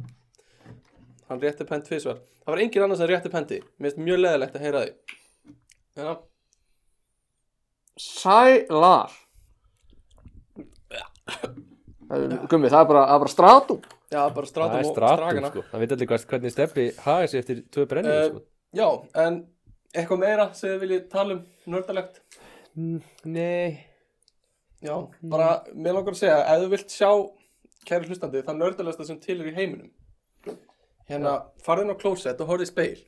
A: Hann rétti pent tvisvar. Það var engin annað sem rétti penti, mér finnst mjög leðilegt að heyra því. Hérna,
B: Sælar Það er- Gummi, það er bara, það er bara stratum
A: já, bara
C: það
A: strátum
C: er
A: og
C: stratum
A: stragana.
C: sko það veit allir hvað, hvernig steppi haga sig eftir tvö brennir
A: Eh,
C: sko.
A: Já, en eitthvað meira sem þið viljið tala um nördalegt.
C: nei
A: Já, bara, mér langar að segja, ef þú vilt sjá, kæri hlustandi, það nördalegsta sem til er í heiminum. Hérna, farðu inn á klósett og horfðu í speil.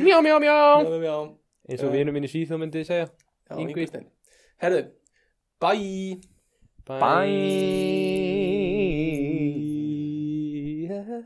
C: mjá mjá mjá
A: Já, já, já.
C: eins og vinur minn í Svíþjóð myndi segja
A: Já,
C: Yngvi.
A: Yngvi Steinn. Herðu, bye!
C: bye,
B: Bye